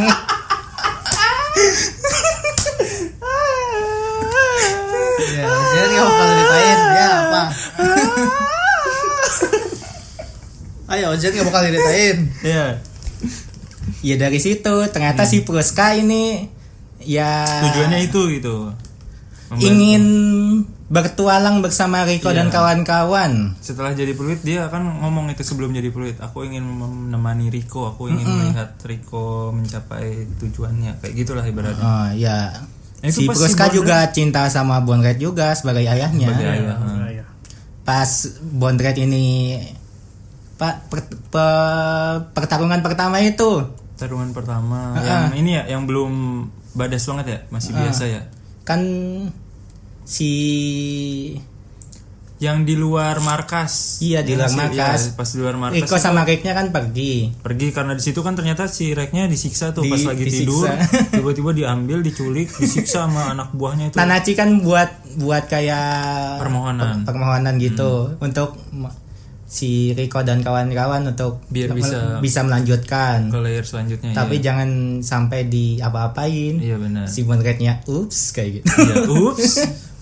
Speaker 3: Ya, jadi kamu kalau ceritain ya apa? Ayo, Ojen gak bakal ceritain.
Speaker 1: Iya.
Speaker 2: ya dari situ ternyata si Pruska ini ya
Speaker 1: Hmm. Tujuannya itu gitu. Membantu. Iya.
Speaker 2: ingin bertualang bersama Riko dan kawan-kawan
Speaker 1: setelah jadi peluit dia akan ngomong itu sebelum jadi peluit aku ingin menemani Riko aku ingin melihat Riko mencapai tujuannya kayak gitulah ibaratnya
Speaker 2: oh ya
Speaker 1: Nah, Itu
Speaker 2: si
Speaker 1: pas si
Speaker 2: Pruska
Speaker 1: Bondret-
Speaker 2: juga cinta sama Bondret juga sebagai ayahnya
Speaker 1: Sebagai ayah, heeh.
Speaker 2: iya, pas Bondret ini pak per- pe- pertarungan pertama itu
Speaker 1: tarungan pertama yang ini ya yang belum badas banget ya masih biasa ya
Speaker 2: kan si
Speaker 1: yang di luar markas
Speaker 2: Iya, di
Speaker 1: Ya,
Speaker 2: luar
Speaker 1: masih-
Speaker 2: markas.
Speaker 1: iya, pas di luar markas
Speaker 2: Riko sama Riknya kan pergi
Speaker 1: pergi karena di situ kan ternyata si reknya disiksa tuh
Speaker 2: Di-
Speaker 1: pas lagi
Speaker 2: disiksa.
Speaker 1: tidur tiba-tiba diambil diculik disiksa sama anak buahnya itu
Speaker 2: Nanachi kan buat buat kayak
Speaker 1: permohonan Hmm.
Speaker 2: permohonan gitu untuk m- si Riko dan kawan-kawan untuk
Speaker 1: Biar
Speaker 2: mel-
Speaker 1: bisa-
Speaker 2: melanjutkan.
Speaker 1: ke layer selanjutnya
Speaker 2: Tapi
Speaker 1: iya.
Speaker 2: jangan sampai di apa-apain.
Speaker 1: iya benar
Speaker 2: Si Bonretnya ups kayak gitu.
Speaker 1: Iya, ups,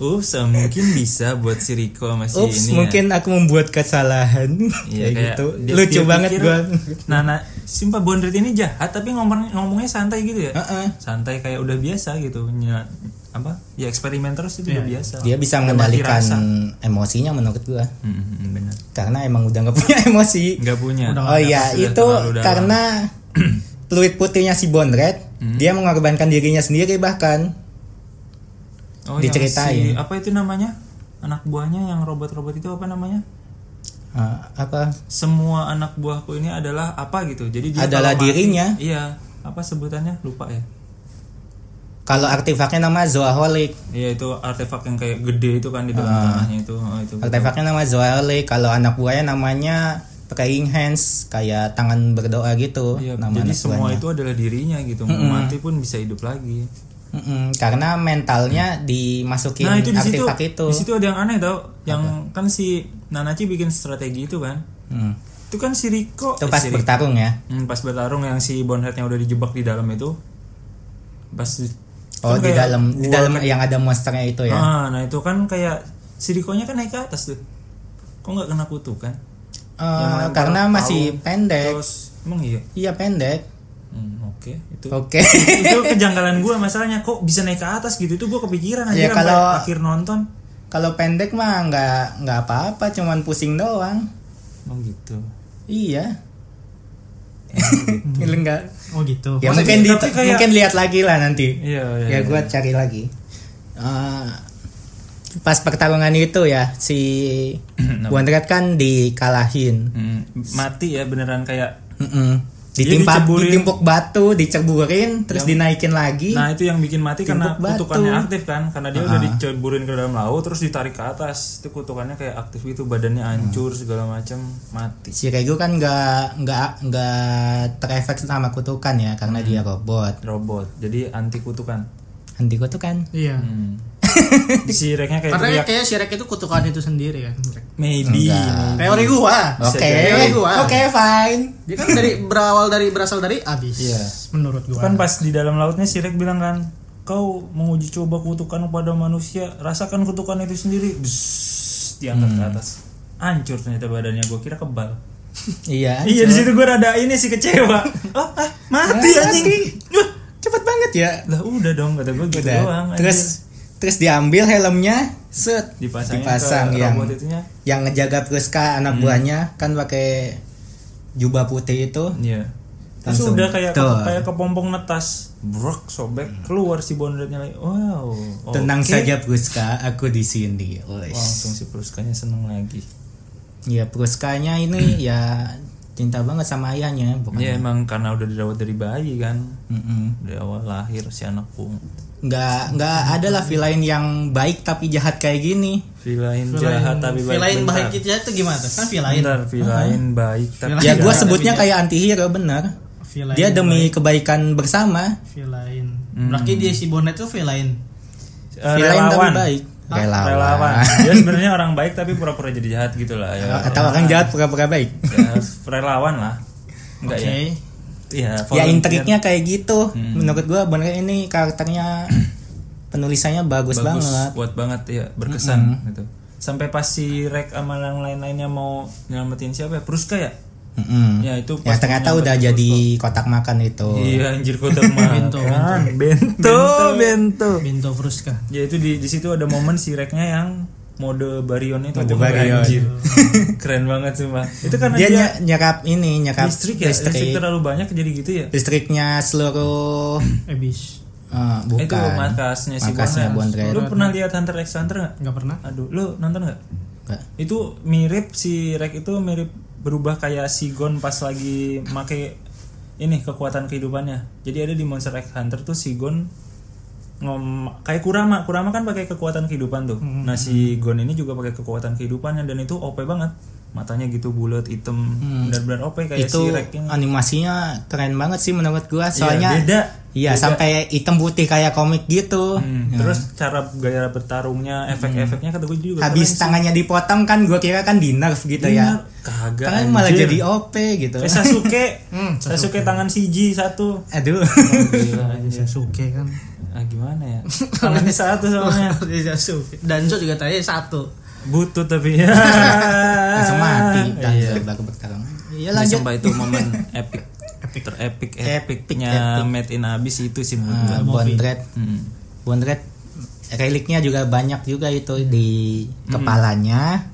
Speaker 1: ups, eh, mungkin bisa buat si Riko masih ini.
Speaker 2: Ups,
Speaker 1: ya.
Speaker 2: mungkin aku membuat kesalahan
Speaker 1: Iya,
Speaker 2: kayak
Speaker 1: kayak
Speaker 2: gitu.
Speaker 1: dia-
Speaker 2: Lucu
Speaker 1: dia
Speaker 2: banget
Speaker 1: pikir,
Speaker 2: gua.
Speaker 1: Nah, nah, sumpah Bondret ini jahat tapi ngomong ngomongnya santai gitu ya.
Speaker 2: Heeh.
Speaker 1: Santai kayak udah biasa gitu. Nya, apa? Ya eksperimen terus itu udah biasa.
Speaker 2: Dia bisa
Speaker 1: Udah mati
Speaker 2: mengendalikan
Speaker 1: rasa.
Speaker 2: emosinya menurut gua
Speaker 1: Mm, mm, mm, benar.
Speaker 2: karena emang udah nggak punya emosi.
Speaker 1: Nggak punya.
Speaker 2: Oh iya,
Speaker 1: Sudah
Speaker 2: itu
Speaker 1: terlalu dalam.
Speaker 2: karena fluid putihnya si Bondret,
Speaker 1: Hmm.
Speaker 2: dia mengorbankan dirinya sendiri bahkan.
Speaker 1: Oh, yang si-
Speaker 2: diceritain.
Speaker 1: apa itu namanya? Anak buahnya yang robot-robot itu apa namanya?
Speaker 2: Eh, apa?
Speaker 1: Semua anak buahku ini adalah apa gitu. Jadi dia
Speaker 2: Adalah
Speaker 1: kalau mati-
Speaker 2: dirinya.
Speaker 1: Iya, apa sebutannya? Lupa ya.
Speaker 2: Kalau artefaknya nama Zoaholic.
Speaker 1: Iya itu artefak yang kayak gede itu kan di dalam
Speaker 2: Ah.
Speaker 1: tanahnya itu. Oh, itu.
Speaker 2: Artefaknya nama Zoaholic. Kalau anak buahnya namanya Praying Hands, kayak tangan berdoa gitu.
Speaker 1: Iya,
Speaker 2: nama
Speaker 1: jadi
Speaker 2: anak
Speaker 1: semua
Speaker 2: buahnya.
Speaker 1: itu adalah dirinya gitu. Mau mati pun bisa hidup lagi.
Speaker 2: Mm-mm, karena mentalnya dimasukin
Speaker 1: Nah, itu di situ
Speaker 2: artefak itu.
Speaker 1: di situ ada yang aneh tau yang kan si Nanachi bikin strategi itu kan.
Speaker 2: Hmm.
Speaker 1: Itu kan si Riko
Speaker 2: Itu pas
Speaker 1: eh, si Riko.
Speaker 2: bertarung ya.
Speaker 1: Hmm, pas bertarung yang si Bonhead-nya udah dijebak di dalam itu. Pas di-
Speaker 2: Oh,
Speaker 1: kan
Speaker 2: di
Speaker 1: kayak
Speaker 2: dalam di
Speaker 1: gua
Speaker 2: dalam
Speaker 1: kan-
Speaker 2: yang ada monsternya itu ya.
Speaker 1: Ah, nah itu kan kayak si Rikonya kan naik ke atas tuh. Kok nggak kena kan? kutukan?
Speaker 2: Eh, karena masih pendek.
Speaker 1: Terus emang iya.
Speaker 2: Iya pendek.
Speaker 1: Hmm, oke, itu.
Speaker 2: Oke.
Speaker 1: itu kejanggalan gua masalahnya kok bisa naik ke atas gitu. Itu gua kepikiran aja
Speaker 2: Ya, kalau-
Speaker 1: akhir nonton.
Speaker 2: Kalau pendek mah nggak nggak apa-apa, cuman pusing doang.
Speaker 1: Oh gitu.
Speaker 2: Iya. Gila nggak?
Speaker 3: Oh gitu.
Speaker 2: Ya
Speaker 1: Hmm. Maksudnya,
Speaker 2: mungkin di,
Speaker 1: tapi kayak-
Speaker 2: mungkin lihat lagi lah nanti.
Speaker 1: Iya, iya.
Speaker 2: Ya gua cari lagi. Eh, pas pertarungan itu ya si Bondret kan dikalahin.
Speaker 1: Hmm, mati ya beneran kayak
Speaker 2: Mm-mm.
Speaker 1: Dia
Speaker 2: Ditimpa,
Speaker 1: diceburin. Iya.
Speaker 2: ditimpuk batu, diceburin, terus dinaikin lagi.
Speaker 1: Nah itu yang bikin mati karena
Speaker 2: Timpuk batu. Ah.
Speaker 1: kutukannya aktif kan Karena dia udah diceburin ke dalam laut terus ditarik ke atas Itu kutukannya kayak aktif gitu badannya
Speaker 2: Hmm.
Speaker 1: hancur segala macam mati
Speaker 2: si Rego kan nggak nggak nggak terefek sama kutukan ya
Speaker 1: Hmm.
Speaker 2: karena dia robot.
Speaker 1: Robot jadi anti kutukan
Speaker 2: Anti kutukan.
Speaker 3: Iya.
Speaker 1: hmm. Si Reknya kayak
Speaker 3: Karena
Speaker 1: teriak
Speaker 3: kayak Shrek itu kutukan itu sendiri kan.
Speaker 1: Maybe
Speaker 3: Teori gua.
Speaker 2: Oke,
Speaker 3: jadi.
Speaker 2: oke fine.
Speaker 3: Dia kan dari berawal dari berasal dari abis.
Speaker 1: Iya.
Speaker 3: Menurut
Speaker 1: Itu
Speaker 3: gua.
Speaker 1: kan pas di dalam lautnya si Rek bilang kan Kau menguji coba kutukan pada manusia Rasakan kutukan itu sendiri Bzzz, Diangkat
Speaker 2: Hmm.
Speaker 1: ke atas Hancur ternyata badannya gue kira kebal
Speaker 2: Iya.
Speaker 1: Iya di situ gue rada ini sih kecewa. Oh, ah, mati
Speaker 2: Ya, Mati.
Speaker 1: anjing. Wah,
Speaker 2: Cepet banget ya.
Speaker 1: Lah udah dong kata gue gitu
Speaker 2: Udah.
Speaker 1: doang. anjir.
Speaker 2: terus terus diambil helmnya, set
Speaker 1: dipasangin
Speaker 2: dipasang
Speaker 1: ke
Speaker 2: yang
Speaker 1: robot Hmm. itunya.
Speaker 2: yang ngejaga Priska anak buahnya kan pakai jubah putih itu.
Speaker 1: Iya. Terus
Speaker 2: Langsung
Speaker 1: udah kayak
Speaker 2: tuh.
Speaker 1: kayak kepompong netas, brok sobek keluar si bondetnya lagi. Wow. oke.
Speaker 2: Tenang saja Priska, aku di sini.
Speaker 1: Wah,
Speaker 2: Wes.
Speaker 1: langsung si peruskanya seneng lagi.
Speaker 2: Ya Priskanya
Speaker 1: Hmm.
Speaker 2: ini ya cinta banget sama ayahnya, bukan?
Speaker 1: Iya emang karena udah dirawat dari bayi kan.
Speaker 2: Mm-mm.
Speaker 1: Dari awal lahir si anak pun.
Speaker 2: nggak nggak ada lah villain yang baik tapi jahat kayak gini
Speaker 1: Villain jahat tapi baik.
Speaker 3: Villain
Speaker 1: bentar.
Speaker 3: baik itu itu gimana tuh? Kan villain.
Speaker 1: Bentar, villain baik tapi
Speaker 2: ya gue
Speaker 1: jahat.
Speaker 2: sebutnya kayak antihero bener
Speaker 3: Villain.
Speaker 1: iya,
Speaker 2: dia demi kebaikan bersama
Speaker 3: villain. Berarti dia si Bonnet itu villain.
Speaker 1: Eh,
Speaker 2: villain
Speaker 1: relawan.
Speaker 2: tapi baik relawan,
Speaker 1: relawan. Dia sebenarnya orang baik tapi pura-pura jadi jahat gitu lah ya.
Speaker 2: atau orang jahat pura-pura baik
Speaker 1: Ya, relawan lah. Enggak
Speaker 3: Oke.
Speaker 1: ya. Iya,
Speaker 2: ya
Speaker 1: volunteer.
Speaker 2: intriknya kayak gitu
Speaker 1: Hmm.
Speaker 2: menurut gue bener ini karakternya penulisannya bagus,
Speaker 1: bagus
Speaker 2: banget
Speaker 1: kuat banget ya, berkesan gitu. Sampai pas si Rek sama yang lain-lainnya mau nyelamatin siapa ya? Pruska ya?
Speaker 2: Mm-mm.
Speaker 1: Ya itu
Speaker 2: ya
Speaker 1: pas
Speaker 2: ternyata udah jadi kotak makan itu
Speaker 1: Iya, anjir kota makan.
Speaker 3: Bento,
Speaker 1: Bento, bento.
Speaker 3: Bento Fruska.
Speaker 1: Ya itu di di situ ada momen si Reknya yang mode barion itu
Speaker 2: Mode
Speaker 1: Wah,
Speaker 2: Baryon.
Speaker 1: anjir. Keren banget sumpah. Itu karena
Speaker 2: dia,
Speaker 1: dia,
Speaker 2: ny- nyerap ini nyerap
Speaker 1: listrik ya, listrik terlalu banyak jadi gitu ya.
Speaker 2: listriknya seluruh
Speaker 3: Abis.
Speaker 2: eh, bukan
Speaker 1: Itu makasnya si
Speaker 2: Makasnya
Speaker 1: Bonnet.
Speaker 2: Bonnet.
Speaker 1: Lu pernah lihat Hunter x Hunter nggak?
Speaker 3: Enggak pernah.
Speaker 1: Aduh, lu nonton nggak?
Speaker 2: Nggak.
Speaker 1: Itu mirip si Rek itu mirip berubah kayak si Gon pas lagi make ini kekuatan kehidupannya. Jadi ada di Monster X Hunter tuh si Gon ngom kayak Kurama. Kurama kan pakai kekuatan kehidupan tuh.
Speaker 2: Hmm.
Speaker 1: Nah, si Gon ini juga pakai kekuatan kehidupannya dan itu OP banget. Matanya gitu bulat, hitam, benar-benar OP kayak
Speaker 2: Hmm. itu
Speaker 1: si Rek ini. Iya,
Speaker 2: animasinya keren banget sih menurut gua soalnya
Speaker 1: beda.
Speaker 2: iya sampai hitam putih kayak komik gitu
Speaker 1: Hmm, Terus cara gaya bertarungnya, efek-efeknya kata gue juga Iya,
Speaker 2: habis tangannya dipotong kan gua kira kan di nerf gitu ya
Speaker 1: kagak
Speaker 2: kan malah
Speaker 1: anjir.
Speaker 2: jadi OP gitu
Speaker 1: Kayak Eh, Sasuke Sasuke tangan siji satu
Speaker 2: aduh
Speaker 3: Sasuke kan.
Speaker 1: iya. ah, gimana ya tangannya satu soalnya
Speaker 3: Sasuke. Danzo juga tadi satu.
Speaker 1: butut tapi ya
Speaker 2: langsung mati dan baru bertarung iya
Speaker 1: Ini
Speaker 2: lanjut
Speaker 1: sumpah itu momen epic epic Ah. terepik epicnya made in abis itu sih menurut gua. Hmm.
Speaker 2: Nah, Bondret Bondret reliknya juga banyak juga itu di kepalanya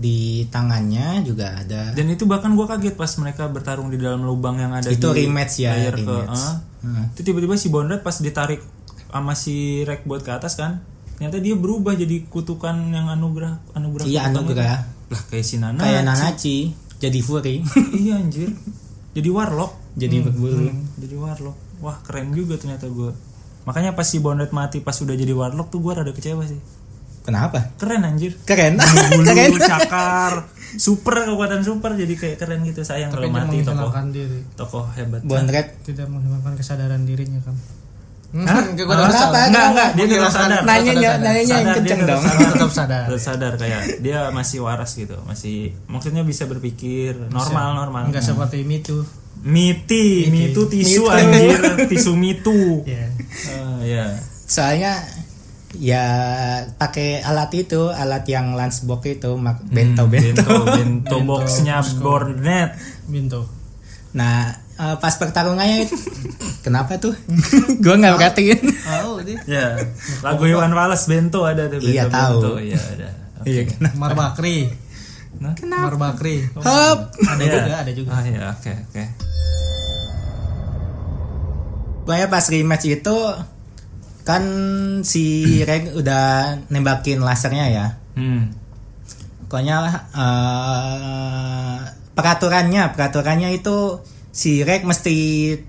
Speaker 2: di tangannya juga ada
Speaker 1: dan itu bahkan gua kaget pas mereka bertarung di dalam lubang yang ada
Speaker 2: Itu
Speaker 1: di
Speaker 2: rematch ya,
Speaker 1: layar
Speaker 2: rematch.
Speaker 1: ah. itu tiba-tiba si Bondret pas ditarik sama si Rek buat ke atas kan ternyata dia berubah jadi kutukan yang anugerah anugerah kutukan
Speaker 2: iya
Speaker 1: itu.
Speaker 2: anugerah
Speaker 1: lah kayak si Nana
Speaker 2: kayak Nanachi jadi Fury
Speaker 1: iya anjir jadi warlock
Speaker 2: jadi berburu
Speaker 1: jadi warlock wah keren juga ternyata gue Makanya pas si Bondet mati pas udah jadi warlock tuh gue rada kecewa sih.
Speaker 2: Kenapa?
Speaker 1: Keren anjir.
Speaker 2: Keren. Keren.
Speaker 1: Bulu, cakar, super kekuatan super jadi kayak keren gitu sayang kalau
Speaker 3: Tapi dia
Speaker 1: mati tokoh
Speaker 3: menghilangkan diri,
Speaker 1: tokoh hebat.
Speaker 2: Bondret. Hmm,
Speaker 3: tidak menghilangkan kesadaran dirinya kan.
Speaker 2: Hah? Enggak apa,
Speaker 1: Enggak,
Speaker 2: enggak,
Speaker 1: enggak, dia
Speaker 2: enggak.
Speaker 1: tetap sadar.
Speaker 2: Nanya, nanyanya
Speaker 1: Sadar,
Speaker 2: yang
Speaker 1: dia
Speaker 2: kenceng
Speaker 1: tetap
Speaker 2: dong.
Speaker 1: sadar.
Speaker 3: Tetap sadar.
Speaker 1: Tetap sadar kayak dia masih waras gitu, masih maksudnya bisa berpikir normal normal.
Speaker 3: Enggak
Speaker 2: Nah.
Speaker 3: seperti itu.
Speaker 1: Miti, mitu tisu anjir, tisu mitu.
Speaker 2: Iya.
Speaker 3: Ya.
Speaker 1: Eh, ya.
Speaker 2: Soalnya ya pakai alat itu, alat yang lunchbox itu, mak-
Speaker 1: Hmm.
Speaker 2: bento-bento.
Speaker 1: Bento, bento boxnya Bornet.
Speaker 3: Bintu.
Speaker 2: Nah, eh, pas pertarungannya itu kenapa tuh? Gua nggak perhatiin.
Speaker 3: Oh, dia
Speaker 1: Ya, lagu Iwan Fals bento ada tuh. bento,
Speaker 2: Iya, tahu.
Speaker 1: bento. Iya ada. Oke.
Speaker 2: Iya kenapa?
Speaker 3: Mar Bakri.
Speaker 1: Nah,
Speaker 3: Mar Bakri.
Speaker 2: Hop.
Speaker 3: Kan Ada
Speaker 1: Iya.
Speaker 3: juga, ada juga.
Speaker 1: Ah iya, oke oke.
Speaker 2: Pokoknya pas rematch itu kan si Reg udah nembakin lasernya ya.
Speaker 1: Hmm.
Speaker 2: Pokoknya eh, peraturannya, peraturannya itu si Reg mesti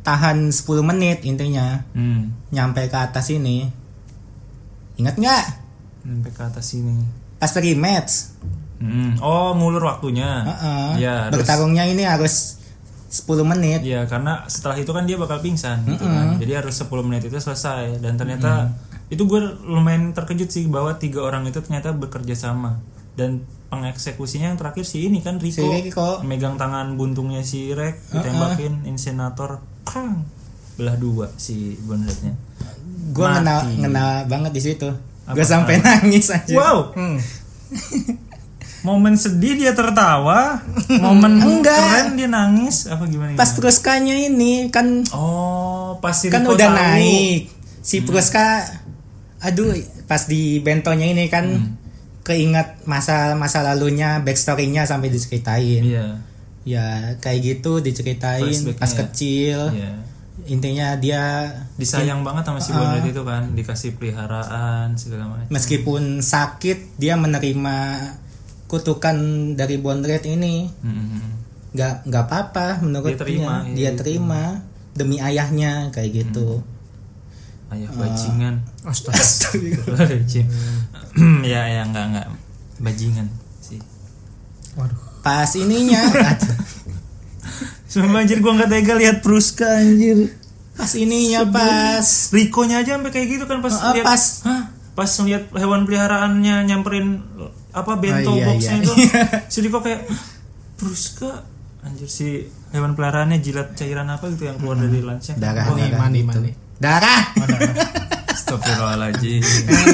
Speaker 2: tahan 10 menit intinya
Speaker 1: Hmm.
Speaker 2: nyampe ke atas ini. Ingat nggak?
Speaker 1: Sampai ke atas sini.
Speaker 2: Pas rematch,
Speaker 1: Hmm. Oh, ngulur waktunya.
Speaker 2: heeh,
Speaker 1: Iya, harus-
Speaker 2: bertarungnya ini harus 10 menit.
Speaker 1: Iya, karena setelah itu kan dia bakal pingsan gitu kan. Jadi harus 10 menit itu selesai dan ternyata itu gue lumayan terkejut sih bahwa tiga orang itu ternyata bekerja sama dan pengeksekusinya yang terakhir si ini kan Rico,
Speaker 2: Si Riko.
Speaker 1: megang tangan buntungnya si Rek ditembakin insenator krang belah dua si bonretnya.
Speaker 2: Gue ngena ngena banget di situ. Gue sampai nangis aja. Hmm.
Speaker 1: Wow. Hmm. Momen sedih dia tertawa, momen
Speaker 2: Enggak.
Speaker 1: keren dia nangis apa gimana?
Speaker 2: Pas
Speaker 1: gimana?
Speaker 2: teruskannya ini kan
Speaker 1: Oh, pas si
Speaker 2: kan
Speaker 1: Rico
Speaker 2: udah
Speaker 1: tahu. Hmm.
Speaker 2: naik si Proska aduh pas di bentonya ini kan
Speaker 1: Hmm.
Speaker 2: keinget masa masa lalunya backstorynya sampai diceritain
Speaker 1: Iya.
Speaker 2: ya kayak gitu diceritain
Speaker 1: Flashbacknya
Speaker 2: pas
Speaker 1: ya.
Speaker 2: kecil
Speaker 1: Iya.
Speaker 2: intinya dia
Speaker 1: Disayang banget sama si Bondet itu kan, dikasih peliharaan segala macam.
Speaker 2: meskipun sakit dia menerima kutukan dari Bondret ini
Speaker 1: Mm-mm.
Speaker 2: nggak nggak apa-apa
Speaker 1: Dia
Speaker 2: menurut
Speaker 1: terima,
Speaker 2: dia,
Speaker 1: iya,
Speaker 2: Dia
Speaker 1: dia
Speaker 2: terima demi ayahnya kayak gitu
Speaker 1: Hmm. Ayah bajingan.
Speaker 3: Astaga.
Speaker 1: Bajing. ya ya enggak enggak bajingan sih.
Speaker 3: Waduh.
Speaker 2: pas ininya aduh.
Speaker 1: Sumpah anjir gua enggak tega lihat Pruska anjir.
Speaker 2: pas ininya pas
Speaker 1: Rikonya aja sampai kayak gitu kan pas
Speaker 2: Heeh,
Speaker 1: lihat
Speaker 2: pas.
Speaker 1: Hah? pas ngeliat hewan peliharaannya nyamperin apa bento
Speaker 2: Oh, iya,
Speaker 1: boxnya
Speaker 2: iya.
Speaker 1: itu si Riko kayak "Hah, Pruska anjir si hewan peliharaannya jilat cairan apa gitu yang keluar dari Oh, lansnya
Speaker 2: darah
Speaker 1: Wah,
Speaker 2: darah
Speaker 3: mani,
Speaker 2: gitu.
Speaker 3: mani.
Speaker 2: darah
Speaker 1: Oh, Astagfirullahaladzim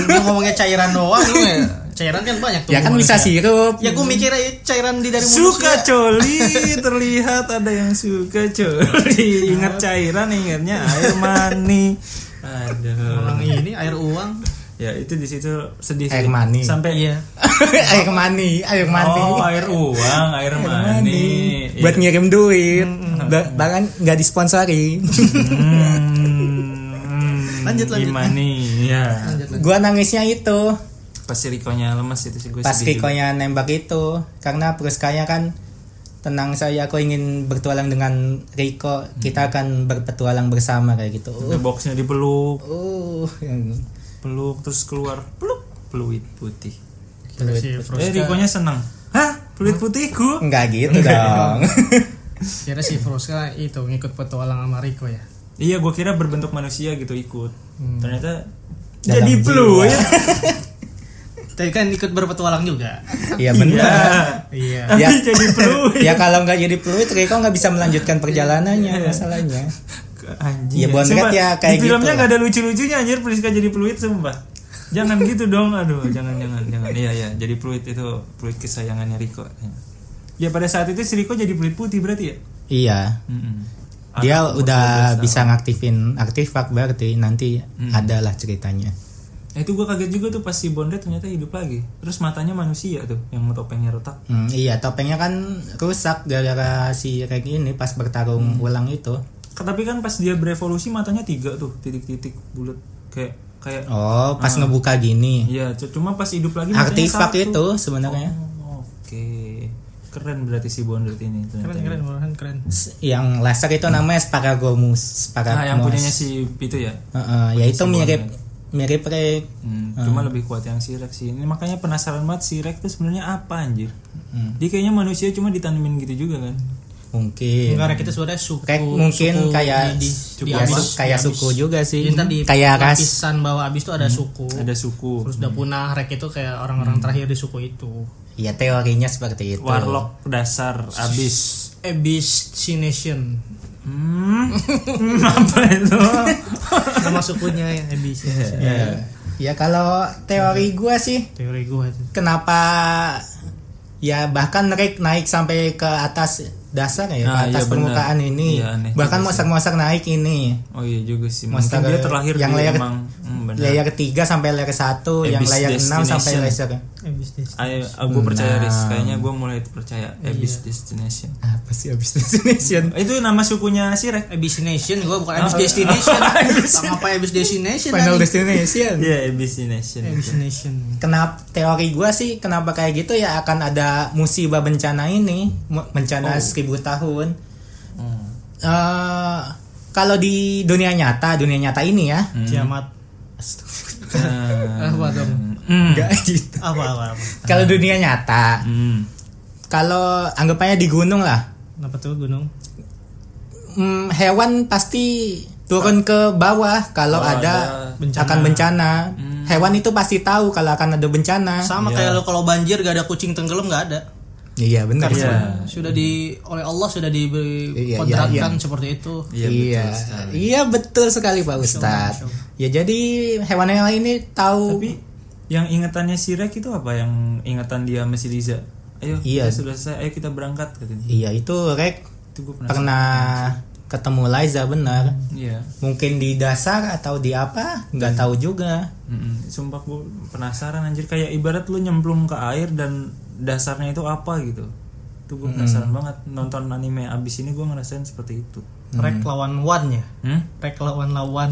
Speaker 3: Lu Eh, ngomongnya cairan doang lu ya. Cairan kan banyak tuh.
Speaker 2: ya kan bisa sirup
Speaker 3: Ya gua mikirnya cairan di dari mulut
Speaker 1: Suka coli Terlihat ada yang suka coli
Speaker 2: Nah.
Speaker 1: Ingat cairan ingatnya air mani
Speaker 3: Orang
Speaker 1: Aduh
Speaker 3: ini air uang.
Speaker 1: Ya itu di situ sedih
Speaker 2: Air
Speaker 1: sih.
Speaker 2: mani.
Speaker 1: Sampai iya
Speaker 2: air mani air mani
Speaker 1: Oh iya. air uang Air mani
Speaker 2: buat ngirim duit
Speaker 1: Hmm,
Speaker 2: Ba- bahkan nggak disponsori
Speaker 1: Hmm, Lanjut lanjut Imani ya.
Speaker 2: gua nangisnya itu
Speaker 1: Pas si Rikonya lemes itu sih gue
Speaker 2: pas
Speaker 1: sedih juga.
Speaker 2: Rikonya nembak itu karena Pruskanya kan tenang saya aku ingin bertualang dengan Riko
Speaker 1: Hmm.
Speaker 2: kita akan berpetualang bersama kayak gitu
Speaker 1: Udah boxnya dipeluk
Speaker 2: uh
Speaker 1: Peluk terus keluar Peluk Peluit putih
Speaker 3: Kira si
Speaker 1: Eh
Speaker 3: Froska.
Speaker 1: Rikonya seneng Hah? Peluit putihku
Speaker 2: nggak gitu dong
Speaker 3: Kira si Froska itu ngikut petualang sama Riko ya.
Speaker 1: Iya, gue kira berbentuk manusia gitu ikut. Ternyata
Speaker 2: Hmm. Dalam
Speaker 1: jadi
Speaker 2: jiwa.
Speaker 1: blue ya.
Speaker 3: Tapi kan ikut berpetualang juga.
Speaker 2: iya benar
Speaker 3: Iya.
Speaker 1: Tapi
Speaker 2: Ya.
Speaker 1: jadi blue.
Speaker 2: ya kalau nggak jadi peluit Riko nggak bisa melanjutkan
Speaker 1: Iya.
Speaker 2: perjalanannya masalahnya
Speaker 1: Anjir.
Speaker 2: Ya, Bondet
Speaker 1: Sumpah,
Speaker 2: ya
Speaker 1: di
Speaker 2: kayak
Speaker 1: filmnya
Speaker 2: gitu
Speaker 1: nggak ada lucu-lucunya anjir Priska jadi peluit sumpah. Jangan gitu dong, aduh, jangan jangan jangan. Iya iya, jadi peluit itu peluit kesayangannya Riko. Ya pada saat itu si Riko jadi peluit putih berarti ya?
Speaker 2: iya
Speaker 1: Mm-mm.
Speaker 2: dia udah bisa ngaktifin artefak berarti nanti
Speaker 1: Hmm.
Speaker 2: adalah ceritanya
Speaker 1: Nah, itu gue kaget juga tuh pas si Bondet ternyata hidup lagi. Terus matanya manusia tuh yang topengnya retak.
Speaker 2: Hmm, iya topengnya kan rusak gara-gara si Reg ini pas
Speaker 1: Hmm.
Speaker 2: bertarung ulang itu
Speaker 1: Tapi kan pas dia berevolusi matanya tiga tuh titik-titik bulat kayak kayak
Speaker 2: oh pas
Speaker 3: Ah.
Speaker 2: ngebuka gini
Speaker 1: Iya, c- cuma pas hidup lagi matanya
Speaker 2: artefak
Speaker 1: satu.
Speaker 2: itu sebenarnya
Speaker 1: Oh, Oke. keren berarti si Bondert ini ternyata.
Speaker 3: keren keren Warren keren
Speaker 2: yang laser itu namanya Sparagomus Sparagomus
Speaker 1: Nah,
Speaker 3: Ah,
Speaker 1: yang punyanya si Pitu ya.
Speaker 2: Heeh, ya itu mirip mirip kayak
Speaker 1: Hmm, Cuma lebih kuat yang si Rex sih. Ini makanya penasaran banget si Rex tuh sebenarnya apa anjir. Dia kayaknya manusia cuma ditanemin gitu juga kan.
Speaker 2: mungkin
Speaker 3: Enggak, Rek itu sebenarnya suku
Speaker 2: Iya. Kayak mungkin
Speaker 3: suku
Speaker 2: kayak
Speaker 3: di,
Speaker 2: suku-
Speaker 3: di
Speaker 2: kayak
Speaker 3: abis,
Speaker 2: su- kayak
Speaker 3: di abis.
Speaker 2: suku juga sih.
Speaker 3: Jadi ntar di
Speaker 2: Kayak ras. Hmm.
Speaker 3: lapisan bawah abis itu ada suku
Speaker 1: Ada suku,
Speaker 3: Oh. terus udah punah Rek itu kayak orang-orang terakhir di suku itu
Speaker 2: ya teorinya seperti itu
Speaker 1: warlock dasar abis.
Speaker 3: Ebiscination
Speaker 1: Hmm, Hmm, apa itu?
Speaker 3: nama sukunya yang Ebiscination
Speaker 2: ya, ya kalau teori gua sih
Speaker 3: teori gue itu
Speaker 2: kenapa ya bahkan Rick naik sampai ke atas dasar ya
Speaker 3: Ah,
Speaker 1: Nah,
Speaker 2: ke atas
Speaker 1: iya
Speaker 2: permukaan
Speaker 1: benar.
Speaker 2: ini
Speaker 1: Iya, aneh
Speaker 2: bahkan mosak-mosak naik ini
Speaker 1: Oh iya juga sih. Mungkin
Speaker 2: Monster
Speaker 1: dia terlahir
Speaker 2: yang
Speaker 1: di
Speaker 2: layer-
Speaker 1: emang hmm, benar.
Speaker 2: layer 3 sampai layer 1 yang
Speaker 1: Abyss
Speaker 2: layer 6 sampai
Speaker 1: Destination.
Speaker 2: layer
Speaker 3: Ebiscination
Speaker 1: Ayo, gue percaya Riz.
Speaker 2: Enam.
Speaker 1: Kayaknya gue mulai percaya
Speaker 3: Iya.
Speaker 1: Abyss Destination.
Speaker 2: apa sih abis destination
Speaker 1: Itu nama sukunya si
Speaker 2: Ah.
Speaker 1: Rex.
Speaker 3: Ebiscination gue bukan Ebis Destination sama apa Ebis Destination
Speaker 2: final
Speaker 3: tadi?
Speaker 2: destination
Speaker 1: Iya, Abyss Destination.
Speaker 3: Ebiscination
Speaker 2: kenapa teori gua sih kenapa kayak gitu ya akan ada musibah bencana ini mu- bencana seribu tahun
Speaker 1: Hmm.
Speaker 2: Eh, kalau di dunia nyata dunia nyata ini ya
Speaker 3: kiamat Ah,
Speaker 1: Nah.
Speaker 2: Ah.
Speaker 3: apa dong
Speaker 1: Hmm.
Speaker 2: enggak gitu
Speaker 3: apa apa apa
Speaker 2: kalau dunia nyata
Speaker 1: Hmm.
Speaker 2: kalau anggapannya di gunung lah
Speaker 3: Kenapa tuh gunung?
Speaker 2: hmm, hewan pasti turun ke bawah kalau
Speaker 1: Kalau
Speaker 2: ada,
Speaker 1: ada
Speaker 3: bencana.
Speaker 2: akan bencana hewan itu pasti tahu kalau akan ada bencana
Speaker 3: Sama
Speaker 1: Iya.
Speaker 3: kayak lo kalau banjir gak ada kucing tenggelam gak ada.
Speaker 2: iya benar
Speaker 1: Iya.
Speaker 3: Sudah di oleh Allah sudah diberi
Speaker 2: Iya, iya,
Speaker 3: kodratkan
Speaker 2: iya.
Speaker 3: seperti itu.
Speaker 1: Iya,
Speaker 2: iya,
Speaker 1: betul sekali.
Speaker 2: iya betul sekali Pak Ustadz. Ya jadi hewan-hewan ini tahu
Speaker 1: Tapi yang ingatannya si Rex itu apa? Yang ingatan dia sama si Liza? Ayo,
Speaker 2: Iya.
Speaker 1: kita sudah selesai. Ayo kita berangkat katanya.
Speaker 2: iya itu Rek
Speaker 1: Itu gue pernah.
Speaker 2: pernah ketemu Liza benar.
Speaker 1: Iya.
Speaker 2: Mungkin di dasar atau di apa? nggak tahu juga.
Speaker 1: Mm-mm. Hmm. Sumpah gue penasaran anjir kayak ibarat lu nyemplung ke air dan dasarnya itu apa gitu. Itu
Speaker 2: Hmm.
Speaker 1: gue penasaran banget nonton anime abis ini gue ngerasain seperti itu.
Speaker 3: Rek lawan wan ya.
Speaker 1: Hmm?
Speaker 3: Rek lawan lawan.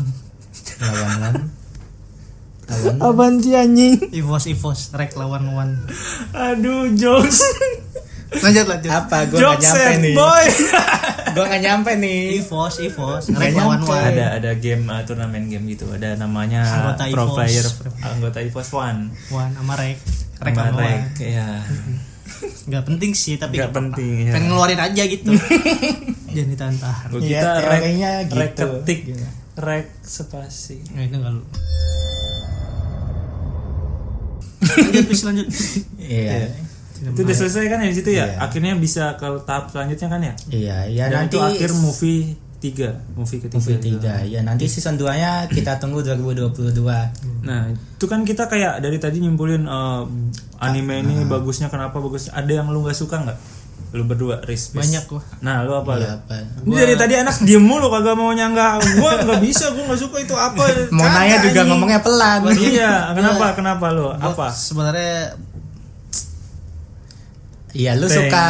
Speaker 2: Lawan-lawan.
Speaker 1: Apaan sih anjing?
Speaker 3: Ivos Ivos Rek lawan wan.
Speaker 1: Aduh, jokes.
Speaker 3: Lanjut lanjut.
Speaker 2: apa gue nggak
Speaker 1: jokes
Speaker 2: nyampe
Speaker 1: set,
Speaker 2: nih?
Speaker 1: boy.
Speaker 2: Gue nggak nyampe nih.
Speaker 3: Ivos Ivos
Speaker 2: Nggak
Speaker 3: Rek lawan
Speaker 2: nyampe.
Speaker 3: wan.
Speaker 1: ada ada game uh, turnamen game gitu ada namanya
Speaker 3: Anggota
Speaker 1: pro
Speaker 3: EVOS.
Speaker 1: player anggota EVOS One
Speaker 3: Wan sama Rek. Rek
Speaker 1: Sama
Speaker 3: lawan wan.
Speaker 1: Rek, ya
Speaker 3: Gak penting sih tapi
Speaker 1: nggak penting ya
Speaker 3: pengen ngeluarin aja gitu. Jangan ditahan-tahan.
Speaker 1: Gua
Speaker 2: Iya,
Speaker 1: kita rek
Speaker 2: teorinya
Speaker 1: rek
Speaker 2: gitu.
Speaker 1: ketik rek spasi
Speaker 3: Nah, itu enggak lu. Lanjut bis lanjut.
Speaker 2: Iya.
Speaker 1: itu udah selesai kan ya di situ ya
Speaker 2: Iya.
Speaker 1: akhirnya bisa ke tahap selanjutnya kan ya
Speaker 2: Iya, ya
Speaker 1: dan
Speaker 2: nanti
Speaker 1: itu akhir movie tiga movie ketiga gitu.
Speaker 2: movie
Speaker 1: itu.
Speaker 2: tiga. Ya nanti season 2-nya kita tunggu 2022.
Speaker 1: Nah, itu kan kita kayak dari tadi nyimpulin eh, anime ini
Speaker 2: Nah.
Speaker 1: bagusnya kenapa bagus. Ada yang lu nggak suka nggak? Lu berdua, Riz. Fis.
Speaker 3: Banyak gua.
Speaker 1: Nah, lu apa lu?
Speaker 2: Iya, apa?
Speaker 1: Ini dari tadi anak diem mulu kagak mau nyangga. Gua nggak bisa, gua nggak suka itu apa.
Speaker 2: Mau
Speaker 1: Kagak,
Speaker 2: nanya juga
Speaker 1: anjing.
Speaker 2: ngomongnya pelan.
Speaker 1: Iya, kenapa? Kenapa lu? Apa?
Speaker 3: Gua Sebenarnya
Speaker 2: Iya, lu
Speaker 1: Teng,
Speaker 2: suka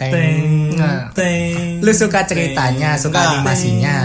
Speaker 2: teng.
Speaker 1: Teng,
Speaker 3: Nah.
Speaker 1: teng.
Speaker 2: Lu suka ceritanya, suka
Speaker 3: Enggak.
Speaker 2: animasinya.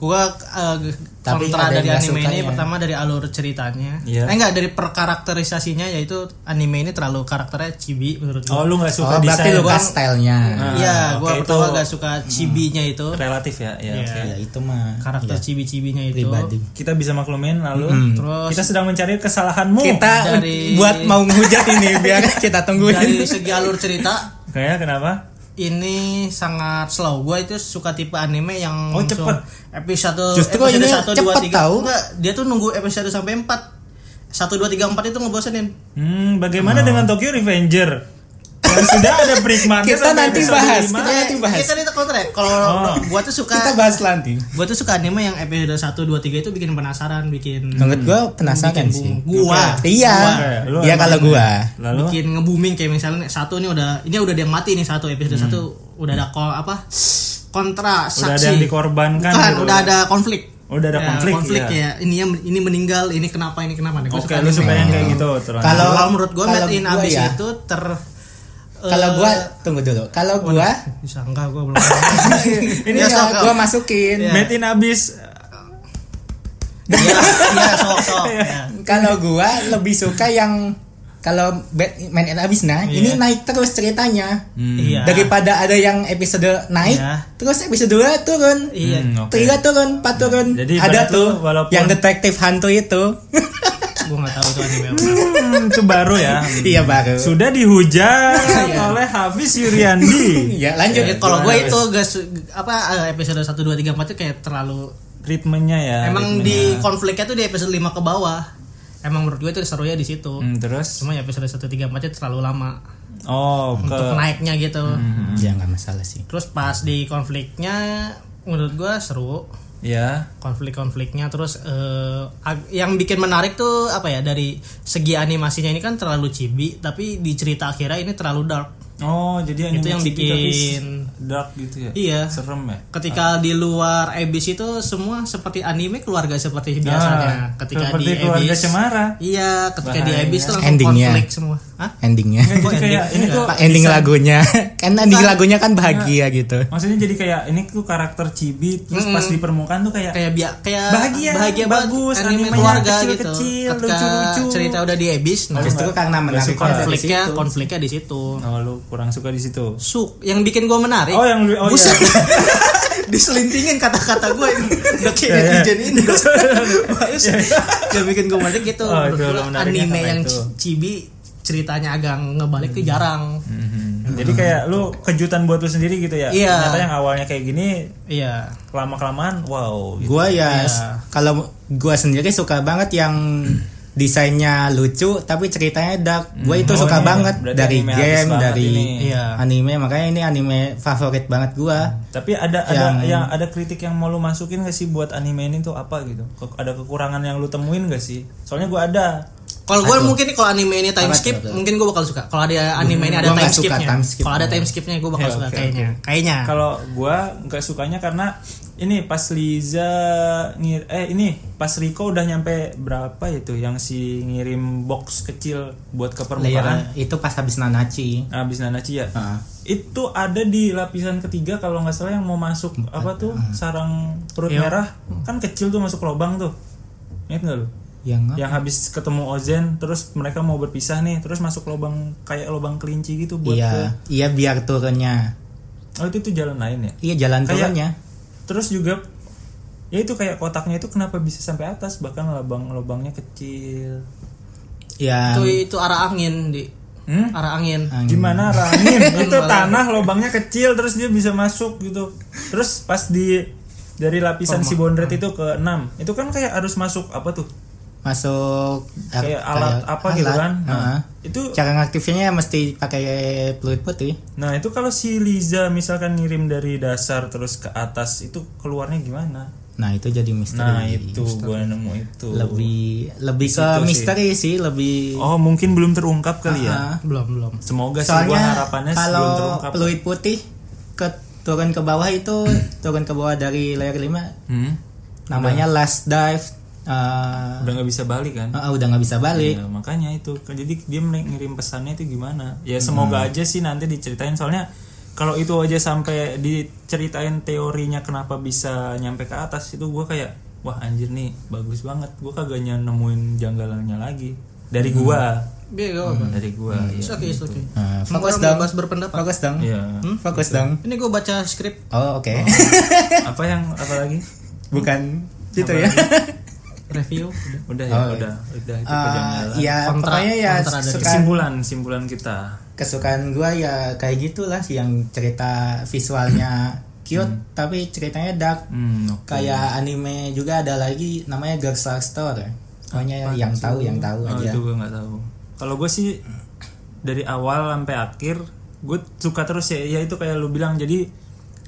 Speaker 3: gua uh,
Speaker 2: Tapi
Speaker 3: kontra
Speaker 2: ada
Speaker 3: dari
Speaker 2: yang gak
Speaker 3: anime ini
Speaker 2: sukanya.
Speaker 3: pertama dari alur ceritanya
Speaker 1: ya? Iya.
Speaker 3: eh enggak dari perkarakterisasinya yaitu anime ini terlalu karakternya chibi menurut
Speaker 1: Oh,
Speaker 3: gua
Speaker 1: lu nggak suka
Speaker 2: Oh, berarti
Speaker 1: desain
Speaker 2: lu kan stylenya.
Speaker 1: Ah,
Speaker 3: iya
Speaker 1: oke,
Speaker 3: gua
Speaker 1: itu
Speaker 3: pertama gak suka chibinya itu
Speaker 1: relatif ya. ya,
Speaker 3: Iya.
Speaker 1: oke.
Speaker 2: Ya itu mah
Speaker 3: karakter
Speaker 2: iya,
Speaker 3: cibi-cibinya itu
Speaker 2: pribadi.
Speaker 1: Kita bisa maklumin lalu
Speaker 3: terus
Speaker 1: kita sedang mencari kesalahanmu.
Speaker 2: Hmm. Kita
Speaker 3: Oh, Dari-
Speaker 2: buat mau ngehujat ini biar kita
Speaker 3: dari
Speaker 2: tungguin.
Speaker 3: segi alur cerita
Speaker 1: Kayak kenapa?
Speaker 3: ini sangat slow gua itu suka tipe anime yang
Speaker 1: Oh,
Speaker 3: langsung
Speaker 1: cepet.
Speaker 3: episode
Speaker 2: Justru
Speaker 3: episode
Speaker 2: ini
Speaker 3: satu, dua,
Speaker 2: cepet
Speaker 3: tiga.
Speaker 2: tahu.
Speaker 3: Enggak, dia tuh nunggu episode sampai 4 satu dua tiga empat itu ngebosenin
Speaker 1: Hmm,
Speaker 2: Oh.
Speaker 1: bagaimana dengan Tokyo Revenger? Yang sudah ada penikmatnya
Speaker 2: Kita
Speaker 1: sampai
Speaker 2: nanti
Speaker 1: episode
Speaker 2: bahas,
Speaker 1: lima.
Speaker 2: kita- nanti bahas.
Speaker 3: Kita Ya, kan itu kontrak. Kalau
Speaker 1: Ah, Oh.
Speaker 3: gua tuh suka
Speaker 2: Kita bahas nanti.
Speaker 3: Gua tuh suka anime yang episode 1 2 3 itu bikin penasaran, bikin
Speaker 2: Menurut gua
Speaker 3: Hmm,
Speaker 2: penasaran sih.
Speaker 3: boom. Gua.
Speaker 2: Iya.
Speaker 1: Lu
Speaker 2: Iya
Speaker 1: emang-
Speaker 2: kalau gua.
Speaker 1: Lalu
Speaker 3: bikin nge-booming kayak misalnya satu ini udah ini udah ada yang mati nih satu episode satu udah ada ko, apa kontra saksi.
Speaker 1: udah ada yang dikorbankan
Speaker 3: Bukan,
Speaker 1: gitu.
Speaker 3: Kan udah ada konflik.
Speaker 1: Udah ada
Speaker 3: Ya,
Speaker 1: konflik,
Speaker 3: konflik
Speaker 1: iya.
Speaker 3: ya. Ini yang ini meninggal, ini kenapa, ini kenapa. Nah, gua
Speaker 1: Oke,
Speaker 3: suka
Speaker 1: lu
Speaker 3: anime.
Speaker 1: suka yang kayak gitu terus.
Speaker 2: Kalau-
Speaker 3: Kalau menurut gua
Speaker 2: kalau
Speaker 3: Made in
Speaker 2: gua
Speaker 3: abis
Speaker 2: ya.
Speaker 3: itu ter
Speaker 2: Kalau
Speaker 3: eh,
Speaker 2: gua tunggu dulu. Kalau gua
Speaker 3: bisa enggak gua belum.
Speaker 2: ini ya,
Speaker 3: Ya, sok,
Speaker 2: gua
Speaker 3: sok.
Speaker 2: masukin.
Speaker 3: Iya.
Speaker 1: Made in Abyss
Speaker 3: Iya, iya, sok-sok. ya.
Speaker 2: Kalau gua lebih suka yang kalau Batman and Abyss nah
Speaker 3: Iya.
Speaker 2: ini naik terus ceritanya.
Speaker 1: Iya.
Speaker 2: Daripada ada yang episode naik,
Speaker 3: Iya.
Speaker 2: terus episode 2 turun.
Speaker 3: Iya.
Speaker 1: Hmm, oke.
Speaker 2: Tiga turun, empat turun.
Speaker 1: Jadi
Speaker 2: ada
Speaker 1: ibarat
Speaker 2: tuh
Speaker 1: lu walaupun-
Speaker 2: yang detektif hantu itu.
Speaker 3: Gue nggak tahu itu anime apa.
Speaker 1: Hmm, itu baru ya.
Speaker 2: iya baru.
Speaker 1: Sudah dihujat
Speaker 3: Iya.
Speaker 1: oleh Hafiz Yuriandi.
Speaker 2: Iya, lanjut.
Speaker 3: Ya, kalau gue itu gak su- apa eh, episode 1 2 3 4 itu kayak terlalu
Speaker 1: Ritmenya ya.
Speaker 3: emang
Speaker 1: ritmenya.
Speaker 3: di konfliknya tuh di episode 5 ke bawah. Emang menurut gue itu serunya di situ.
Speaker 1: Hmm, terus
Speaker 3: Cuma ya episode 1 3 4 itu terlalu lama
Speaker 1: oh ke Hmm.
Speaker 3: untuk naiknya gitu.
Speaker 2: ya nggak masalah sih.
Speaker 3: Terus pas di konfliknya menurut gue seru
Speaker 1: ya
Speaker 3: konflik-konfliknya terus eh, ag- yang bikin menarik tuh apa ya dari segi animasinya ini kan terlalu cibi tapi di cerita akhirnya ini terlalu dark
Speaker 1: oh jadi animasi
Speaker 3: Itu yang
Speaker 1: kita habis
Speaker 3: bikin-
Speaker 1: dark gitu ya.
Speaker 3: iya
Speaker 1: Serem ya.
Speaker 3: ketika di luar Abyss itu semua seperti anime keluarga seperti biasanya Iya, ketika
Speaker 1: Ah, seperti
Speaker 3: di
Speaker 1: keluarga
Speaker 3: Abyss
Speaker 1: Cemara.
Speaker 3: iya ketika di
Speaker 1: Bahaya.
Speaker 3: Abyss tuh langsung
Speaker 2: Endingnya.
Speaker 3: konflik semua Hah?
Speaker 2: Endingnya.
Speaker 1: Jadi kayak ini tuh
Speaker 3: Iya.
Speaker 2: Pak ending lagunya. kan ending lagunya kan bahagia gitu.
Speaker 1: maksudnya jadi kayak ini tuh karakter cibi terus pas di permukaan tuh kayak
Speaker 3: kayak bia- kayak
Speaker 1: Bahagia,
Speaker 3: banget.
Speaker 1: bagus,
Speaker 3: anime
Speaker 1: animenya
Speaker 3: keluarga gitu
Speaker 1: kecil-kecil,
Speaker 3: ketika
Speaker 1: lucu-lucu.
Speaker 3: cerita udah di Abyss nah
Speaker 2: Justru karena menarik
Speaker 3: konfliknya konfliknya di situ
Speaker 1: oh, lu kurang suka di situ.
Speaker 3: suk yang bikin gue menarik
Speaker 1: Oh yang lu oh
Speaker 3: Buset.
Speaker 1: iya.
Speaker 3: diselintingin kata-kata gue ini udah kayak netizen ini Bagus. yang bikin gue menarik gitu
Speaker 1: Oh, itu
Speaker 3: Menurut
Speaker 1: lo
Speaker 3: gua
Speaker 1: menariknya
Speaker 3: anime
Speaker 1: karena
Speaker 3: yang
Speaker 1: itu.
Speaker 3: ci- cibi ceritanya agak ngebalik tuh jarang
Speaker 1: Mhm. Jadi kayak lu kejutan buat lu sendiri gitu ya.
Speaker 3: Iya.
Speaker 1: Ternyata yang awalnya kayak gini
Speaker 3: iya
Speaker 1: lama kelamaan wow gitu.
Speaker 2: Gua ya s- kalau gua sendiri suka banget yang desainnya lucu tapi ceritanya dark. Gua itu
Speaker 1: Oh,
Speaker 2: suka
Speaker 1: ini
Speaker 2: banget
Speaker 1: berarti
Speaker 2: dari
Speaker 1: anime habis
Speaker 2: game,
Speaker 1: banget
Speaker 2: dari
Speaker 1: ini.
Speaker 3: Iya.
Speaker 2: anime. Makanya ini anime favorit banget gua.
Speaker 1: Tapi ada ada yang ada kritik yang mau lu masukin gak sih buat anime ini tuh apa gitu? Ke- ada kekurangan yang lu temuin gak sih? Soalnya gua ada.
Speaker 3: kalau gue mungkin kalau anime ini time
Speaker 2: Apa
Speaker 3: skip
Speaker 2: tuh?
Speaker 3: mungkin gue bakal suka kalau ada anime ini ada
Speaker 2: Gua
Speaker 3: time
Speaker 2: nggak suka
Speaker 3: skipnya
Speaker 2: time skip.
Speaker 3: kalau ada time skipnya gue bakal
Speaker 1: Ya,
Speaker 3: suka
Speaker 1: oke,
Speaker 3: kayaknya kayaknya
Speaker 1: Kalau gua nggak sukanya karena ini pas Liza ngir eh ini pas Rico udah nyampe berapa itu yang si ngirim box kecil buat ke permukaan
Speaker 2: Layer itu pas habis Nanachi.
Speaker 1: abis Nanachi ya.
Speaker 2: Heeh.
Speaker 1: Itu ada di lapisan ketiga kalau nggak salah yang mau masuk apa tuh sarang perut merah kan kecil tuh masuk lubang tuh. Ingat nggak lu?
Speaker 2: Yang apa?
Speaker 1: Yang habis ketemu Ozen terus mereka mau berpisah nih terus masuk lubang kayak lubang kelinci gitu buat
Speaker 2: Iya,
Speaker 1: ke-
Speaker 2: iya biar turunnya.
Speaker 1: Oh itu tuh jalan lain ya.
Speaker 2: Iya jalan
Speaker 1: Kayak-
Speaker 2: turunnya.
Speaker 1: Terus juga ya itu kayak kotaknya itu kenapa bisa sampai atas bahkan lubang-lubangnya kecil.
Speaker 2: Ya.
Speaker 3: itu itu arah angin di
Speaker 1: Hmm?
Speaker 3: arah angin
Speaker 2: Hmm.
Speaker 1: Gimana Ramin? itu tanah lubangnya kecil terus dia bisa masuk gitu. Terus pas di dari lapisan si bondret
Speaker 2: Hmm.
Speaker 1: itu ke 6. Itu kan kayak harus masuk apa tuh?
Speaker 2: masuk ap-
Speaker 1: Kayak alat apa gitu kan? Nah,
Speaker 2: Ya, Heeh.
Speaker 1: itu
Speaker 2: cara ngaktifnya mesti pakai peluit putih
Speaker 1: nah itu kalau si Liza misalkan ngirim dari dasar terus ke atas itu keluarnya gimana?
Speaker 2: nah itu jadi misteri
Speaker 1: Nah, itu gua nemu itu.
Speaker 2: lebih lebih ke misteri sih, lebih
Speaker 1: Oh, mungkin belum terungkap kali ya.
Speaker 2: Ah,
Speaker 3: belum belum
Speaker 1: Semoga sih gua
Speaker 2: soalnya
Speaker 1: harapannya sebelum
Speaker 2: kalau
Speaker 1: terungkap.
Speaker 2: peluit putih ke turun ke bawah itu turun ke bawah dari layer 5
Speaker 1: Hmm?
Speaker 2: namanya last dive eh,
Speaker 1: Udah nggak bisa balik kan?
Speaker 2: eh, udah nggak bisa
Speaker 1: Ya,
Speaker 2: balik
Speaker 1: makanya itu. Jadi dia men- ngirim pesannya itu gimana?
Speaker 2: Hmm.
Speaker 1: Ya semoga aja sih nanti diceritain soalnya kalau itu aja sampai diceritain teorinya kenapa bisa nyampe ke atas itu gua kayak wah anjir nih bagus banget. Gua kagak ny- nemuin janggalannya lagi dari
Speaker 2: Hmm.
Speaker 1: gua.
Speaker 3: biar
Speaker 2: Oh,
Speaker 3: gue apa
Speaker 1: Dari gua. Iya.
Speaker 3: oke it's okay
Speaker 2: Eh,
Speaker 3: fokus
Speaker 2: fokus dong
Speaker 3: bebas berpendapat
Speaker 2: fokus dong Hmm,
Speaker 1: Iya.
Speaker 2: fokus dong
Speaker 3: ini gue baca skrip
Speaker 2: oh oke
Speaker 1: Apa yang apa lagi?
Speaker 2: bukan gitu ya Oh, iya.
Speaker 3: review
Speaker 1: Udah ya, udah, udah itu
Speaker 2: Eh, ya
Speaker 3: Kontra-
Speaker 2: pokoknya ya
Speaker 3: kontra dari-
Speaker 2: suka
Speaker 1: kesimpulan simpulan kita.
Speaker 2: kesukaan gua ya kayak gitulah sih yang cerita visualnya cute tapi ceritanya dark
Speaker 1: Hmm, oke.
Speaker 2: kayak anime juga ada lagi namanya Girls Last Store pokoknya yang tahu yang tahu
Speaker 1: Oh,
Speaker 2: aja
Speaker 1: itu gue nggak tahu. Kalau gue sih dari awal sampai akhir gue suka terus ya, ya itu kayak lu bilang jadi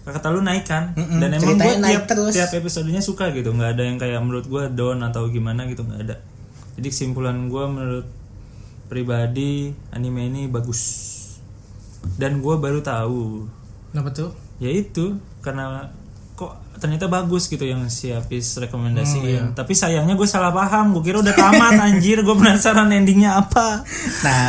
Speaker 1: kata lu naik kan
Speaker 2: Mm-mm,
Speaker 1: dan emang gue
Speaker 2: ceritanya naik
Speaker 1: tiap
Speaker 2: terus.
Speaker 1: tiap episodenya suka gitu nggak ada yang kayak menurut gue down atau gimana gitu nggak ada jadi kesimpulan gue menurut pribadi anime ini bagus dan gue baru tahu
Speaker 3: Kenapa tuh?
Speaker 1: ya itu karena kok ternyata bagus gitu yang si Apis
Speaker 3: Hmm,
Speaker 1: rekomendasiin
Speaker 3: iya.
Speaker 1: tapi sayangnya gue salah paham gue kira udah tamat anjir gue penasaran endingnya apa
Speaker 2: nah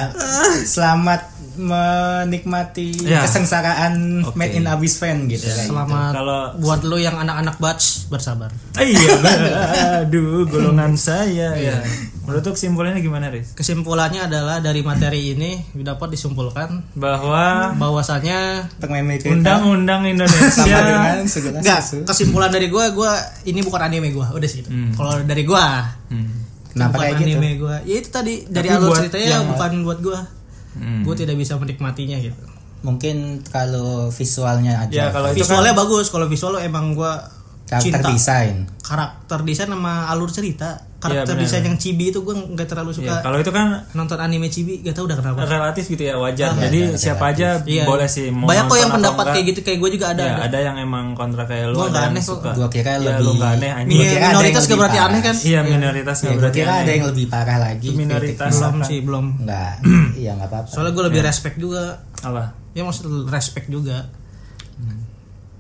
Speaker 2: selamat menikmati
Speaker 1: Ya.
Speaker 3: Iya,
Speaker 2: kesengsaraan
Speaker 1: Oke.
Speaker 2: made in Abyss fan gitu kayak gitu.
Speaker 3: Selamat
Speaker 1: Kalau-
Speaker 3: buat lu yang anak-anak batch bersabar.
Speaker 1: Eh, iya bener. aduh golongan saya
Speaker 3: Iya.
Speaker 1: ya menurut lu kesimpulannya gimana Riz
Speaker 3: Kesimpulannya adalah dari materi ini dapat disimpulkan
Speaker 1: bahwa
Speaker 3: bahwasannya
Speaker 2: Permen Made
Speaker 3: Hmm.
Speaker 2: in
Speaker 1: undang-undang
Speaker 2: sama
Speaker 1: Indonesia
Speaker 2: dengan segelas
Speaker 3: Nggak,
Speaker 2: susu.
Speaker 3: kesimpulan dari gua gua ini bukan anime gua, udah segitu. Kalau dari gua
Speaker 1: Hmm.
Speaker 2: Kenapa
Speaker 3: bukan
Speaker 2: kayak gitu?
Speaker 3: anime gua. Ya itu tadi
Speaker 1: Tapi
Speaker 3: dari alur
Speaker 1: buat Hmm.
Speaker 3: ceritanya
Speaker 2: yang-
Speaker 3: bukan buat gua. Gua tidak bisa menikmatinya gitu.
Speaker 2: Mungkin kalau visualnya
Speaker 1: ya
Speaker 2: aja.
Speaker 1: kalau itu kan
Speaker 3: Visualnya bagus, kalau visual lo emang gua
Speaker 2: Karakter
Speaker 3: cinta.
Speaker 2: desain.
Speaker 3: Karakter desain sama alur cerita.
Speaker 1: Iya,
Speaker 3: Karakter
Speaker 1: benar.
Speaker 3: desain yang chibi itu gua nggak
Speaker 1: ya,
Speaker 3: terlalu suka.
Speaker 1: kalau itu kan
Speaker 3: Nonton anime chibi gak tau udah kenapa.
Speaker 1: relatif gitu ya wajar jadi siapa aja
Speaker 3: Iya.
Speaker 1: boleh sih mau
Speaker 3: Banyak kok
Speaker 1: nonton
Speaker 3: yang
Speaker 1: atau
Speaker 3: pendapat
Speaker 1: enggak.
Speaker 3: kayak gitu kayak gue juga ada.
Speaker 1: ya,
Speaker 3: ada.
Speaker 1: ada yang emang kontra kayak lu
Speaker 3: Gua nggak
Speaker 1: ada yang
Speaker 3: aneh kok.
Speaker 1: suka
Speaker 2: Gua kira
Speaker 1: ya,
Speaker 2: lebih-
Speaker 1: lu nggak aneh anjing.
Speaker 2: Gua
Speaker 3: Iya,
Speaker 2: kira ada yang
Speaker 3: minoritas gak berarti
Speaker 2: lebih
Speaker 3: aneh kan?
Speaker 1: iya minoritas
Speaker 2: Ya,
Speaker 1: nggak
Speaker 2: gue
Speaker 1: berarti
Speaker 2: kira
Speaker 1: aneh.
Speaker 2: ada yang lebih parah lagi.
Speaker 1: minoritas
Speaker 3: Belum sih, belum.
Speaker 2: Enggak. Iya enggak apa-apa.
Speaker 3: Soalnya gue lebih respect juga.
Speaker 1: apa
Speaker 3: Ya maksud respect juga.
Speaker 1: Hmm.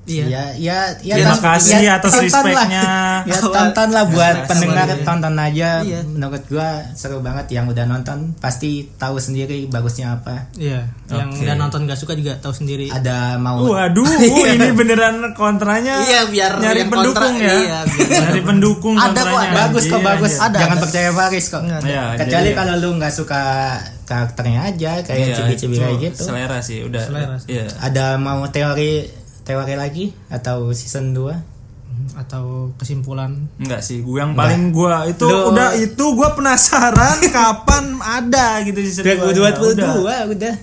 Speaker 3: Iya.
Speaker 2: Ya, ya, ya,
Speaker 1: Terima
Speaker 2: tonton-
Speaker 1: kasih
Speaker 2: ya,
Speaker 1: atas
Speaker 2: tontonlah.
Speaker 1: respectnya.
Speaker 2: ya tontonlah buat pendengar
Speaker 3: Awalnya.
Speaker 2: tonton aja.
Speaker 3: Iya.
Speaker 2: Menurut gua seru banget yang udah nonton pasti tahu sendiri bagusnya apa.
Speaker 3: Iya. Yang
Speaker 1: Oke.
Speaker 3: udah nonton gak suka juga tahu sendiri.
Speaker 2: Ada mau
Speaker 1: Waduh, ini beneran kontranya.
Speaker 3: Iya, biar
Speaker 1: nyari
Speaker 3: yang kontra,
Speaker 1: pendukung ya.
Speaker 3: iya, biar-
Speaker 1: nyari pendukung
Speaker 3: Ada kok,
Speaker 1: kontranya.
Speaker 2: bagus kok
Speaker 1: Iya,
Speaker 2: bagus.
Speaker 1: iya.
Speaker 3: Ada,
Speaker 2: Jangan
Speaker 3: ada.
Speaker 2: percaya Faris kok.
Speaker 3: Nggak ada.
Speaker 1: Iya,
Speaker 2: Kecuali
Speaker 1: jadi-
Speaker 2: kalau lu nggak suka karakternya aja kayak
Speaker 1: Iya,
Speaker 2: cibi-cibi
Speaker 1: itu
Speaker 2: kayak gitu.
Speaker 1: Selera sih, udah.
Speaker 3: Selera sih.
Speaker 1: Iya.
Speaker 2: Ada mau teori teori lagi atau season 2?
Speaker 3: Hmm, Atau kesimpulan.
Speaker 1: Enggak sih, gue yang paling gue itu
Speaker 2: Lu-
Speaker 1: udah itu gue penasaran kapan ada gitu sih.
Speaker 2: udah.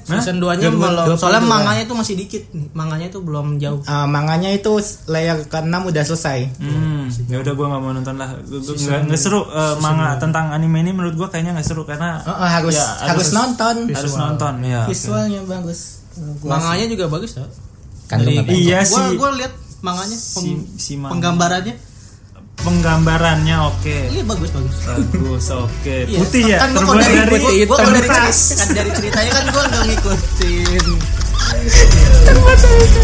Speaker 3: Season 2-nya
Speaker 2: 22.
Speaker 3: belum. Soalnya manganya itu masih dikit nih. Manganya itu belum jauh.
Speaker 1: Ah,
Speaker 2: Eh, manganya itu layer ke-6 udah selesai.
Speaker 1: Hmm, ya udah gue nggak mau nonton lah. Gue- gue- Nggak nggak seru eh, manga tentang anime ini menurut gue kayaknya nggak seru karena
Speaker 2: Oh, oh, harus,
Speaker 1: Ya,
Speaker 2: harus
Speaker 1: harus-
Speaker 2: nonton.
Speaker 1: harus nonton ya. oke.
Speaker 2: Visualnya bagus.
Speaker 3: Manganya juga bagus tau.
Speaker 2: Kan lu nggak baca.
Speaker 1: Iya
Speaker 3: Gua
Speaker 1: sih.
Speaker 3: gua lihat manganya pem-
Speaker 1: Si- si manga.
Speaker 3: penggambarannya.
Speaker 1: Penggambarannya oke.
Speaker 3: Iya bagus bagus.
Speaker 1: Bagus, oke.
Speaker 3: Iya,
Speaker 1: Putih ya.
Speaker 3: kan gua kalau
Speaker 1: terbuat
Speaker 3: dari
Speaker 1: dari
Speaker 3: putih, gua kalau dari
Speaker 1: kertas.
Speaker 3: kan dari ceritanya kan gue nggak ngikutin
Speaker 2: Kan baca itu.